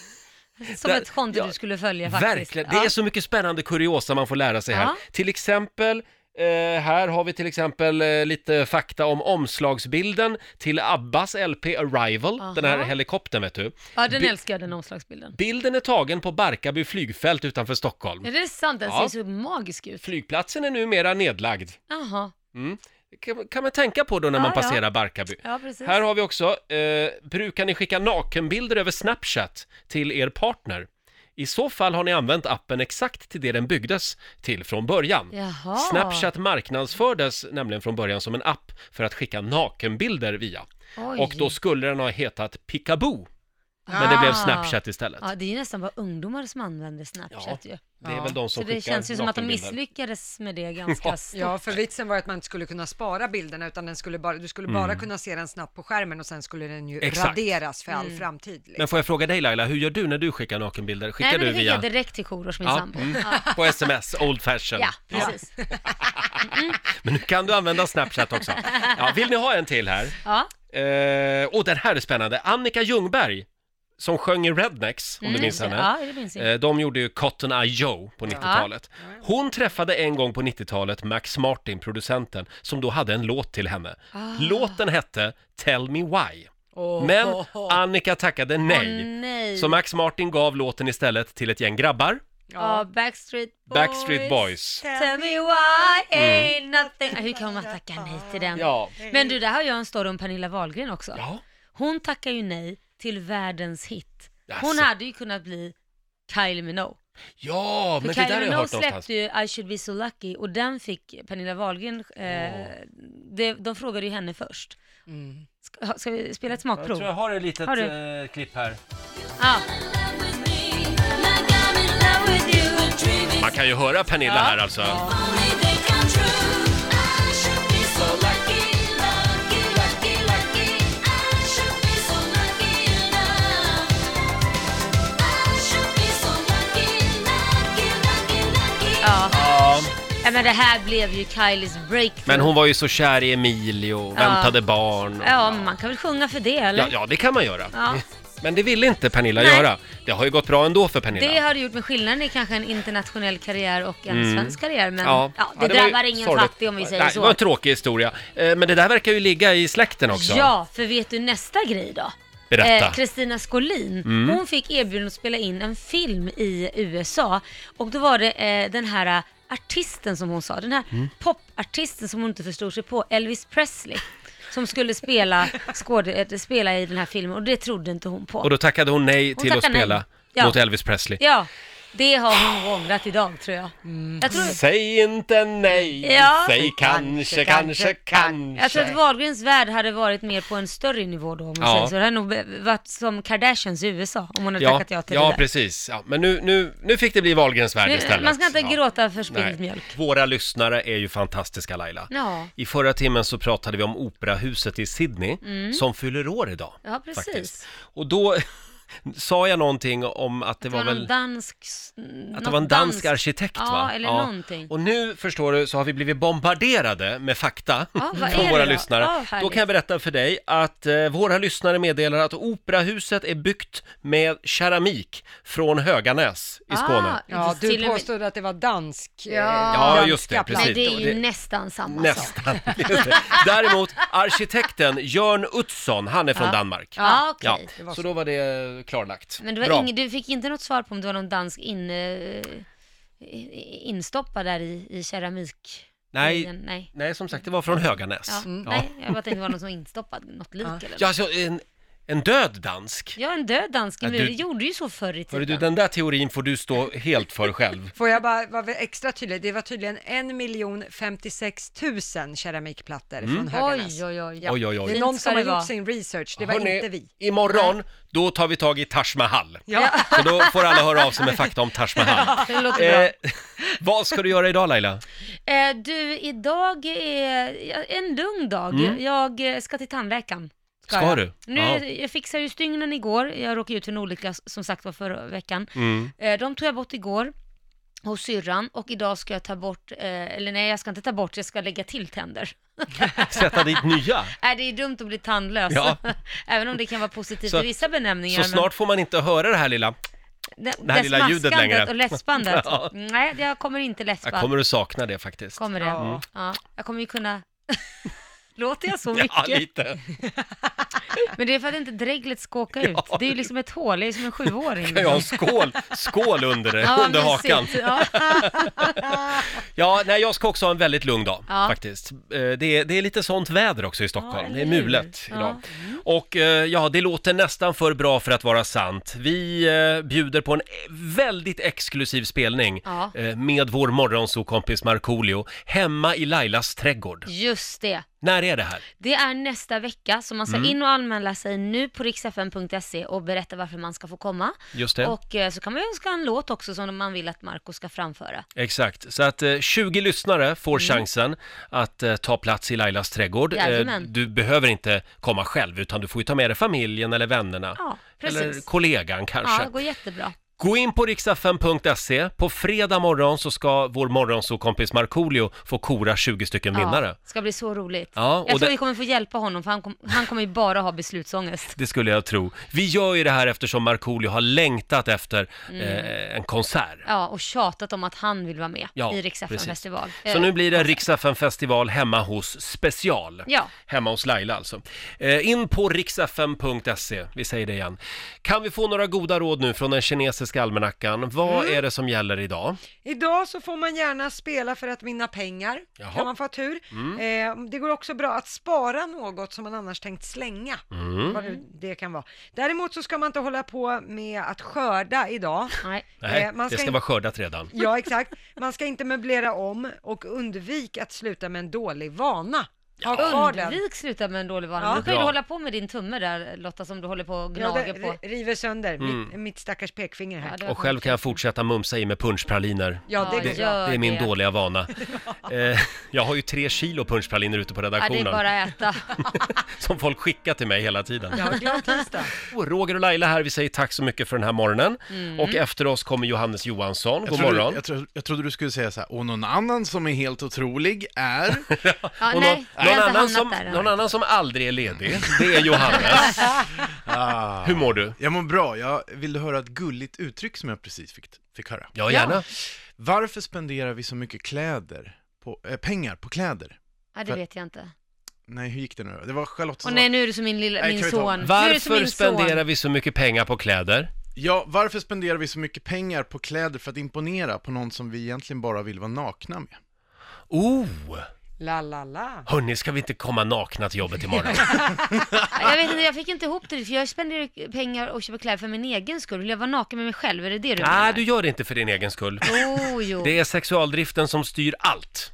Speaker 4: som
Speaker 1: där-
Speaker 4: ett konto du skulle följa faktiskt.
Speaker 1: verkligen, det är så mycket spännande kuriosa man får lära sig här.
Speaker 4: Ja.
Speaker 1: Till exempel, eh, här har vi till exempel eh, lite fakta om omslagsbilden till Abbas LP Arrival, den här
Speaker 4: Aha.
Speaker 1: helikoptern vet du.
Speaker 4: Ja, den
Speaker 1: Bi-
Speaker 4: älskar jag, den omslagsbilden.
Speaker 1: Bilden är tagen på Barkarby flygfält utanför Stockholm.
Speaker 4: Är det sant? Den
Speaker 1: Mm. Ja.
Speaker 4: ser så magisk ut.
Speaker 1: Flygplatsen är numera nedlagd.
Speaker 4: Jaha,
Speaker 1: Mm. Kan, kan man tänka på då när man
Speaker 4: Ja, ja.
Speaker 1: passerar Barkarby.
Speaker 4: ja precis.
Speaker 1: Här har vi också, eh, brukar ni skicka nakenbilder över Snapchat till er partner? I så fall har ni använt appen exakt till det den byggdes till från början.
Speaker 4: Jaha.
Speaker 1: Snapchat marknadsfördes nämligen från början som en app för att skicka nakenbilder via.
Speaker 4: Oj.
Speaker 1: Och då skulle den ha hetat Picaboo. Men det blev
Speaker 4: Ah.
Speaker 1: Snapchat istället.
Speaker 4: Ja, det är ju nästan bara ungdomar som använder Snapchat ju.
Speaker 1: det är väl de som
Speaker 4: Så det
Speaker 1: skickar
Speaker 4: känns ju som att de
Speaker 1: nakenbilder.
Speaker 4: misslyckades med det ganska stort.
Speaker 2: Ja, för vitsen var att man inte skulle kunna spara bilderna utan den skulle bara, du skulle bara
Speaker 1: Mm.
Speaker 2: kunna se den snabbt på skärmen och sen skulle den ju
Speaker 1: Exakt.
Speaker 2: raderas för all
Speaker 4: Mm.
Speaker 2: framtid. liksom.
Speaker 1: Men får jag fråga dig Laila, hur gör du när du skickar nakenbilder? Skickar
Speaker 4: Nej, men
Speaker 1: du
Speaker 4: det skickar
Speaker 1: via...
Speaker 4: jag direkt till Korosh, min
Speaker 1: Ja,
Speaker 4: sambo.
Speaker 1: mm.
Speaker 4: Ja.
Speaker 1: På sms, old fashion.
Speaker 4: ja, precis.
Speaker 1: Men nu kan du använda Snapchat också. Ja, vill ni ha en till här?
Speaker 4: Ja.
Speaker 1: Eh, och den här är spännande. Annika Ljungberg, som sjöng i Rednecks, om
Speaker 4: Mm,
Speaker 1: du minns
Speaker 4: just det.
Speaker 1: henne.
Speaker 4: Ja, det minns jag.
Speaker 1: Eh, de gjorde ju Cotton Eye Joe på 90-talet. Hon träffade en gång på 90-talet Max Martin, producenten, som då hade en låt till henne.
Speaker 5: Ah.
Speaker 1: Låten hette Tell Me Why. Men Annika tackade nej.
Speaker 4: Åh, nej.
Speaker 1: Så Max Martin gav låten istället till ett gäng grabbar.
Speaker 4: Ja, Backstreet Boys.
Speaker 1: Backstreet Boys. Mm.
Speaker 4: Tell me why ain't nothing. Hur kan man tacka nej till den?
Speaker 1: Ja.
Speaker 4: Men du, där har jag en story om Pernilla Wahlgren också.
Speaker 1: Ja.
Speaker 4: Hon tackar ju nej till världens hit. Hon
Speaker 1: Jaså.
Speaker 4: hade ju kunnat bli Kylie Minogue.
Speaker 1: Ja,
Speaker 4: För
Speaker 1: men det där
Speaker 4: Kylie
Speaker 1: har jag
Speaker 4: Minogue
Speaker 1: hört
Speaker 4: släppte
Speaker 1: någonstans.
Speaker 4: ju I should be so lucky och den fick Pernilla Wahlgren, eh, det, de frågade ju henne först.
Speaker 1: Mm.
Speaker 4: Ska, ska vi spela ett smakprov?
Speaker 1: ett eh,
Speaker 4: Har du?
Speaker 1: klipp här.
Speaker 4: Ja.
Speaker 1: Man kan ju höra Pernilla
Speaker 4: Ja.
Speaker 1: här alltså.
Speaker 5: Only they come true. I should be so lucky, lucky, lucky.
Speaker 4: Nej, men det här blev ju Kylies breakthrough.
Speaker 1: Men hon var ju så kär i Emilio, väntade barn. Och...
Speaker 4: Ja, men man kan väl sjunga för det eller?
Speaker 1: Ja, Mm. ja, det kan man göra.
Speaker 4: Ja.
Speaker 1: Men det ville inte Pernilla
Speaker 4: Nej.
Speaker 1: göra. Det har ju gått bra ändå för Pernilla.
Speaker 4: Det har du gjort med skillnaden i kanske en internationell karriär och en
Speaker 1: Mm.
Speaker 4: svensk karriär, men
Speaker 1: Ja.
Speaker 4: ja.
Speaker 1: Ja,
Speaker 4: det,
Speaker 1: det var ju
Speaker 4: drabbar ingen
Speaker 1: sorgligt.
Speaker 4: fattig om vi säger
Speaker 1: Nej, det
Speaker 4: så.
Speaker 1: var en tråkig historia. Eh, Men det där verkar ju ligga i släkten också.
Speaker 4: Ja, för vet du nästa grej då?
Speaker 1: Berätta.
Speaker 4: Eh, Kristina Skolin,
Speaker 1: Mm.
Speaker 4: hon fick erbjudande att spela in en film i USA och då var det eh, den här eh, artisten som hon sa, den här
Speaker 13: Mm.
Speaker 4: popartisten som hon inte förstod sig på, Elvis Presley, som skulle spela, skåde, eh, spela i den här filmen och det trodde inte hon på.
Speaker 1: Och då tackade hon nej
Speaker 4: Hon
Speaker 1: till att
Speaker 4: tackade nej.
Speaker 1: spela
Speaker 4: Ja.
Speaker 1: mot Elvis Presley.
Speaker 4: Ja, det har hon ångrat idag tror jag. jag tror,
Speaker 1: Säg inte nej,
Speaker 4: Ja.
Speaker 1: säg kanske, kanske, kanske.
Speaker 4: Jag tror att Wahlgrens värld hade varit mer på en större nivå då om man
Speaker 1: Ja.
Speaker 4: säger så. Det hade nog be- varit som Kardashians i USA om hon hade
Speaker 1: ja,
Speaker 4: tackat ja till
Speaker 1: ja,
Speaker 4: det där.
Speaker 1: precis. Ja, men nu, nu, nu fick det bli Wahlgrens värld
Speaker 4: Nu,
Speaker 1: istället.
Speaker 4: man ska inte
Speaker 1: ja.
Speaker 4: gråta för spilld
Speaker 1: Nej.
Speaker 4: mjölk.
Speaker 1: Våra lyssnare är ju fantastiska Laila.
Speaker 4: Ja.
Speaker 1: I förra timmen så pratade vi om operahuset i Sydney
Speaker 4: Mm.
Speaker 1: som fyller år idag.
Speaker 4: Ja, precis.
Speaker 1: faktiskt. Och då sa jag någonting om att det,
Speaker 4: Det
Speaker 1: var,
Speaker 4: var
Speaker 1: väl...
Speaker 4: någon dansk...
Speaker 1: Att det var en dansk, arkitekt
Speaker 4: ja,
Speaker 1: va?
Speaker 4: Eller någonting.
Speaker 1: Och nu förstår du så har vi blivit bombarderade med fakta
Speaker 4: Ja, vad är
Speaker 1: från
Speaker 4: det
Speaker 1: våra
Speaker 4: då?
Speaker 1: lyssnare.
Speaker 4: Ja, härligt.
Speaker 1: då kan jag berätta för dig att eh, våra lyssnare meddelar att operahuset är byggt med keramik från Höganäs i Skåne.
Speaker 2: Ja,
Speaker 4: Ah, Till
Speaker 2: du
Speaker 4: och med-
Speaker 2: påstod att det var dansk. eh,
Speaker 1: Ja,
Speaker 2: danska
Speaker 1: just det,
Speaker 2: plattor.
Speaker 1: precis.
Speaker 4: Nej, det är ju
Speaker 1: Det-
Speaker 4: nästan samma sak.
Speaker 1: Nästan. Just det. Däremot arkitekten Jörn Utzon, han är från
Speaker 4: Ja.
Speaker 1: Danmark.
Speaker 4: Ja, Ah, okej. Det var
Speaker 1: Så
Speaker 4: så.
Speaker 1: då var det eh, klarlagt.
Speaker 4: Men det var
Speaker 1: Bra.
Speaker 4: ing, du fick inte något svar på om det var någon dansk in, eh, instoppad där i, i keramik?
Speaker 1: Nej,
Speaker 4: grejen. Nej.
Speaker 1: nej, som sagt, det var från Höganäs.
Speaker 4: Ja,
Speaker 2: Mm.
Speaker 1: Ja.
Speaker 4: Nej, jag bara tänkte det var någon som var instoppad, något lik eller
Speaker 1: Ja, alltså, en, en död dansk.
Speaker 4: Ja, en död dansk
Speaker 1: Ja,
Speaker 4: mur,
Speaker 1: du-
Speaker 4: det gjorde ju så förr i
Speaker 1: Hörru du,
Speaker 4: tiden.
Speaker 1: den där teorin får du stå helt för själv.
Speaker 2: Får jag bara vara extra tydlig, det var tydligen 1 056 000 keramikplattor
Speaker 1: Mm.
Speaker 2: från Höganäs.
Speaker 4: Oj, oj, oj.
Speaker 2: Ja.
Speaker 1: Oj, oj, oj.
Speaker 2: Det är
Speaker 4: Fint
Speaker 2: någon som
Speaker 4: ska
Speaker 2: har
Speaker 4: det vara.
Speaker 2: gjort sin research, det var
Speaker 1: Hörrni,
Speaker 2: inte vi.
Speaker 1: Imorgon, då tar vi tag i Taj Mahal.
Speaker 2: Ja.
Speaker 1: Så då får alla höra av sig med fakta om Taj Mahal.
Speaker 4: Det låter bra.
Speaker 1: Eh, vad ska du göra idag Laila?
Speaker 4: Eh, du, idag är ja, en lugn dag.
Speaker 1: Mm.
Speaker 4: Jag eh, ska till tandläkaren.
Speaker 1: Ska
Speaker 4: jag.
Speaker 1: du?
Speaker 4: Nu,
Speaker 1: Ja.
Speaker 4: Jag fixade ju stygnen igår, jag råkade ut för en olycka s- som sagt var förra veckan.
Speaker 1: Mm.
Speaker 4: Eh, de tog jag bort igår hos syrran och idag ska jag ta bort, eh, eller nej jag ska inte ta bort, jag ska lägga till tänder.
Speaker 1: Sätta dit nya?
Speaker 4: Nej, det är dumt att bli tandlös.
Speaker 1: Ja.
Speaker 4: Även om det kan vara positivt
Speaker 1: Så-
Speaker 4: Typ i vissa benämningar.
Speaker 1: Så
Speaker 4: men-
Speaker 1: snart får man inte höra det här lilla,
Speaker 4: det,
Speaker 1: det här lilla ljudet
Speaker 4: smaskandet
Speaker 1: längre.
Speaker 4: och läspandet.
Speaker 1: Ja.
Speaker 4: Nej, jag kommer inte läspa.
Speaker 1: jag kommer att sakna det faktiskt.
Speaker 4: Kommer det?
Speaker 1: Mm.
Speaker 4: Ja. Jag kommer ju kunna... Låter jag så mycket?
Speaker 1: Ja, lite.
Speaker 4: Men det är för att inte dreglet ska åka ut. Det är ju liksom ett hål, jag är som en sjuåring. liksom.
Speaker 1: Kan jag ha en skål, skål under, det, under
Speaker 4: mysigt.
Speaker 1: hakan?
Speaker 4: Ja.
Speaker 1: Ja, nej, jag ska också ha en väldigt lugn dag
Speaker 4: Ja.
Speaker 1: faktiskt. Eh, Det är, det är lite sånt väder också i Stockholm.
Speaker 4: Ja,
Speaker 1: det är
Speaker 4: eller hur?
Speaker 1: mulet
Speaker 4: Ja. Mm.
Speaker 1: idag. Och eh, ja, det låter nästan för bra för att vara sant. Vi eh, bjuder på en väldigt exklusiv spelning
Speaker 4: Ja.
Speaker 1: eh, med vår morgonsokompis Markoolio hemma i Lailas trädgård.
Speaker 4: Just det.
Speaker 1: När är det här?
Speaker 4: Det är nästa vecka, så man ska
Speaker 1: Mm.
Speaker 4: in och anmäla sig nu på riksfn.se och berätta varför man ska få komma.
Speaker 1: Just det.
Speaker 4: Och eh, så kan man ju önska en låt också som man vill att Marco ska framföra.
Speaker 1: Exakt, så att eh, 20 lyssnare
Speaker 4: Mm.
Speaker 1: får chansen att eh, ta plats i Lailas trädgård. Eh,
Speaker 4: Jajamän.
Speaker 1: du behöver inte komma själv utan du får ju ta med dig familjen eller vännerna.
Speaker 4: Ja, precis.
Speaker 1: eller kollegan kanske.
Speaker 4: Ja, det går jättebra.
Speaker 1: Gå in på riksfm.se. På fredag morgon så ska vår morgonsåkompis Markoolio få kora 20 stycken vinnare.
Speaker 4: Ja, ska bli så roligt.
Speaker 1: Ja, och
Speaker 4: jag tror
Speaker 1: det-
Speaker 4: vi kommer få hjälpa honom för han, kom, han kommer ju bara ha beslutsångest.
Speaker 1: Det skulle jag tro. Vi gör ju det här eftersom Markoolio har längtat efter
Speaker 4: Mm.
Speaker 1: eh, en konsert.
Speaker 4: Ja, och tjatat om att han vill vara med
Speaker 1: Ja,
Speaker 4: i Rix
Speaker 1: precis.
Speaker 4: festival Eh,
Speaker 1: Så nu blir det Riksfm festival hemma hos special.
Speaker 4: Ja.
Speaker 1: Hemma hos Laila alltså. Eh, in på riksfm.se, vi säger det igen. Kan vi få några goda råd nu från den kinesiska almanackan? Vad är det som gäller idag?
Speaker 2: Idag så får man gärna spela för att vinna pengar,
Speaker 1: Jaha.
Speaker 2: kan man få ha tur.
Speaker 1: Mm.
Speaker 2: Eh, det går också bra att spara något som man annars tänkt slänga,
Speaker 1: Mm.
Speaker 2: vad nu det kan vara. Däremot så ska man inte hålla på med att skörda idag.
Speaker 4: Nej,
Speaker 1: Nej,
Speaker 2: Eh, man
Speaker 1: det ska
Speaker 2: in-
Speaker 1: vara skördat redan.
Speaker 2: Ja, exakt. Man ska inte möblera om och undvik att sluta med en dålig vana. Ha kvar den.
Speaker 4: Undvik sluta med en dålig vana.
Speaker 2: Ja.
Speaker 4: Du kan ju
Speaker 2: Bra.
Speaker 4: hålla på med din tumme där Lotta som du håller på och
Speaker 2: Ja,
Speaker 4: gnager
Speaker 2: det
Speaker 4: på.
Speaker 2: river sönder mitt,
Speaker 1: Mm.
Speaker 2: mitt stackars pekfinger här.
Speaker 1: Och själv kan jag fortsätta mumsa i mig punschpraliner.
Speaker 2: Ja, det går
Speaker 1: det,
Speaker 2: bra.
Speaker 1: det är min
Speaker 2: Gör det.
Speaker 1: dåliga vana. Eh, jag har ju tre kilo punschpraliner ute på
Speaker 4: Ja, det är
Speaker 1: redaktionen.
Speaker 4: bara att äta.
Speaker 1: Som folk skickar till mig hela tiden.
Speaker 4: Ja, glad
Speaker 2: tisdag.
Speaker 1: Och Roger och Laila här, vi säger tack så mycket för den här morgonen.
Speaker 13: Mm.
Speaker 1: Och efter oss kommer Johannes Johansson. God
Speaker 13: trodde,
Speaker 1: morgon.
Speaker 13: Jag, trodde, jag trodde du skulle säga så här, och någon annan som är helt otrolig är...
Speaker 4: Ja,
Speaker 1: Och någon,
Speaker 4: nej, jag har
Speaker 1: någon,
Speaker 4: inte
Speaker 1: annan
Speaker 4: hamnat
Speaker 1: som,
Speaker 4: där än.
Speaker 1: någon annan som aldrig är ledig, det är Johannes. Hur mår du?
Speaker 13: Jag mår bra. Jag vill du höra ett gulligt uttryck som jag precis fick, fick höra?
Speaker 1: Ja, gärna.
Speaker 13: Varför spenderar vi så mycket kläder på, eh, pengar på kläder?
Speaker 4: Ja, det
Speaker 13: För-
Speaker 4: vet jag inte.
Speaker 13: Nej, hur gick det nu då? Det var Charlotte som
Speaker 4: Och
Speaker 13: sa-
Speaker 4: nej, nu är du som min, lilla,
Speaker 13: Nej,
Speaker 4: min
Speaker 13: kan vi ta-
Speaker 4: son. nu är du som
Speaker 1: Varför
Speaker 4: min
Speaker 1: spenderar
Speaker 4: son.
Speaker 1: vi så mycket pengar på kläder?
Speaker 13: Ja, varför spenderar vi så mycket pengar på kläder för att imponera på någon som vi egentligen bara vill vara nakna med?
Speaker 1: Oh!
Speaker 2: La, la, la.
Speaker 1: Hörni, ska vi inte komma nakna till jobbet imorgon?
Speaker 4: Jag vet inte, jag fick inte ihop det för jag spenderar ju pengar och köper kläder för min egen skull. Vill jag vara naken med mig själv? Är det det du
Speaker 1: Nej,
Speaker 4: menar?
Speaker 1: du gör det inte för din egen skull.
Speaker 4: Jo, jo.
Speaker 1: Det är sexualdriften som styr allt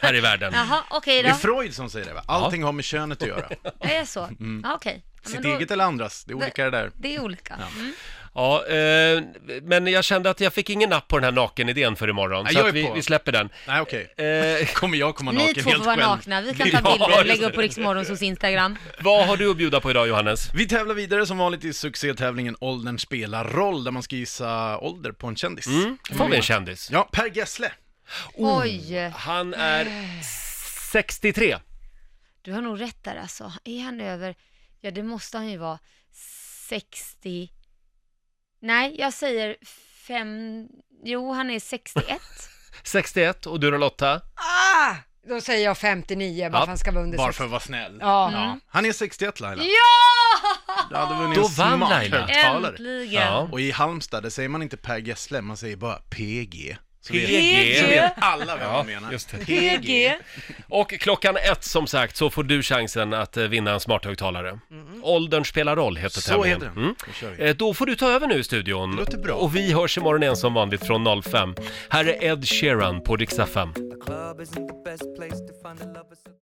Speaker 1: här i världen.
Speaker 4: Jaha, okej
Speaker 13: Det är
Speaker 4: då.
Speaker 13: Freud som säger det, va? Allting har med könet att göra.
Speaker 4: Det är så?
Speaker 13: Mm.
Speaker 4: Ja, okej. Ja, men
Speaker 13: Sitt
Speaker 4: då-
Speaker 13: eget eller andras, det är olika det där.
Speaker 4: Det är olika. Mm.
Speaker 1: Ja, eh, men jag kände att jag fick ingen napp på den här nakenidén för imorgon,
Speaker 13: Nej,
Speaker 1: så
Speaker 13: jag
Speaker 1: att
Speaker 13: är
Speaker 1: vi,
Speaker 13: på.
Speaker 1: vi släpper den. Eh,
Speaker 13: Nej, okej.
Speaker 1: Kommer
Speaker 13: jag komma
Speaker 4: Ni två får vara nakna, vi kan ta
Speaker 1: Ja,
Speaker 4: bilder och
Speaker 1: just
Speaker 4: lägga upp
Speaker 1: det.
Speaker 4: på Riksmorgons Instagram.
Speaker 1: Vad har du att bjuda på idag, Johannes?
Speaker 13: Vi tävlar vidare som vanligt i succétävlingen Åldern spelar roll, där man ska gissa ålder på en kändis.
Speaker 1: Mm,
Speaker 13: Mm.
Speaker 1: Får vi en kändis?
Speaker 13: Ja, Per Gessle. Oh.
Speaker 4: Oj!
Speaker 1: Han är 63.
Speaker 4: Du har nog rätt där alltså. Är han över, ja det måste han ju vara 60, nej jag säger 5, jo han är 61.
Speaker 1: 61 och du då Lotta?
Speaker 2: Ah! Då säger jag 59, bara
Speaker 13: Ja,
Speaker 2: för han ska vara under
Speaker 13: Bara
Speaker 2: 60.
Speaker 13: för att vara snäll.
Speaker 2: Ja.
Speaker 13: Ja. Han är 61 Laila.
Speaker 4: Ja!
Speaker 13: Du hade vunnit
Speaker 1: Då
Speaker 13: en
Speaker 1: vann
Speaker 13: smart
Speaker 1: Laila.
Speaker 13: högtalare.
Speaker 4: Äntligen.
Speaker 1: Ja.
Speaker 13: Och i Halmstad, där säger man inte Per Gessle, man säger bara PG. Så
Speaker 1: PG.
Speaker 13: vet- Så vet alla vem
Speaker 1: Ja,
Speaker 13: man menar.
Speaker 1: just det.
Speaker 13: PG.
Speaker 1: Och klockan ett som sagt så får du chansen att eh, vinna en smarthögtalare. Åldern spelar roll heter
Speaker 13: Mm. Så
Speaker 1: tävlingen.
Speaker 13: heter den. Då kör vi.
Speaker 1: Eh, Då får du ta över nu i studion. Det låter bra. Och vi hörs imorgon igen som vanligt från 05. Här är Ed Sheeran på Dixtafem.
Speaker 14: The club isn't the best place to find a lover. so-